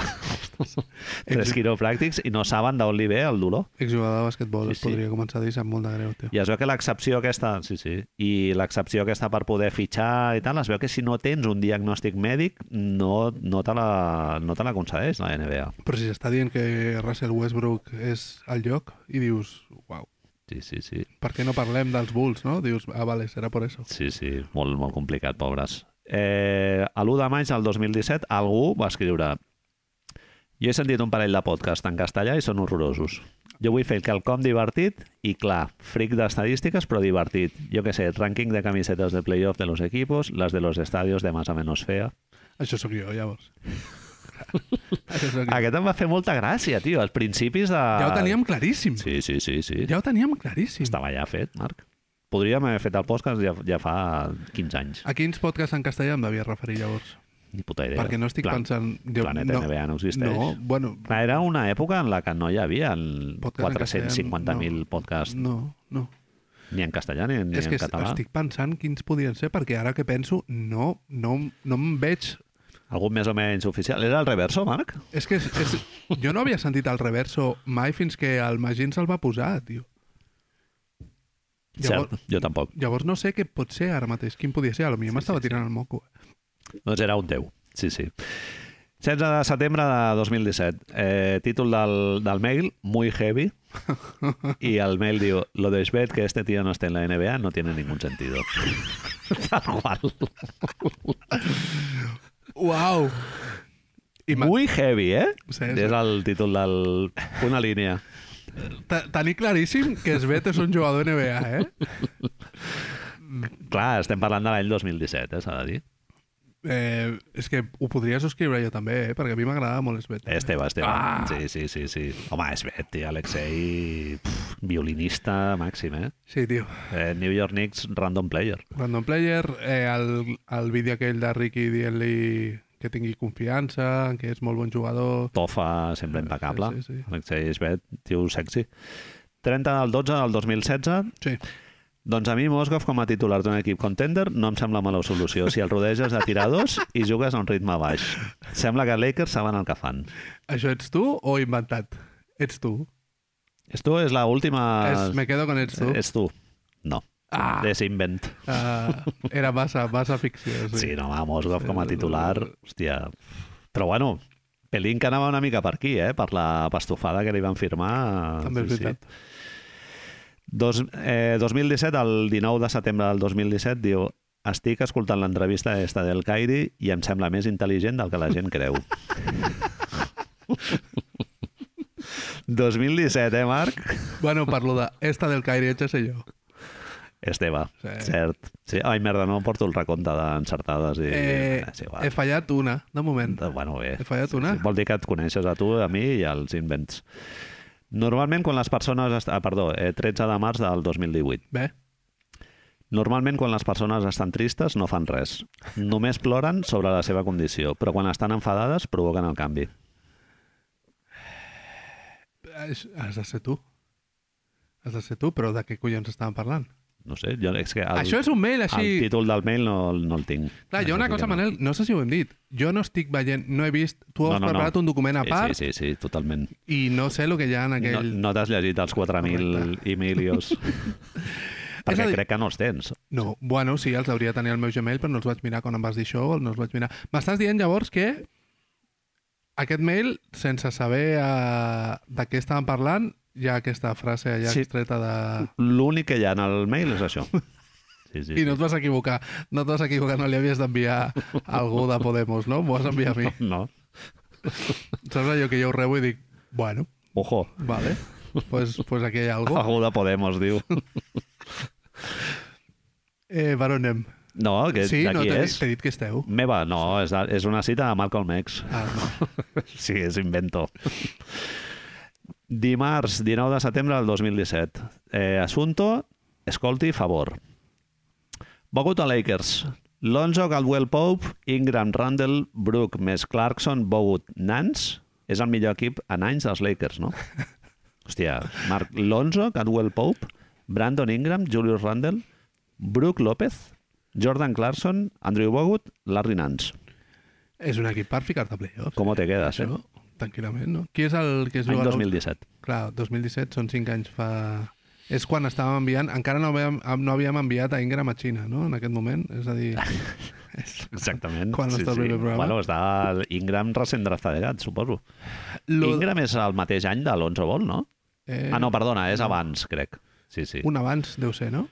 Speaker 2: tres quiropràctics i no saben d'on li ve el dolor.
Speaker 1: exjugador de basquetbol,
Speaker 2: Sí,
Speaker 1: es
Speaker 2: sí.
Speaker 1: podria començar a dir, sap molt de greu, tio.
Speaker 2: I es veu que l'excepció aquesta, sí, sí, i l'excepció aquesta per poder fitxar i tal, es veu que si no tens un diagnòstic mèdic no, no te la, no te la concedeix la NBA.
Speaker 1: Però si s'està dient que Russell Westbrook és al lloc i dius, uau,
Speaker 2: Sí, sí, sí.
Speaker 1: per què no parlem dels Bulls, no? Dius, ah, vale, serà per eso.
Speaker 2: Sí, sí, molt, molt complicat, pobres. Eh, a l'1 de maig del 2017 algú va escriure Jo he sentit un parell de podcast en castellà i són horrorosos. Jo vull fer quelcom divertit i, clar, fric d'estadístiques, però divertit. Jo què sé, rànquing de camisetes de playoff de los equipos, las de los estadios de más o menos fea...
Speaker 1: Això sóc jo, llavors. això sóc jo.
Speaker 2: Aquest em va fer molta gràcia, tio, als principis de...
Speaker 1: Ja ho teníem claríssim.
Speaker 2: Sí, sí, sí, sí. Ja...
Speaker 1: Ja ho teníem claríssim.
Speaker 2: Estava ja fet, Marc. Podríem haver fet el podcast ja, ja fa 15 anys.
Speaker 1: A quins podcasts en castellà em devia referir llavors?
Speaker 2: Ni puta idea.
Speaker 1: Perquè no estic
Speaker 2: Plan-
Speaker 1: pensant...
Speaker 2: Planeta
Speaker 1: no,
Speaker 2: NBA no existeix.
Speaker 1: No, bueno,
Speaker 2: Clar, Era una època en la que no hi havia el
Speaker 1: Podcast
Speaker 2: 450.000
Speaker 1: en castellà, no.
Speaker 2: podcasts,
Speaker 1: no, no.
Speaker 2: ni en castellà ni, ni
Speaker 1: És
Speaker 2: en
Speaker 1: que est-
Speaker 2: català.
Speaker 1: estic pensant quins podien ser, perquè ara que penso, no, no, no em veig...
Speaker 2: Algun més o menys oficial. Era el reverso, Marc?
Speaker 1: És que és, és, jo no havia sentit el reverso mai fins que el Magín se'l va posar, tio. Llavors-
Speaker 2: Cert, jo tampoc.
Speaker 1: Llavors no sé què pot ser ara mateix, quin podia ser, a lo millor m'estava tirant el moco. eh.
Speaker 2: Doncs era un 10, sí, sí. 16 de setembre de 2017. Eh, títol del, del mail, muy heavy. I el mail diu, lo de Svet que este tío no esté en la NBA no tiene ningún sentido. Tal qual.
Speaker 1: Uau! I ma-
Speaker 2: Muy heavy, eh?
Speaker 1: Sí, sí.
Speaker 2: És el títol del... Una línia.
Speaker 1: te- tenir claríssim que Svet és un jugador NBA, eh?
Speaker 2: Clar, estem parlant de l'any 2017, eh, s'ha de dir.
Speaker 1: eh? És que ho podria subscriure jo també, eh? Perquè a mi m'agradava molt Svet.
Speaker 2: Esteve, Esteve. Ah! Sí, sí, sí, sí. Home, és bé, tio, Alexei, pf, violinista màxim, eh?
Speaker 1: Sí, tio.
Speaker 2: eh? New York Knicks, random player.
Speaker 1: Random Player, eh, el, el vídeo aquell de Ricky dient-li que tingui confiança, que és molt bon jugador...
Speaker 2: Tofa, sempre impecable.
Speaker 1: sí, sí.
Speaker 2: Alexei Esbet, tio sexy. 30 del 12 del 2016,
Speaker 1: Sí.
Speaker 2: doncs a mi Moskov com a titular d'un equip contender no em sembla mala solució si el rodeges de tiradors i jugues a un ritme baix. Sembla que Lakers saben el que fan.
Speaker 1: Això ets tu o inventat? Ets tu.
Speaker 2: Esto és l'última...
Speaker 1: Ah, es, me quedo con ets tu.
Speaker 2: Ets tu. No.
Speaker 1: Ah.
Speaker 2: És invent.
Speaker 1: Ah, era massa, massa ficció. Sí.
Speaker 2: Sí, no, va, Moskov com a titular, hòstia... Però bueno, Pelín que anava una mica per aquí, eh? Per la pastofada que li van firmar.
Speaker 1: També és veritat.
Speaker 2: Dos, eh, 2017, el 19 de setembre del 2017, diu estic escoltant l'entrevista esta del Cairi i em sembla més intel·ligent del que la gent creu. 2017, eh, Marc?
Speaker 1: Bueno, parlo de esta del Caire, ja sé jo.
Speaker 2: Esteve,
Speaker 1: Sí.
Speaker 2: sí. cert. Sí. Ai, merda, no porto el recompte d'encertades. I... Ah,
Speaker 1: Eh, Ah.
Speaker 2: és igual.
Speaker 1: he fallat una, de moment.
Speaker 2: Eh, Bueno, bé.
Speaker 1: He fallat una.
Speaker 2: Vol dir que et coneixes a tu, a mi i als invents. Normalment quan les persones... Est... Ah, perdó, eh, 13 de març del 2018.
Speaker 1: Bé,
Speaker 2: Normalment quan les persones estan tristes no fan res. Només ploren sobre la seva condició, però quan estan enfadades provoquen el canvi.
Speaker 1: has has de ser tu. Has de ser tu, però de què collons estàvem parlant?
Speaker 2: No sé, jo és que el,
Speaker 1: Això és un mail així...
Speaker 2: el títol del mail no, no el tinc.
Speaker 1: Clar, hi ha
Speaker 2: Això
Speaker 1: una
Speaker 2: sí que
Speaker 1: cosa,
Speaker 2: no.
Speaker 1: Manel, no sé si ho hem dit. Jo no estic veient, no he vist... Tu has preparat un document a
Speaker 2: Sí,
Speaker 1: part
Speaker 2: Sí, sí, sí, totalment.
Speaker 1: i no sé el que hi ha en aquell...
Speaker 2: No, no t'has llegit els 4.000
Speaker 1: Correcte.
Speaker 2: i milios. Perquè
Speaker 1: dir-
Speaker 2: crec que no els tens.
Speaker 1: No. no. Bueno, sí, els hauria de tenir al meu Gmail, però no els vaig mirar quan em vas dir això, no els vaig mirar... M'estàs dient llavors que aquest mail, sense saber uh, de què estàvem parlant, hi ha aquesta frase allà
Speaker 2: Sí.
Speaker 1: sí. extreta de...
Speaker 2: L'únic que hi ha en el mail és això. Sí, sí.
Speaker 1: I no et vas equivocar, no et vas equivocar, no li havies d'enviar a algú de Podemos, no? M'ho vas enviar a mi.
Speaker 2: No.
Speaker 1: Saps allò que jo ho rebo i dic, bueno,
Speaker 2: Ojo,
Speaker 1: vale, pues, pues aquí hi ha algú.
Speaker 2: algú de Podemos diu.
Speaker 1: Eh, per on anem?
Speaker 2: No, que
Speaker 1: sí, no,
Speaker 2: d'aquí
Speaker 1: t'he
Speaker 2: és.
Speaker 1: dit- t'he dit que esteu.
Speaker 2: Meva, no, és, de- és una cita de Malcolm X.
Speaker 1: Ah, no.
Speaker 2: Sí, és invento. Dimarts, 19 de setembre del 2017. Eh, assunto, escolti, favor. Begut a Lakers. Lonzo, Caldwell Pope, Ingram, Randall, Brook, més Clarkson, Bogut, Nance. És el millor equip en anys dels Lakers, no? Hòstia, Marc, Lonzo, Caldwell Pope, Brandon Ingram, Julius Randall, Brook López, Jordan Clarkson, Andrew Bogut, Larry Nance.
Speaker 1: és un equip per ficar-te a playoffs.
Speaker 2: Com te quedes, eh?
Speaker 1: Això, tranquil·lament, no? Qui és el que es
Speaker 2: Any
Speaker 1: juga...
Speaker 2: 2017.
Speaker 1: Clar, 2017 són 5 anys fa... És quan estàvem enviant... Encara no havíem, no havíem enviat a Ingram a Xina, no? En aquest moment. És a dir... és...
Speaker 2: Exactament.
Speaker 1: Quan està el primer programa?
Speaker 2: Bueno, està el Ingram recent draftegat, suposo.
Speaker 1: Lo...
Speaker 2: Ingram és el mateix any de l'11 vol, no?
Speaker 1: Eh,
Speaker 2: Eh... Ah, no, perdona, és abans, crec. Sí, sí. Un...
Speaker 1: Un abans deu ser, no?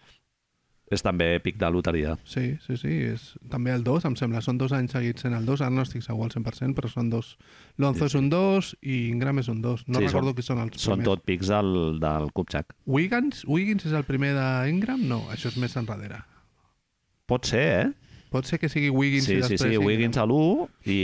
Speaker 2: És també pic de loteria.
Speaker 1: Sí, sí, sí. És... També el 2, em sembla. Són dos anys seguits en el 2. Ara no estic segur al 100%, però són dos. L'Onzo és un 2 i Ingram és un 2. No
Speaker 2: Sí,
Speaker 1: recordo
Speaker 2: són-
Speaker 1: qui són els
Speaker 2: Són
Speaker 1: primers.
Speaker 2: tot pics del, del Kupchak.
Speaker 1: Wiggins? Wiggins és el primer d'Ingram? No, això és més enrere.
Speaker 2: Pot ser, eh?
Speaker 1: Pot ser que sigui Wiggins
Speaker 2: sí,
Speaker 1: i
Speaker 2: sí,
Speaker 1: després...
Speaker 2: sí,
Speaker 1: Ingram.
Speaker 2: Wiggins a l'1 i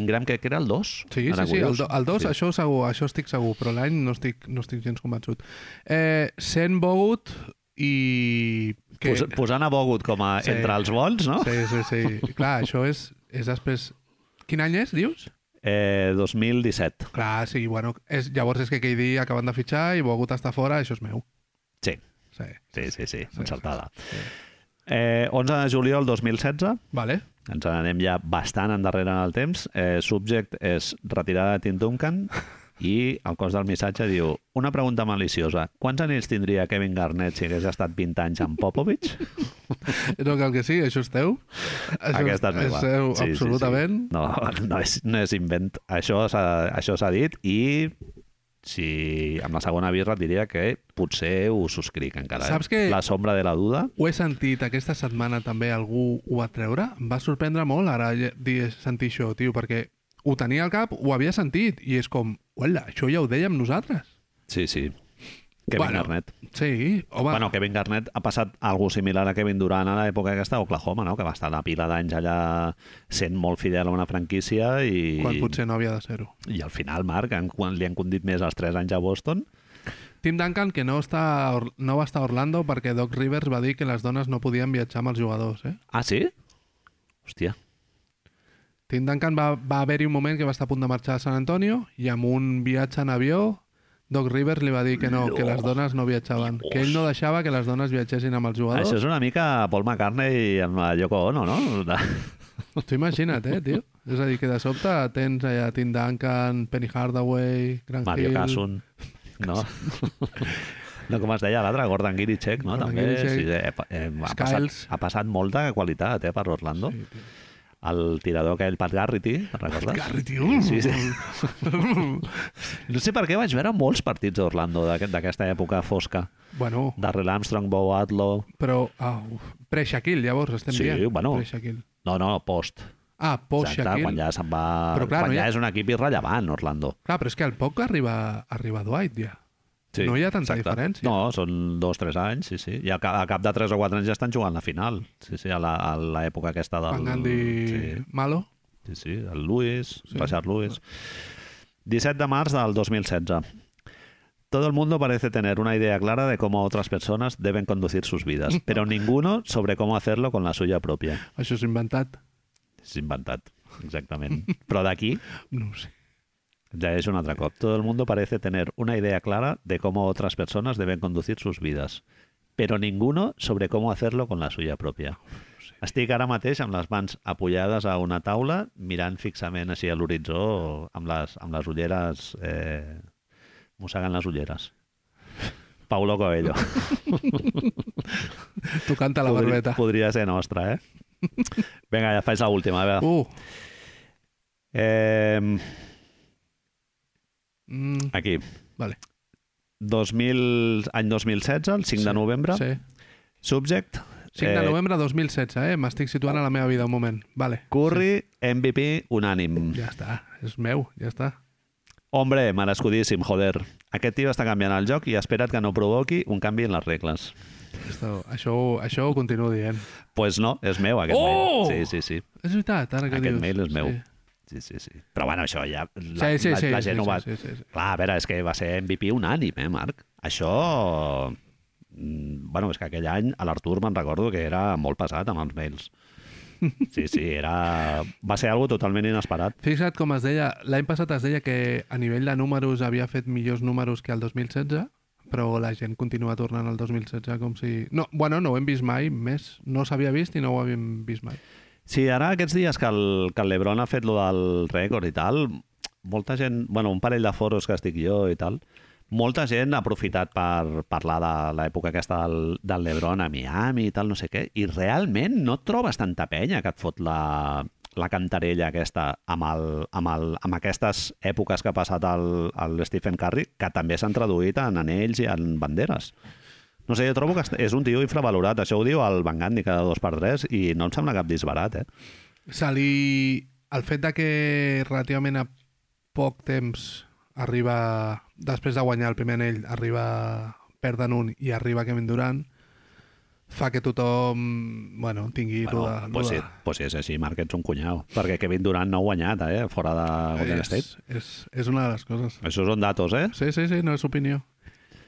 Speaker 2: Ingram crec que era el 2.
Speaker 1: Sí, sí, sí, el, do, el dos, això segur, això estic segur, però l'any no estic, no estic gens convençut. Eh, sent Bogut i...
Speaker 2: Que... Pos, posant a Bogut com a
Speaker 1: Sí.
Speaker 2: sí. entre els bons, no? Sí.
Speaker 1: Sí, sí, sí. Clar, això és, és després... Quin any és, dius?
Speaker 2: Eh, 2017.
Speaker 1: Clar, sí, bueno, és, llavors és que KD acaben de fitxar i Bogut està fora, això és meu.
Speaker 2: Sí,
Speaker 1: Sí.
Speaker 2: sí, sí, sí,
Speaker 1: sí,
Speaker 2: encertada. Eh, 11 de juliol 2016,
Speaker 1: Vale.
Speaker 2: ens n'anem ja bastant endarrere en el temps. Eh, subject és retirada de Tim Duncan i el cos del missatge diu una pregunta maliciosa. Quants anells tindria Kevin Garnett si hagués estat 20 anys amb Popovich?
Speaker 1: No cal que sí, això és teu. Això
Speaker 2: Aquesta és meva.
Speaker 1: És teu, sí, absolutament.
Speaker 2: Sí, sí. No, no és, no és invent. Això s'ha això s'ha dit i si amb la segona birra et diria que potser ho subscric encara. eh?
Speaker 1: Saps que-
Speaker 2: La sombra de la duda.
Speaker 1: Ho he sentit aquesta setmana també, algú ho va treure. Em va sorprendre molt ara lle- dir, sentir això, tio, perquè ho tenia al cap, ho havia sentit, i és com, uala, això ja ho dèiem nosaltres.
Speaker 2: Sí, sí. Kevin
Speaker 1: Bueno,
Speaker 2: Garnett.
Speaker 1: Sí, home,
Speaker 2: Bueno, Kevin Garnett ha passat algo similar a Kevin Durant a l'època aquesta a Oklahoma, no? que va estar una pila d'anys allà sent molt fidel a una franquícia i,
Speaker 1: quan potser no havia de ser-ho.
Speaker 2: i al final, Marc, en, quan li han condit més els 3 anys a Boston,
Speaker 1: Tim Duncan, que no, està, a Or- no va estar a Orlando perquè Doc Rivers va dir que les dones no podien viatjar amb els jugadors, eh?
Speaker 2: ah, sí? Hòstia,
Speaker 1: Tim Duncan va, va haver-hi un moment que va estar a punt de marxar a San Antonio i amb un viatge en avió Doc Rivers li va dir que no, que les dones no viatjaven, que ell no deixava que les dones viatgessin amb els jugadors.
Speaker 2: això és una mica Paul McCartney amb la Yoko Ono, no?
Speaker 1: Tu imagina't, eh, tio? És a dir, que de sobte tens allà Tim Duncan, Penny Hardaway, Grant
Speaker 2: Mario
Speaker 1: Hill...
Speaker 2: Cassun, no? No, com es deia l'altre, Gordon Giricek, no?
Speaker 1: Gordon
Speaker 2: També,
Speaker 1: Giricek.
Speaker 2: sí, eh, pa- eh, ha, passat,
Speaker 1: Skiles.
Speaker 2: ha passat molta qualitat eh, per Orlando.
Speaker 1: Sí, tio.
Speaker 2: El tirador aquell, Pat Garrity, te'n recordes?
Speaker 1: Garri, tio!
Speaker 2: Sí, sí. No sé per què vaig veure molts partits d'Orlando d'aquest- d'aquesta època fosca.
Speaker 1: bueno,
Speaker 2: Darrell Armstrong, Bo Adlo...
Speaker 1: però... ah, au, Pre-Shaquille, llavors, estem
Speaker 2: Sí,
Speaker 1: dient.
Speaker 2: bueno.
Speaker 1: Pre-Shaquille.
Speaker 2: No, no, post.
Speaker 1: Ah,
Speaker 2: Exacte, quan
Speaker 1: post-Shaquille.
Speaker 2: ja se'n va...
Speaker 1: Però clar,
Speaker 2: quan
Speaker 1: no hi ha-
Speaker 2: ja és un equip irrellevant, Orlando.
Speaker 1: Clar, però és que al poc arriba, arriba Dwight, ja. No hi ha tanta diferència.
Speaker 2: No, són dos, tres anys, sí, sí. I al cap, al cap de tres o quatre anys ja estan jugant la final. Sí, sí, a la- a l'època aquesta del...
Speaker 1: Van Gandhi
Speaker 2: Sí.
Speaker 1: Malo.
Speaker 2: Sí, sí, el Lewis, sí. Richard Lewis. 17 de març del 2016. Todo el mundo parece tener una idea clara de cómo otras personas deben conducir sus vidas, pero ninguno sobre cómo hacerlo con la suya propia.
Speaker 1: Això s'ha inventat.
Speaker 2: És inventat, exactament. Però d'aquí
Speaker 1: No ho sé.
Speaker 2: ja és un altre cop. Todo el mundo parece tener una idea clara de cómo otras personas deben conducir sus vidas, però ninguno sobre com hacerlo con la suya propia. Estic ara mateix amb les mans apoyades a una taula, mirant fixament així a l'horitzó, amb les, amb les ulleres... Eh, mossegant les ulleres. Paulo Coelho.
Speaker 1: Tocant a la
Speaker 2: Podria,
Speaker 1: barbeta.
Speaker 2: podria ser nostra, eh? Vinga, ja faig l'última, a veure.
Speaker 1: Uh,
Speaker 2: Eh,
Speaker 1: mm,
Speaker 2: aquí.
Speaker 1: vale.
Speaker 2: 2000, any 2016, el 5 sí, de novembre. Sí.
Speaker 1: Sí.
Speaker 2: Subject. eh,
Speaker 1: 5 de novembre de 2016, eh? M'estic situant a la meva vida un moment. Vale.
Speaker 2: Curry, MVP unànim.
Speaker 1: Mm, Ja està, és meu, ja està.
Speaker 2: Hombre, merescudíssim, joder. Aquest tio està canviant el joc i ha esperat que no provoqui un canvi en les regles.
Speaker 1: Esto, això, ho- això ho continuo dient.
Speaker 2: pues no, és meu aquest
Speaker 1: Oh!
Speaker 2: mail. Sí, sí, sí.
Speaker 1: És veritat, ara que
Speaker 2: Aquest
Speaker 1: dius.
Speaker 2: mail és meu.
Speaker 1: Sí.
Speaker 2: Sí, sí, sí. Però bueno, això ja... La,
Speaker 1: Sí, sí,
Speaker 2: la,
Speaker 1: sí,
Speaker 2: la
Speaker 1: sí,
Speaker 2: gent ho
Speaker 1: sí,
Speaker 2: va...
Speaker 1: sí, sí, sí.
Speaker 2: Clar, a veure, és que va ser MVP unànim, eh, Marc? Això... mm, Bueno, és que aquell any a l'Artur me'n recordo que era molt pesat amb els mails. Sí, sí, era... Va ser algo totalment inesperat.
Speaker 1: Fixa't com es deia, l'any passat es deia que a nivell de números havia fet millors números que el 2016, però la gent continua tornant al 2016 com si... No, bueno, no ho hem vist mai, més no s'havia vist i no ho havíem vist mai.
Speaker 2: Sí, ara aquests dies que el, que el Lebron ha fet lo del rècord i tal, molta gent, bueno, un parell de foros que estic jo i tal, molta gent ha aprofitat per parlar de l'època aquesta del, del Lebron a Miami i tal, no sé què, i realment no et trobes tanta penya que et fot la, la cantarella aquesta amb, el, amb, el, amb aquestes èpoques que ha passat el, el Stephen Curry, que també s'han traduït en anells i en banderes. No sé, jo trobo que és un tio infravalorat. Això ho diu el Van Gandhi cada dos per tres i no em sembla cap disbarat, eh?
Speaker 1: Se li... El fet de que relativament a poc temps arriba, després de guanyar el primer anell, arriba perden un i arriba Kevin Durant, fa que tothom bueno, tingui...
Speaker 2: Bueno,
Speaker 1: lo de-
Speaker 2: pues,
Speaker 1: lo
Speaker 2: sí,
Speaker 1: de-
Speaker 2: pues sí, és així, Marc, ets un cunyau. Perquè Kevin Durant no ha guanyat, eh? Fora de Golden State.
Speaker 1: és, és, és una de les coses.
Speaker 2: Això són datos, eh?
Speaker 1: Sí, sí, sí, no és opinió.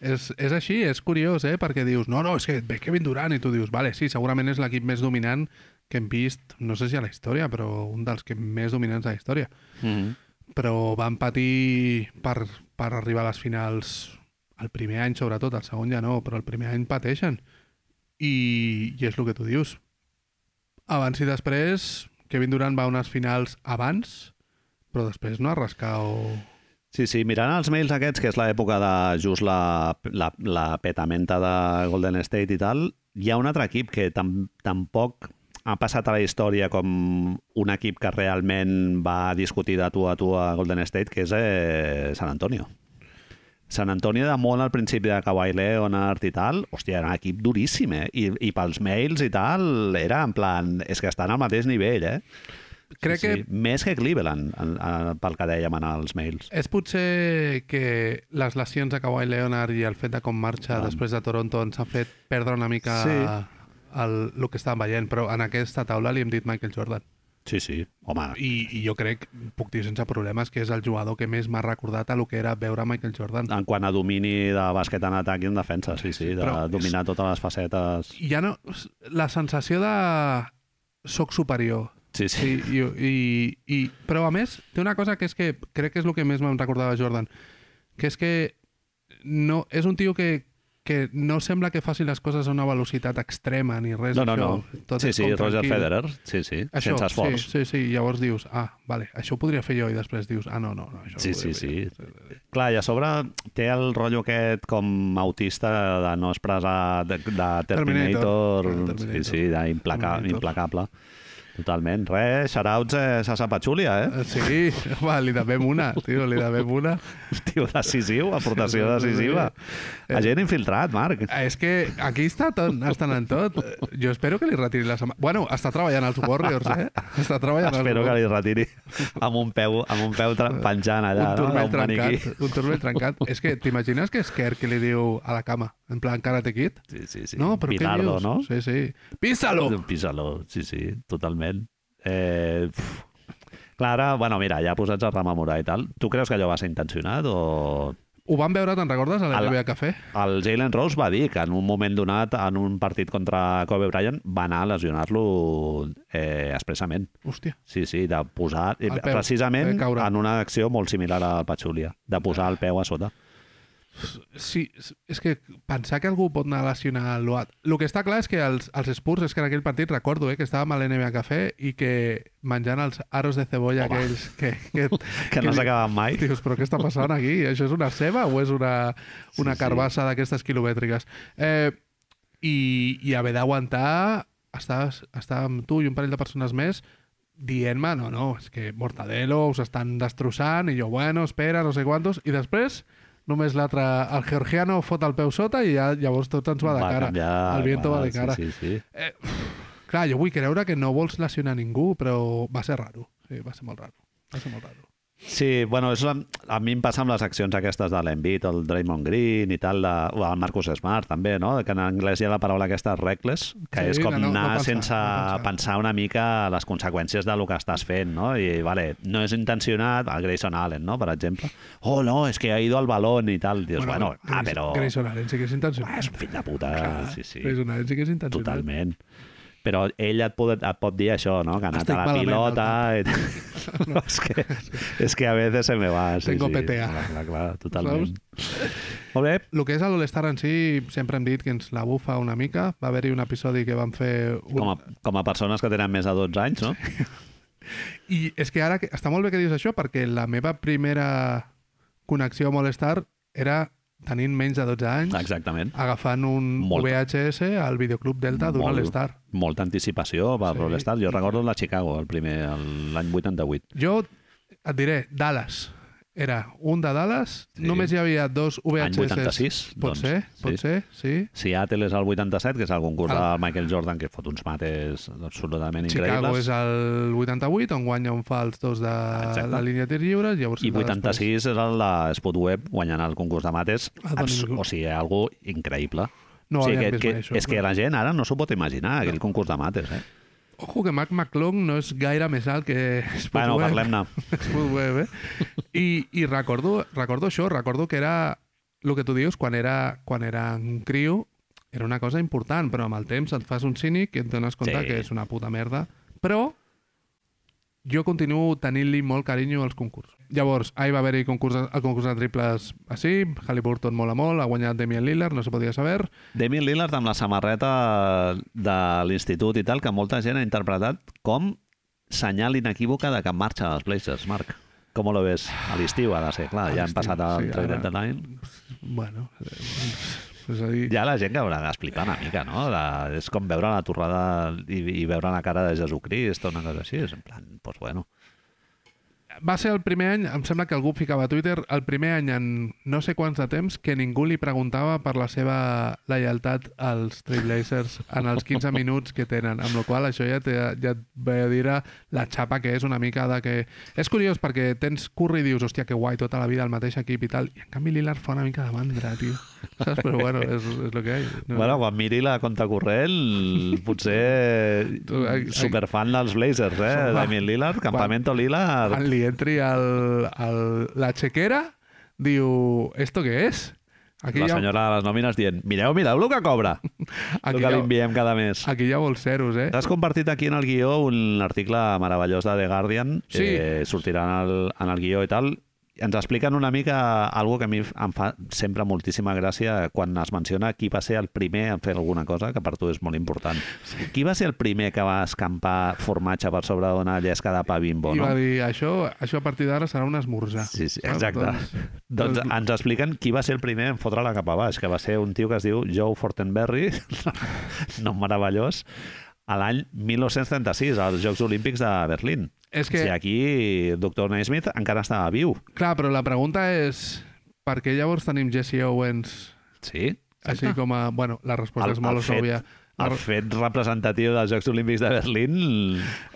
Speaker 1: És, és així, és curiós, eh? Perquè dius, no, no, és que et ve Kevin Durant i tu dius, vale, sí, segurament és l'equip més dominant que hem vist, no sé si a la història, però un dels que més dominants a la història.
Speaker 2: Mm -hmm.
Speaker 1: Però van patir per, per arribar a les finals el primer any, sobretot, el segon ja no, però el primer any pateixen. I, i és el que tu dius. Abans i després, Kevin Durant va a unes finals abans, però després no ha rascat o...
Speaker 2: Sí, sí, mirant els mails aquests, que és l'època de just la, la, la petamenta de Golden State i tal, hi ha un altre equip que tam tampoc ha passat a la història com un equip que realment va discutir de tu a tu a Golden State, que és eh, San Antonio. Sant Antoni de Mont al principi de Kawhi Leonard i tal, hòstia, era un equip duríssim, eh? I, I pels mails i tal, era en plan... És que estan al mateix nivell, eh?
Speaker 1: Crec que
Speaker 2: Més que Cleveland, en, en, pel que dèiem en els mails.
Speaker 1: És potser que les lesions de Kawhi Leonard i el fet de com marxa
Speaker 2: Ah.
Speaker 1: després de Toronto ens ha fet perdre una mica
Speaker 2: Sí.
Speaker 1: el, el que estàvem veient, però en aquesta taula li hem dit Michael Jordan.
Speaker 2: Sí, sí. Home,
Speaker 1: I, i jo crec, puc dir sense problemes, que és el jugador que més m'ha recordat a lo que era veure Michael Jordan.
Speaker 2: en quant a domini de bàsquet en atac i en defensa, sí, sí, de
Speaker 1: Però és-
Speaker 2: dominar totes les facetes...
Speaker 1: I ja no... La sensació de... Soc superior.
Speaker 2: Sí, sí.
Speaker 1: Sí, i, i, i, però a més, té una cosa que és que crec que és el que més me'n recordava Jordan, que és que no, és un tio que, que no sembla que faci les coses a una velocitat extrema ni res.
Speaker 2: No, no,
Speaker 1: això.
Speaker 2: no.
Speaker 1: Tot
Speaker 2: sí,
Speaker 1: és
Speaker 2: sí,
Speaker 1: com
Speaker 2: Roger
Speaker 1: tranquil.
Speaker 2: Federer, sí, sí,
Speaker 1: Això,
Speaker 2: sense esforç.
Speaker 1: Sí, sí, sí, llavors dius, ah, vale, això ho podria fer jo, i després dius, ah, no, no, no això
Speaker 2: Sí,
Speaker 1: ho podria
Speaker 2: sí,
Speaker 1: fer
Speaker 2: sí.
Speaker 1: jo.
Speaker 2: Clar, i a sobre té el rotllo aquest com autista de no expressar de, de Terminator,
Speaker 1: Terminator. Ah, Terminator.
Speaker 2: sí, sí, d'implacable,
Speaker 1: Terminator.
Speaker 2: implacable. Totalment. Res, xarauts eh, Sasa Patxúlia, eh?
Speaker 1: Eh, Sí, va, li devem una, tio, li devem una.
Speaker 2: Tio decisiu, aportació
Speaker 1: Sí, Eh, sí, sí, sí.
Speaker 2: decisiva. Agent infiltrat, Marc.
Speaker 1: Eh, És que aquí està tot, estan en tot. Jo espero que li retiri la setmana... Bueno, està treballant als Warriors, eh? Està treballant als
Speaker 2: Espero que li retiri amb un peu, amb un peu tra- penjant allà, no?
Speaker 1: un turmell
Speaker 2: d'un maniquí.
Speaker 1: trencat. Un turmell trencat. És que t'imagines que és Kerr que li diu a la cama, en plan Karate Kid?
Speaker 2: Sí, sí, sí.
Speaker 1: No, però
Speaker 2: Pilardo,
Speaker 1: què dius?
Speaker 2: no?
Speaker 1: Sí, sí. Písalo!
Speaker 2: Písalo, sí, sí, totalment. Eh, pf. Clar, ara, bueno, mira, ja posats a rememorar i tal, tu creus que allò va ser intencionat o...
Speaker 1: Ho van veure, te'n recordes, a la
Speaker 2: A la-
Speaker 1: NBA Café?
Speaker 2: El Jalen Rose va dir que en un moment donat, en un partit contra Kobe Bryant, va anar a lesionar-lo eh, expressament.
Speaker 1: Hòstia.
Speaker 2: Sí, sí, de posar...
Speaker 1: El peu,
Speaker 2: precisament
Speaker 1: de caure.
Speaker 2: en una acció molt similar a la Patxúlia, de posar el peu a sota.
Speaker 1: Sí, és- és que pensar que algú pot relacionar el Loat... El que està clar és que els, els Spurs, és que en aquell partit recordo eh, que estàvem a l'NBA Café i que menjant els aros de
Speaker 2: Home.
Speaker 1: cebolla aquells que, que,
Speaker 2: que no
Speaker 1: li-
Speaker 2: s'acaben mai.
Speaker 1: Dius, però què està passant aquí? Això és una ceba o és una, una
Speaker 2: Sí, sí.
Speaker 1: sí, carbassa d'aquestes quilomètriques? Eh, i, I haver d'aguantar estar, estar amb tu i un parell de persones més dient-me, no, no, és que Mortadelo us estan destrossant, i jo, bueno, espera, no sé quantos, i després només l'altre, el georgiano fot el peu sota i ja, llavors tot ens va de cara.
Speaker 2: canviar,
Speaker 1: el viento va de
Speaker 2: sí,
Speaker 1: cara.
Speaker 2: Sí, sí,
Speaker 1: Clar, jo vull creure que no vols lesionar ningú, però va ser raro. Sí, va ser molt raro. Va ser molt raro.
Speaker 2: Sí, bueno, és, una- a mi em passa amb les accions aquestes de l'Envit, el Draymond Green i tal, la, o el Marcus Smart també, no? que en anglès hi ha la paraula aquesta reckless, que
Speaker 1: Sí,
Speaker 2: és com
Speaker 1: no, no, no
Speaker 2: anar
Speaker 1: pensar,
Speaker 2: sense
Speaker 1: no pensar.
Speaker 2: pensar una mica les conseqüències del que estàs fent, no? I, vale, no és intencionat, el Grayson Allen, no?, per exemple. Oh, no, és que ha ido al balón i tal. Dius, bueno, bueno ah,
Speaker 1: Grayson-
Speaker 2: però...
Speaker 1: Grayson Allen sí que és intencionat.
Speaker 2: Ah, és un fill de puta,
Speaker 1: Clar,
Speaker 2: sí, sí.
Speaker 1: Grayson Allen sí que és intencionat.
Speaker 2: Totalment. Però ell et pot, et pot dir això, no? Que ha anat
Speaker 1: Estic
Speaker 2: a la
Speaker 1: malament,
Speaker 2: pilota... I... No, és, que, és que a veces se me va. Sí,
Speaker 1: Tengo
Speaker 2: sí.
Speaker 1: PTA.
Speaker 2: Clar, clar, clar, totalment. Molt bé.
Speaker 1: El que és l'All-Star en si, sempre hem dit que ens la bufa una mica. Va haver-hi un episodi que vam fer... Un...
Speaker 2: Com a, com a persones que tenen més de 12 anys, no?
Speaker 1: I és que ara que... està molt bé que dius això perquè la meva primera connexió amb All-Star era tenint menys de 12 anys,
Speaker 2: Exactament.
Speaker 1: agafant un
Speaker 2: Molt.
Speaker 1: VHS al videoclub Delta d'un
Speaker 2: Molt.
Speaker 1: All-Star.
Speaker 2: Molta anticipació per
Speaker 1: Sí.
Speaker 2: sí. All-Star. Jo recordo la Chicago, el primer, el- l'any 88.
Speaker 1: Jo et diré, Dallas. Era un de Dallas,
Speaker 2: Sí.
Speaker 1: només hi havia dos
Speaker 2: Any
Speaker 1: VHS.
Speaker 2: 86,
Speaker 1: Pot
Speaker 2: doncs.
Speaker 1: ser, pot
Speaker 2: sí.
Speaker 1: ser, sí.
Speaker 2: Seattle és el 87, que és el concurs
Speaker 1: Ah.
Speaker 2: del Michael Jordan, que fot uns mates absolutament
Speaker 1: Chicago
Speaker 2: increïbles.
Speaker 1: és el 88, on guanya un fals dos de
Speaker 2: Exacte.
Speaker 1: la línia de tir lliures, llavors...
Speaker 2: I
Speaker 1: la després.
Speaker 2: 86 és el de Spot Web guanyant el concurs de mates.
Speaker 1: Ah, doncs
Speaker 2: Abs-
Speaker 1: ningú-
Speaker 2: o sigui, algo increïble. o
Speaker 1: No
Speaker 2: sigui, que,
Speaker 1: havíem vist
Speaker 2: que,
Speaker 1: mai això,
Speaker 2: és que
Speaker 1: clar.
Speaker 2: la gent ara no s'ho pot imaginar, aquell concurs de mates. Eh?
Speaker 1: Ojo que Mac McClung no és gaire més alt que Spud
Speaker 2: Bueno,
Speaker 1: Webb.
Speaker 2: parlem-ne.
Speaker 1: Spud Webb, eh? I, i recordo, recordo això, recordo que era el que tu dius, quan era, quan era un criu, era una cosa important, però amb el temps et fas un cínic i et dones compte
Speaker 2: Sí.
Speaker 1: que és una puta merda. Però jo continuo tenint-li molt carinyo als concursos. Llavors, ahir va haver-hi concurs, el concurs de triples així, Halliburton mola molt, ha guanyat Damian Lillard, no se podia saber,
Speaker 2: Damien Lillard amb la samarreta de l'institut i tal, que molta gent ha interpretat com senyal inequívoca de que marxa dels Blazers, Marc. Com ho ves? A l'estiu ha de ser, clar,
Speaker 1: A
Speaker 2: ja han
Speaker 1: l'estiu,
Speaker 2: passat el
Speaker 1: sí,
Speaker 2: trade
Speaker 1: ara-
Speaker 2: deadline.
Speaker 1: bueno, eh, és a dir,
Speaker 2: Ja la gent que haurà d'explicar una mica, no? La, és com veure la torrada i, i veure la cara de Jesucrist o una cosa així. És en plan, doncs pues bueno.
Speaker 1: va ser el primer any, em sembla que algú ficava a Twitter, el primer any en no sé quants de temps que ningú li preguntava per la seva lleialtat als Trailblazers en els 15 minuts que tenen, amb la qual cosa això ja, te, ja et ve a dir a la xapa que és una mica de que... És curiós perquè tens Curry i dius, hòstia, que guai, tota la vida el mateix equip i tal, i en canvi Lillard fa una mica de mandra, tio. Saps? Però bueno, és, és el que hi ha.
Speaker 2: No. Bueno, quan miri la compte corrent, potser
Speaker 1: Tu, ai, ai.
Speaker 2: superfan dels Blazers, eh?
Speaker 1: Home.
Speaker 2: Damien Lillard, Campamento Lillard...
Speaker 1: quan li entri el, el, la chequera, diu, ¿esto què és?
Speaker 2: La senyora de les nòmines dient, mireu, mireu el que cobra, el
Speaker 1: Aquí
Speaker 2: que
Speaker 1: hi
Speaker 2: li
Speaker 1: ha,
Speaker 2: enviem cada mes.
Speaker 1: aquí hi ha vols zeros, eh?
Speaker 2: Has compartit aquí en el guió un article meravellós de The Guardian,
Speaker 1: Sí.
Speaker 2: eh, sortirà en el, en el guió i tal, ens expliquen una mica algo que a mi em fa sempre moltíssima gràcia quan es menciona qui va ser el primer a fer alguna cosa, que per tu és molt important. Sí. Qui va ser el primer que va escampar formatge per sobre d'una llesca de pa bimbo,
Speaker 1: I
Speaker 2: no?
Speaker 1: va dir, això, això a partir d'ara serà un esmorzar.
Speaker 2: Sí, sí,
Speaker 1: Saps?
Speaker 2: exacte. Doncs, doncs
Speaker 1: doncs-
Speaker 2: ens expliquen qui va ser el primer en fotre-la cap a baix, que va ser un tio que es diu Joe Fortenberry, nom meravellós, a l'any 1936, als Jocs Olímpics de Berlín.
Speaker 1: És
Speaker 2: Que...
Speaker 1: que,
Speaker 2: Si aquí Dr. Naismith encara estava viu.
Speaker 1: clar, però la pregunta és per què llavors tenim Jesse Owens
Speaker 2: Sí,
Speaker 1: així com a... Bueno, la resposta
Speaker 2: El-
Speaker 1: és molt
Speaker 2: el fet-
Speaker 1: òbvia. La
Speaker 2: el
Speaker 1: re-
Speaker 2: fet representatiu dels Jocs Olímpics de Berlín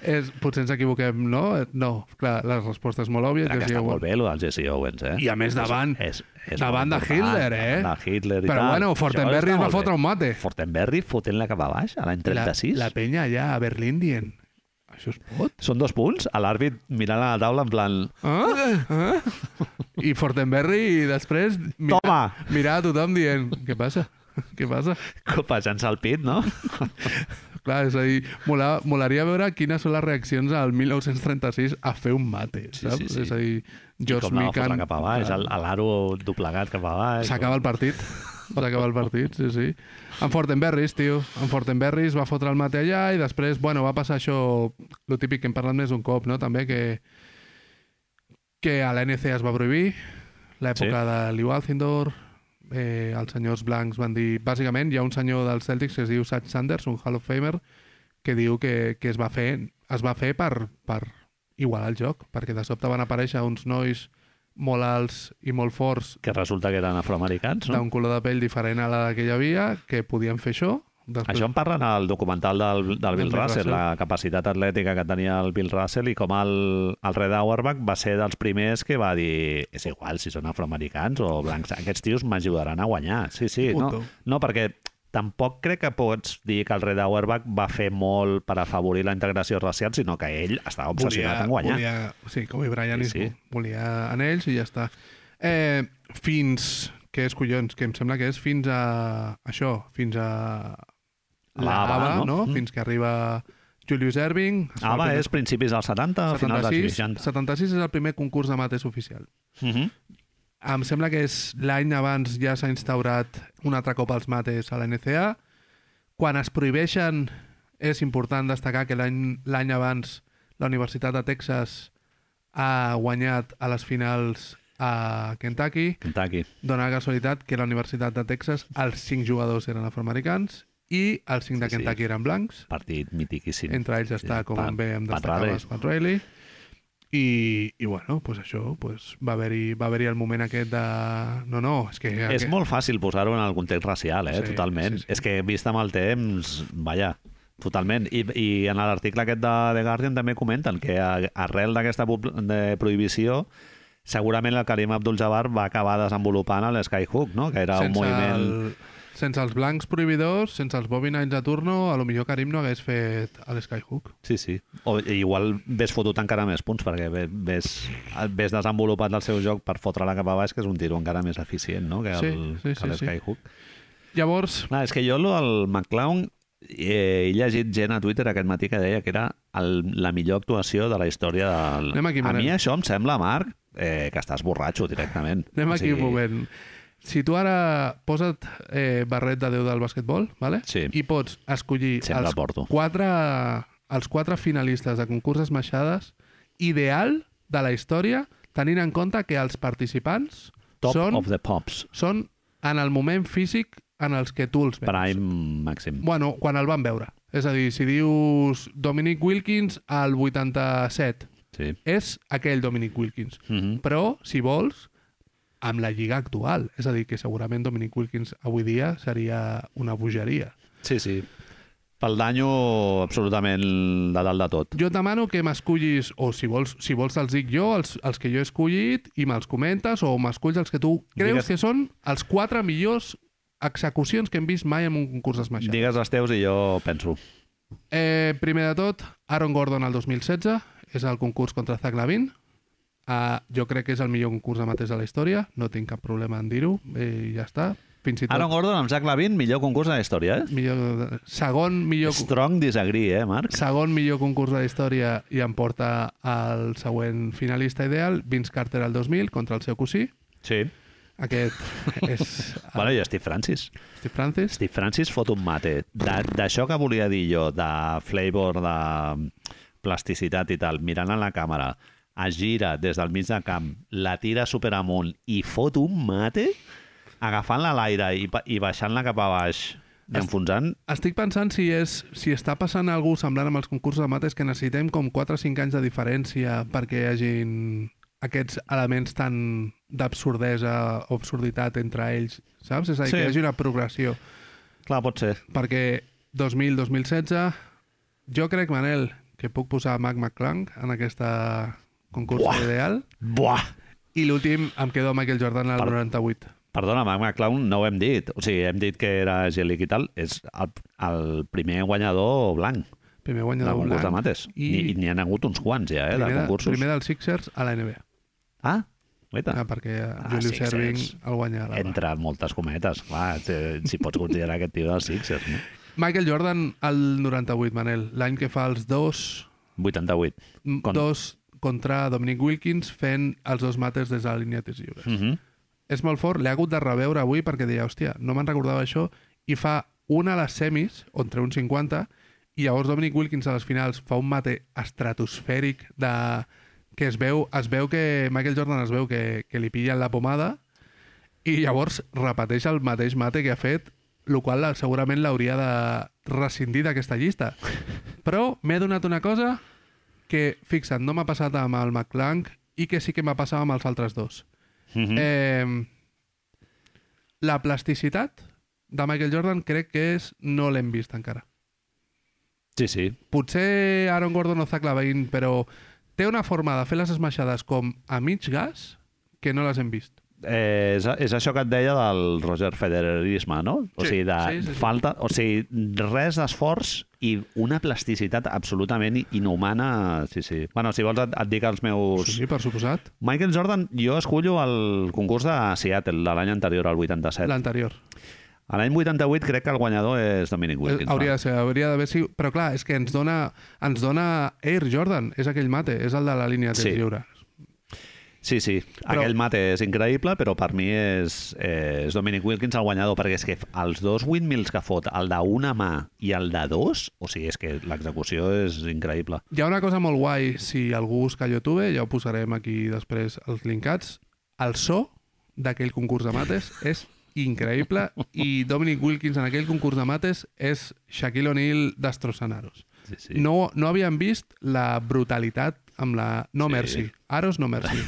Speaker 1: És, potser ens equivoquem, no? Eh, No, clar, la resposta és molt òbvia.
Speaker 2: Era que
Speaker 1: Jesse
Speaker 2: està molt
Speaker 1: Owens.
Speaker 2: bé, el del Jesse Owens, eh?
Speaker 1: I a més davant,
Speaker 2: És, és
Speaker 1: davant
Speaker 2: molt
Speaker 1: de
Speaker 2: important,
Speaker 1: Hitler, eh?
Speaker 2: De Hitler i
Speaker 1: Però
Speaker 2: tal.
Speaker 1: bueno,
Speaker 2: Això
Speaker 1: Fortenberry
Speaker 2: està
Speaker 1: es va
Speaker 2: molt bé.
Speaker 1: fotre un mate.
Speaker 2: Fortenberry fotent-la cap a baix, a l'any 36.
Speaker 1: La, la penya allà a Berlín dient, això es pot?
Speaker 2: Són dos punts, a l'àrbit mirant a la taula en plan...
Speaker 1: Ah? Ah? I Fortenberry i després mirar,
Speaker 2: Toma!
Speaker 1: mirar a tothom dient què passa? Què passa?
Speaker 2: Copejant-se al pit, no?
Speaker 1: Clar, és a dir, mola, molaria veure quines són les reaccions al 1936 a fer un mate,
Speaker 2: Sí,
Speaker 1: saps?
Speaker 2: sí, sí.
Speaker 1: És a dir,
Speaker 2: I
Speaker 1: George
Speaker 2: com l'agafa
Speaker 1: Mikan...
Speaker 2: cap a baix, el- l'aro doblegat cap a baix.
Speaker 1: S'acaba el partit. S'acaba el partit, sí, sí. En Fortenberris, tio. En Fortenberris va fotre el mate allà i després, bueno, va passar això, lo típic que hem parlat més d'un cop, no? També que, que a l'NC es va prohibir, l'època sí. de Liu Alcindor, eh, els senyors blancs van dir... Bàsicament, hi ha un senyor dels Celtics que es diu Satch Sanders, un Hall of Famer, que diu que, que es va fer, es va fer per, per igualar el joc, perquè de sobte van aparèixer uns nois molt alts i molt forts
Speaker 2: Que resulta que eren afroamericans, no?
Speaker 1: d'un color de pell diferent a la que hi havia, que podien fer això. Després,
Speaker 2: Això en parlen al documental del, del Bill
Speaker 1: Bill
Speaker 2: Russell,
Speaker 1: Russell.
Speaker 2: la capacitat atlètica que tenia el Bill Russell i com el, el Red Auerbach va ser dels primers que va dir és igual si són afroamericans o blancs, aquests tios m'ajudaran a guanyar. Sí, sí, no,
Speaker 1: Puto.
Speaker 2: no, perquè tampoc crec que pots dir que el Red Auerbach va fer molt per afavorir la integració racial, sinó que ell estava obsessionat en guanyar.
Speaker 1: Volia, sí, com i Brian
Speaker 2: Sí,
Speaker 1: sí, sí.
Speaker 2: sí.
Speaker 1: volia anells i ja està. Eh, fins, que és collons, que em sembla que és fins a això, fins a la
Speaker 2: L'Ava,
Speaker 1: Ava,
Speaker 2: no?
Speaker 1: no?
Speaker 2: Mm.
Speaker 1: no? Fins que arriba Julius Erving. es fa
Speaker 2: Ava
Speaker 1: el
Speaker 2: és principis dels 70,
Speaker 1: primer-
Speaker 2: finals dels 60.
Speaker 1: 76 és el primer concurs de mates oficial.
Speaker 2: Uh -huh.
Speaker 1: Em sembla que és l'any abans ja s'ha instaurat un altre cop els mates a la NCA. Quan es prohibeixen, és important destacar que l'any l'any abans la Universitat de Texas ha guanyat a les finals a Kentucky.
Speaker 2: Kentucky.
Speaker 1: Dóna la casualitat que a la Universitat de Texas els cinc jugadors eren afroamericans i els cinc de
Speaker 2: Sí, sí.
Speaker 1: Kentucky eren blancs.
Speaker 2: Partit mitiquíssim.
Speaker 1: Entre ells està,
Speaker 2: Sí,
Speaker 1: com
Speaker 2: eh, Pat-
Speaker 1: bé em
Speaker 2: Pat
Speaker 1: destacava,
Speaker 2: Riley.
Speaker 1: Pat Riley. I, i bueno, pues això, pues va haver-hi va haver el moment aquest de... No, no, és que...
Speaker 2: És
Speaker 1: aquest...
Speaker 2: molt fàcil posar-ho en el context racial, eh?
Speaker 1: Sí,
Speaker 2: totalment.
Speaker 1: sí, sí.
Speaker 2: És que vist amb el temps, vaja, totalment. I, i en l'article aquest de The Guardian també comenten que a- arrel d'aquesta pub- de prohibició segurament el Karim Abdul-Jabbar va acabar desenvolupant el Skyhook, no? que era un moviment... El...
Speaker 1: El, sense els blancs prohibidors, sense els Bobby Nines de turno, a lo millor Karim no hagués fet el Skyhook.
Speaker 2: Sí, sí. O igual ves fotut encara més punts, perquè ve- ves, ves desenvolupat el seu joc per fotre-la cap a baix, que és un tiro encara més eficient no? que el,
Speaker 1: Sí, sí,
Speaker 2: que
Speaker 1: sí,
Speaker 2: el
Speaker 1: sí.
Speaker 2: Skyhook.
Speaker 1: Llavors,
Speaker 2: Clar, és que jo lo del McClown eh, he llegit gent a Twitter aquest matí que deia que era el, la millor actuació de la història del...
Speaker 1: Anem aquí,
Speaker 2: a
Speaker 1: Manel.
Speaker 2: mi això em sembla, Marc, eh, que estàs borratxo directament.
Speaker 1: anem
Speaker 2: O
Speaker 1: aquí
Speaker 2: sigui,
Speaker 1: un moment. Si tu ara posa't eh, barret de Déu del basquetbol, vale?
Speaker 2: Sí.
Speaker 1: i pots escollir
Speaker 2: Sempre
Speaker 1: els
Speaker 2: porto.
Speaker 1: quatre, els quatre finalistes de concurs esmaixades ideal de la història, tenint en compte que els participants
Speaker 2: Top
Speaker 1: són,
Speaker 2: of the Pops.
Speaker 1: són en el moment físic en els que tu els veus.
Speaker 2: Prime Màxim.
Speaker 1: Bueno, quan el van veure. És a dir, si dius Dominic Wilkins al 87,
Speaker 2: Sí.
Speaker 1: és aquell Dominic Wilkins.
Speaker 2: Mhm.
Speaker 1: Però, si vols, amb la lliga actual. És a dir, que segurament Dominic Wilkins avui dia seria una bogeria.
Speaker 2: sí, sí. Pel danyo absolutament de dalt de tot.
Speaker 1: Jo et demano que m'escollis, o si vols, si vols els dic jo, els, els que jo he escollit, i me'ls comentes, o m'esculls els que tu creus
Speaker 2: Digues-
Speaker 1: Digues... que són els quatre millors execucions que hem vist mai en un concurs d'esmaixat.
Speaker 2: Digues els teus i jo penso.
Speaker 1: Eh, primer de tot, Aaron Gordon al 2016 és el concurs contra Zach Lavin. Uh, jo crec que és el millor concurs de mateix de la història, no tinc cap problema en dir-ho, eh, ja està. Fins i tot,
Speaker 2: Aaron Gordon amb Zach Lavin, millor concurs de la història, eh?
Speaker 1: millor, segon, millor,
Speaker 2: Strong disagree, eh, Marc?
Speaker 1: segon millor concurs de la història i em porta al següent finalista ideal, Vince Carter al 2000 contra el seu cosí.
Speaker 2: Sí.
Speaker 1: Aquest és
Speaker 2: Bueno, i Steve Francis.
Speaker 1: Steve Francis.
Speaker 2: Steve Francis fot un mate. De- D'això que volia dir jo, de flavor, de plasticitat i tal, mirant a la càmera, es gira des del mig de camp, la tira super amunt i fot un mate agafant-la a l'aire i, pa- i baixant-la cap a baix i enfonsant...
Speaker 1: Estic pensant si, és, si està passant alguna cosa semblant amb els concursos de mates que necessitem com 4 o 5 anys de diferència perquè hi hagin aquests elements tan d'absurdesa o absurditat entre ells, saps? És a dir,
Speaker 2: Sí.
Speaker 1: sí. que hi hagi una progressió.
Speaker 2: Clar, pot ser.
Speaker 1: Perquè 2000-2016, jo crec, Manel, que puc posar Mac McClung en aquesta concurs
Speaker 2: Buah.
Speaker 1: ideal.
Speaker 2: Buah!
Speaker 1: I l'últim em quedo amb Michael Jordan al
Speaker 2: Per-
Speaker 1: 98.
Speaker 2: Perdona, Magma Clown no ho hem dit. O sigui, hem dit que era gelic i tal. És el, el primer guanyador blanc
Speaker 1: Primer
Speaker 2: del
Speaker 1: guanyador
Speaker 2: concurs de
Speaker 1: blanc.
Speaker 2: mates. I
Speaker 1: i-
Speaker 2: n'hi ha hagut uns quants ja, eh, de
Speaker 1: primer, de,
Speaker 2: concursos.
Speaker 1: primer dels Sixers a la NBA.
Speaker 2: Ah, guaita.
Speaker 1: Ah, perquè
Speaker 2: Ah,
Speaker 1: ah, Julius
Speaker 2: Sixers.
Speaker 1: Erving el guanyarà.
Speaker 2: entre moltes cometes, clar, eh, si pots considerar aquest tio dels Sixers, no?
Speaker 1: Michael Jordan al 98, Manel, l'any que fa els dos,
Speaker 2: 88.
Speaker 1: m-
Speaker 2: Con-
Speaker 1: Mm, dos contra Dominic Wilkins fent els dos mates des de la línia de tirs lliures.
Speaker 2: Mm -hmm.
Speaker 1: És molt fort, l'he hagut de reveure avui perquè deia, hòstia, no me'n recordava això, i fa una a les semis, on treu un 50, i llavors Dominic Wilkins a les finals fa un mate estratosfèric de que es veu, es veu que Michael Jordan es veu que, que li pillen la pomada i llavors repeteix el mateix mate que ha fet, el qual la- segurament l'hauria de rescindir d'aquesta llista. Però m'he donat una cosa que, fixa't, no m'ha passat amb el McClank i que sí que m'ha passat amb els altres dos.
Speaker 2: Mm -hmm.
Speaker 1: Eh, la plasticitat de Michael Jordan crec que és no l'hem vist encara.
Speaker 2: Sí, sí.
Speaker 1: Potser Aaron Gordon o Zach Lavine, però té una forma de fer les esmaixades com a mig gas que no les hem vist.
Speaker 2: Eh, és, és això que et deia del Roger Federerisme, no? O
Speaker 1: Sí,
Speaker 2: sigui, de
Speaker 1: sí, sí, sí.
Speaker 2: falta... O sigui, res d'esforç i una plasticitat absolutament inhumana. Sí, sí. Bueno, si vols et, et dic els meus...
Speaker 1: Sí, per suposat.
Speaker 2: Michael Jordan, jo escullo el concurs de Seattle de l'any anterior, al 87.
Speaker 1: L'anterior.
Speaker 2: A l'any 88 crec que el guanyador és Dominic
Speaker 1: Eh,
Speaker 2: Wilkins.
Speaker 1: Hauria
Speaker 2: va.
Speaker 1: de ser, hauria d'haver sigut... Però clar, és que ens dona, ens dona Air Jordan, és aquell mate, és el de la línia de
Speaker 2: Sí.
Speaker 1: sí. lliure.
Speaker 2: Sí, sí.
Speaker 1: Però-
Speaker 2: Aquell mate és increïble, però per mi és, eh, és Dominic Wilkins el guanyador, perquè és que els dos windmills que fot, el d'una mà i el de dos, o sigui, és que l'execució és increïble.
Speaker 1: Hi ha una cosa molt guai, si algú busca a YouTube, ja ho posarem aquí després els linkats, el so d'aquell concurs de mates és increïble i Dominic Wilkins en aquell concurs de mates és Shaquille O'Neal destrossant aros.
Speaker 2: Sí, sí.
Speaker 1: Sí. No, no havien vist la brutalitat amb la no
Speaker 2: Sí.
Speaker 1: mercy. Aros no mercy.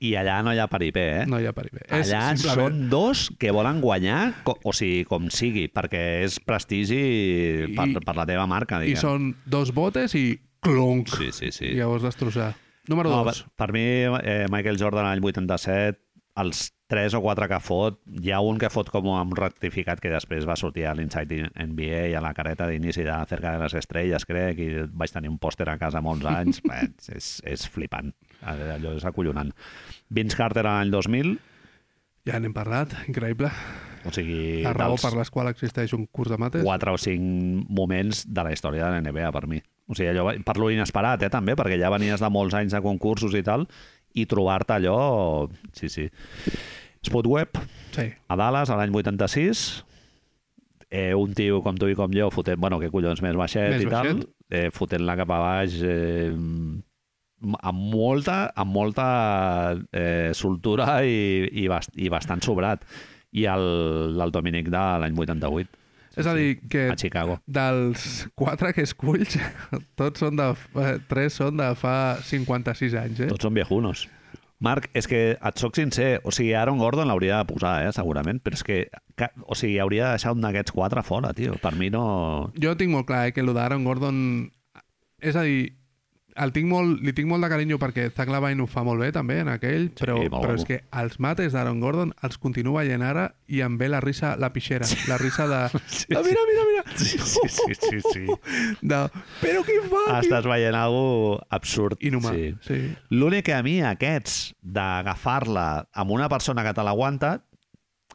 Speaker 2: I allà no hi ha peripé, eh?
Speaker 1: No hi ha peripé. És
Speaker 2: Allà
Speaker 1: simplement-
Speaker 2: són dos que volen guanyar, co- o sigui, com sigui, perquè és prestigi per,
Speaker 1: I-
Speaker 2: per la teva marca,
Speaker 1: I
Speaker 2: diguem.
Speaker 1: són dos botes i clonc.
Speaker 2: Sí, sí, sí.
Speaker 1: I llavors destrossar. Número
Speaker 2: No,
Speaker 1: no,
Speaker 2: per,
Speaker 1: dos.
Speaker 2: per mi, eh, Michael Jordan l'any 87, els 3 o 4 que fot, hi ha un que fot com un rectificat que després va sortir a l'Inside NBA i a la careta d'inici de Cerca de les Estrelles, crec, i vaig tenir un pòster a casa molts anys. Bé, és, és flipant, allò és acollonant. Vince Carter l'any 2000,
Speaker 1: Ja n'hem parlat, increïble.
Speaker 2: o sigui,
Speaker 1: La raó
Speaker 2: dels
Speaker 1: per les quals existeix un curs de mates.
Speaker 2: 4 o 5 moments de la història de la NBA per mi. O sigui, allò, va- per lo inesperat, eh, també, perquè ja venies de molts anys de concursos i tal, i trobar-te allò... Sí, sí. Spotweb,
Speaker 1: Sí.
Speaker 2: a Dallas, a l'any 86, eh, un tio com tu i com jo, fotent, bueno, que collons, més baixet
Speaker 1: Més
Speaker 2: i tal,
Speaker 1: baixet.
Speaker 2: eh, fotent-la cap a baix... Eh, m- amb molta, amb molta eh, soltura i, i, bast i bastant sobrat. I el, el Dominic de l'any 88.
Speaker 1: És a dir, que
Speaker 2: a Chicago.
Speaker 1: dels quatre que esculls, tots són de... eh, tres són de fa 56 anys, eh?
Speaker 2: Tots són viejunos. Marc, és que et soc sincer, o sigui, Aaron Gordon l'hauria de posar, eh, segurament, però és que, ca- o sigui, hauria de deixar un d'aquests quatre fora, tio. Per mi no...
Speaker 1: Jo tinc molt clar eh, que el d'Aaron Gordon... És a dir, el tinc molt, li tinc molt de carinyo perquè Zach Lavine ho fa molt bé també en aquell, però,
Speaker 2: molt
Speaker 1: però
Speaker 2: guapo.
Speaker 1: és que els mates d'Aaron Gordon els continuo veient ara i em ve la risa, la pixera, la risa de...
Speaker 2: Sí,
Speaker 1: Ah, mira, mira, mira!
Speaker 2: Sí, Ah, sí, sí, sí, sí.
Speaker 1: De, però què fa aquí?
Speaker 2: Estàs veient algú absurd.
Speaker 1: Inhumà, sí. sí.
Speaker 2: L'únic que a mi, aquests, d'agafar-la amb una persona que te l'aguanta,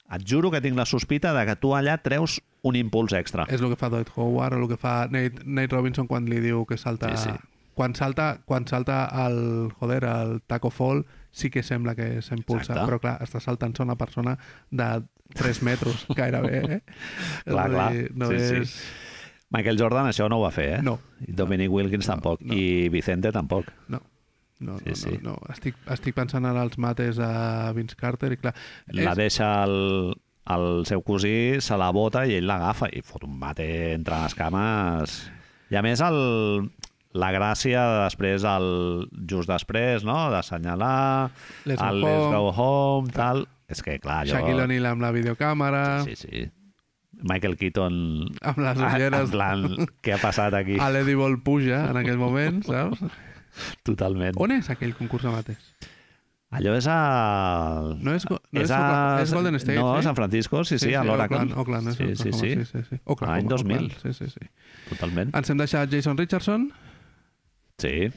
Speaker 2: et juro que tinc la sospita de que tu allà treus un impuls extra.
Speaker 1: És el que fa Dwight Howard o el que fa Nate, Nate Robinson quan li diu que salta...
Speaker 2: Sí, sí.
Speaker 1: Quan salta, quan salta el, joder, el taco fall, sí que sembla que s'empulsa,
Speaker 2: Exacte.
Speaker 1: però clar, està saltant una persona de 3 metres, gairebé, eh?
Speaker 2: Clar,
Speaker 1: És a dir,
Speaker 2: clar.
Speaker 1: No
Speaker 2: Sí, sí.
Speaker 1: és...
Speaker 2: Michael Jordan això no ho va fer, eh?
Speaker 1: No.
Speaker 2: Dominic Wilkins tampoc.
Speaker 1: no.
Speaker 2: I Vicente tampoc.
Speaker 1: No. No,
Speaker 2: Sí,
Speaker 1: no,
Speaker 2: sí.
Speaker 1: no, no. Estic, estic pensant ara als mates de Vince Carter i clar...
Speaker 2: La deixa el, el seu cosí, se la bota i ell l'agafa i fot un mate entre les cames. I a més, el, la gràcia de després, el, just després, no? d'assenyalar,
Speaker 1: Let's
Speaker 2: el
Speaker 1: go
Speaker 2: let's
Speaker 1: home.
Speaker 2: go home, tal... És que, clar, allò...
Speaker 1: Shaquille O'Neal amb la videocàmera,
Speaker 2: Sí, Ah, sí. Michael Keaton...
Speaker 1: amb les
Speaker 2: En
Speaker 1: ulleres,
Speaker 2: plan, què ha passat aquí?
Speaker 1: a l'Eddie Ball puja en aquell moment, saps?
Speaker 2: Totalment.
Speaker 1: On és aquell concurs de mates?
Speaker 2: Allò és a...
Speaker 1: No és, go- no és, Oklahoma- és Golden State,
Speaker 2: No,
Speaker 1: eh?
Speaker 2: San Francisco, sí, sí, a l'Oracle.
Speaker 1: Oakland, Oakland, és
Speaker 2: sí, sí,
Speaker 1: Oklahoma,
Speaker 2: sí,
Speaker 1: sí, sí, sí. Oklahoma,
Speaker 2: L'any 2000.
Speaker 1: Oakland, Sí, sí, sí.
Speaker 2: totalment.
Speaker 1: Ens hem deixat Jason Richardson,
Speaker 2: Sí.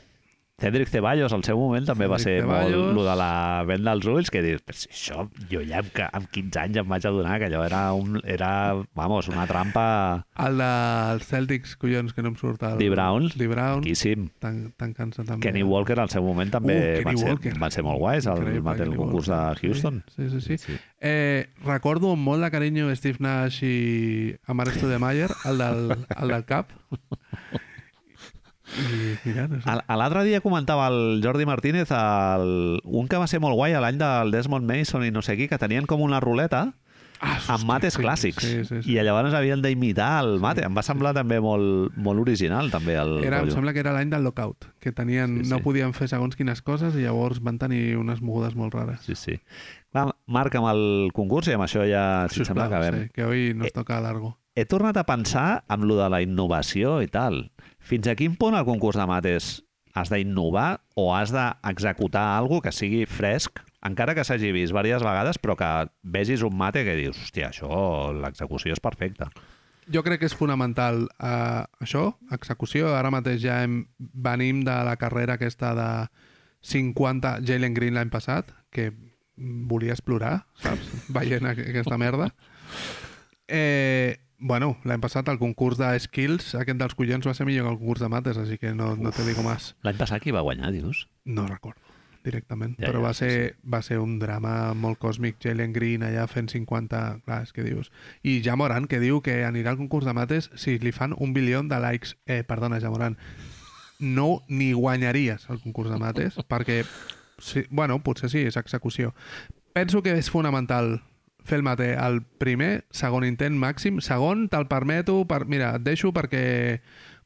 Speaker 2: Cedric Ceballos al seu moment també va ser
Speaker 1: Cedric
Speaker 2: molt
Speaker 1: Ceballos.
Speaker 2: lo de la venda als ulls, que dius, però si això jo ja amb, ca- amb 15 anys em vaig adonar que allò era, un, era vamos, una trampa
Speaker 1: El dels Celtics, collons, que no em surt el...
Speaker 2: Dee Brown.
Speaker 1: Dee Brown.
Speaker 2: maquíssim.
Speaker 1: Tan, tancant-se també.
Speaker 2: Kenny Walker al seu moment també
Speaker 1: Uh, Kenny
Speaker 2: van, ser,
Speaker 1: Walker.
Speaker 2: van ser molt guais al
Speaker 1: Increïble,
Speaker 2: mateix
Speaker 1: Kenny
Speaker 2: concurs de
Speaker 1: Walker.
Speaker 2: Houston.
Speaker 1: Sí, sí, sí. sí.
Speaker 2: Sí.
Speaker 1: Eh, recordo amb molt de carinyo Steve Nash i Amaresto de Mayer, el del, el del cap. I mira, no sé.
Speaker 2: A- a L'altre dia comentava el Jordi Martínez el, un que va ser molt guai a l'any del Desmond Mason i no sé qui, que tenien com una ruleta
Speaker 1: Ah,
Speaker 2: amb mates
Speaker 1: sí,
Speaker 2: clàssics.
Speaker 1: Sí, sí, sí.
Speaker 2: I llavors havien d'imitar el mate. Em va semblar també molt, molt original, també, el
Speaker 1: Era, em
Speaker 2: rotllo.
Speaker 1: sembla que era l'any del lockout, que tenien,
Speaker 2: Sí, sí.
Speaker 1: no podien fer segons quines coses i llavors van tenir unes mogudes molt rares.
Speaker 2: Sí, sí. Va, Marc, amb el concurs i amb això ja, si et sembla, Eh,
Speaker 1: Sisplau,
Speaker 2: acabem.
Speaker 1: sí, que avui nos toca largo.
Speaker 2: He tornat a pensar amb lo de la innovació i tal. Fins a quin punt el concurs de mates has d'innovar o has d'executar alguna que sigui fresc, encara que s'hagi vist diverses vegades, però que vegis un mate que dius, hòstia, això, l'execució és perfecta.
Speaker 1: Jo crec que és fonamental eh, això, execució. Ara mateix ja hem, venim de la carrera aquesta de 50 Jalen Green l'any passat, que volia explorar, saps? Veient aqu- aquesta merda. Eh, bueno, l'any passat el concurs de skills, aquest dels collons, va ser millor que el concurs de mates, així que no, no te digo más.
Speaker 2: L'any passat qui va guanyar, dius?
Speaker 1: No recordo directament,
Speaker 2: Ja,
Speaker 1: ja, però
Speaker 2: ja,
Speaker 1: va,
Speaker 2: sí,
Speaker 1: ser, va ser un drama molt còsmic. Jalen Green allà fent 50... Clar, és que dius... I ja Moran, que diu que anirà al concurs de mates si li fan un bilió de likes. Eh, perdona, ja Moran, no ni guanyaries el concurs de mates, perquè, sí, bueno, potser sí, és execució. Penso que és fonamental fer el mate al primer, segon intent màxim, segon te'l permeto, per, mira, et deixo perquè,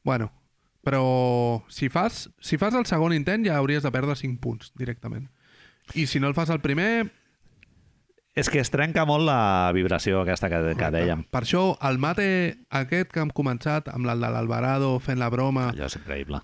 Speaker 1: bueno, però si fas, si fas el segon intent ja hauries de perdre 5 punts directament. I si no el fas al primer,
Speaker 2: És que es trenca molt la vibració aquesta que, que dèiem.
Speaker 1: per això el mate aquest que hem començat amb el de l'Alvarado fent la broma,
Speaker 2: Allò és increïble.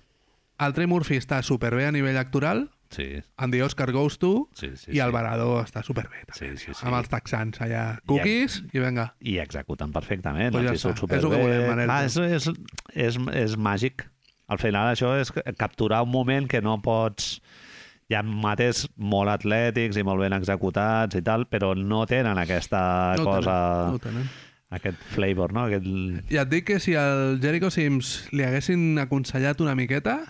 Speaker 1: el Trey Murphy està superbé a nivell actoral,
Speaker 2: Sí,
Speaker 1: Andy Oscar Goes To
Speaker 2: sí, sí.
Speaker 1: sí, i
Speaker 2: sí.
Speaker 1: Alvarado està superbé també,
Speaker 2: Sí, sí, sí.
Speaker 1: amb els texans allà, cookies i venga
Speaker 2: i executen perfectament.
Speaker 1: Pues ja
Speaker 2: els hi surt
Speaker 1: està. És el que
Speaker 2: superbé.
Speaker 1: volem, Manel.
Speaker 2: Clar, és, és, és, és màgic. Al final això és capturar un moment que no pots... Hi ha mates molt atlètics i molt ben executats i tal, però no tenen aquesta
Speaker 1: no ho
Speaker 2: cosa,
Speaker 1: tenen, no ho tenen.
Speaker 2: aquest flavor, no? Aquest...
Speaker 1: I et dic que si al Jericho Sims li haguessin aconsellat una miqueta,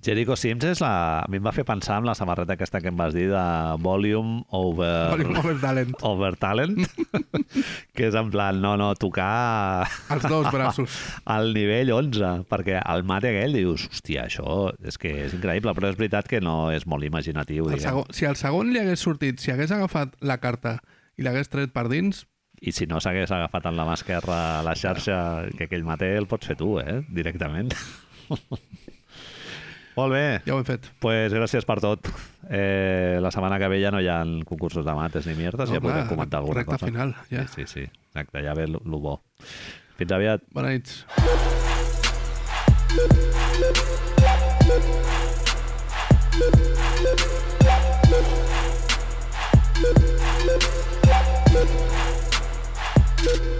Speaker 2: Jericho Sims és la... A mi em va fer pensar amb la samarreta aquesta que em vas dir de Volume Over...
Speaker 1: Colin Over Talent,
Speaker 2: Over Talent, que és en plan, no, no, tocar
Speaker 1: els dos braços.
Speaker 2: al nivell 11, perquè el mate aquell dius, hòstia, això és que és increïble, però és veritat que no és molt imaginatiu,
Speaker 1: El
Speaker 2: diguem.
Speaker 1: segon, si al segon li hagués sortit, si hagués agafat la carta i l'hagués tret per dins,
Speaker 2: I si no s'hagués agafat amb la mà esquerra la xarxa, que aquell mate el pots fer tu, eh? Directament. molt bé,
Speaker 1: ja ho hem fet.
Speaker 2: pues gràcies per tot. Eh, la setmana que ve ja no hi ha concursos de mates ni mierdes, ja podrem comentar alguna
Speaker 1: recta
Speaker 2: cosa.
Speaker 1: final, ja.
Speaker 2: Sí, sí, sí, exacte, ja ve el bo. Fins aviat.
Speaker 1: Bona nit.
Speaker 3: Thank you.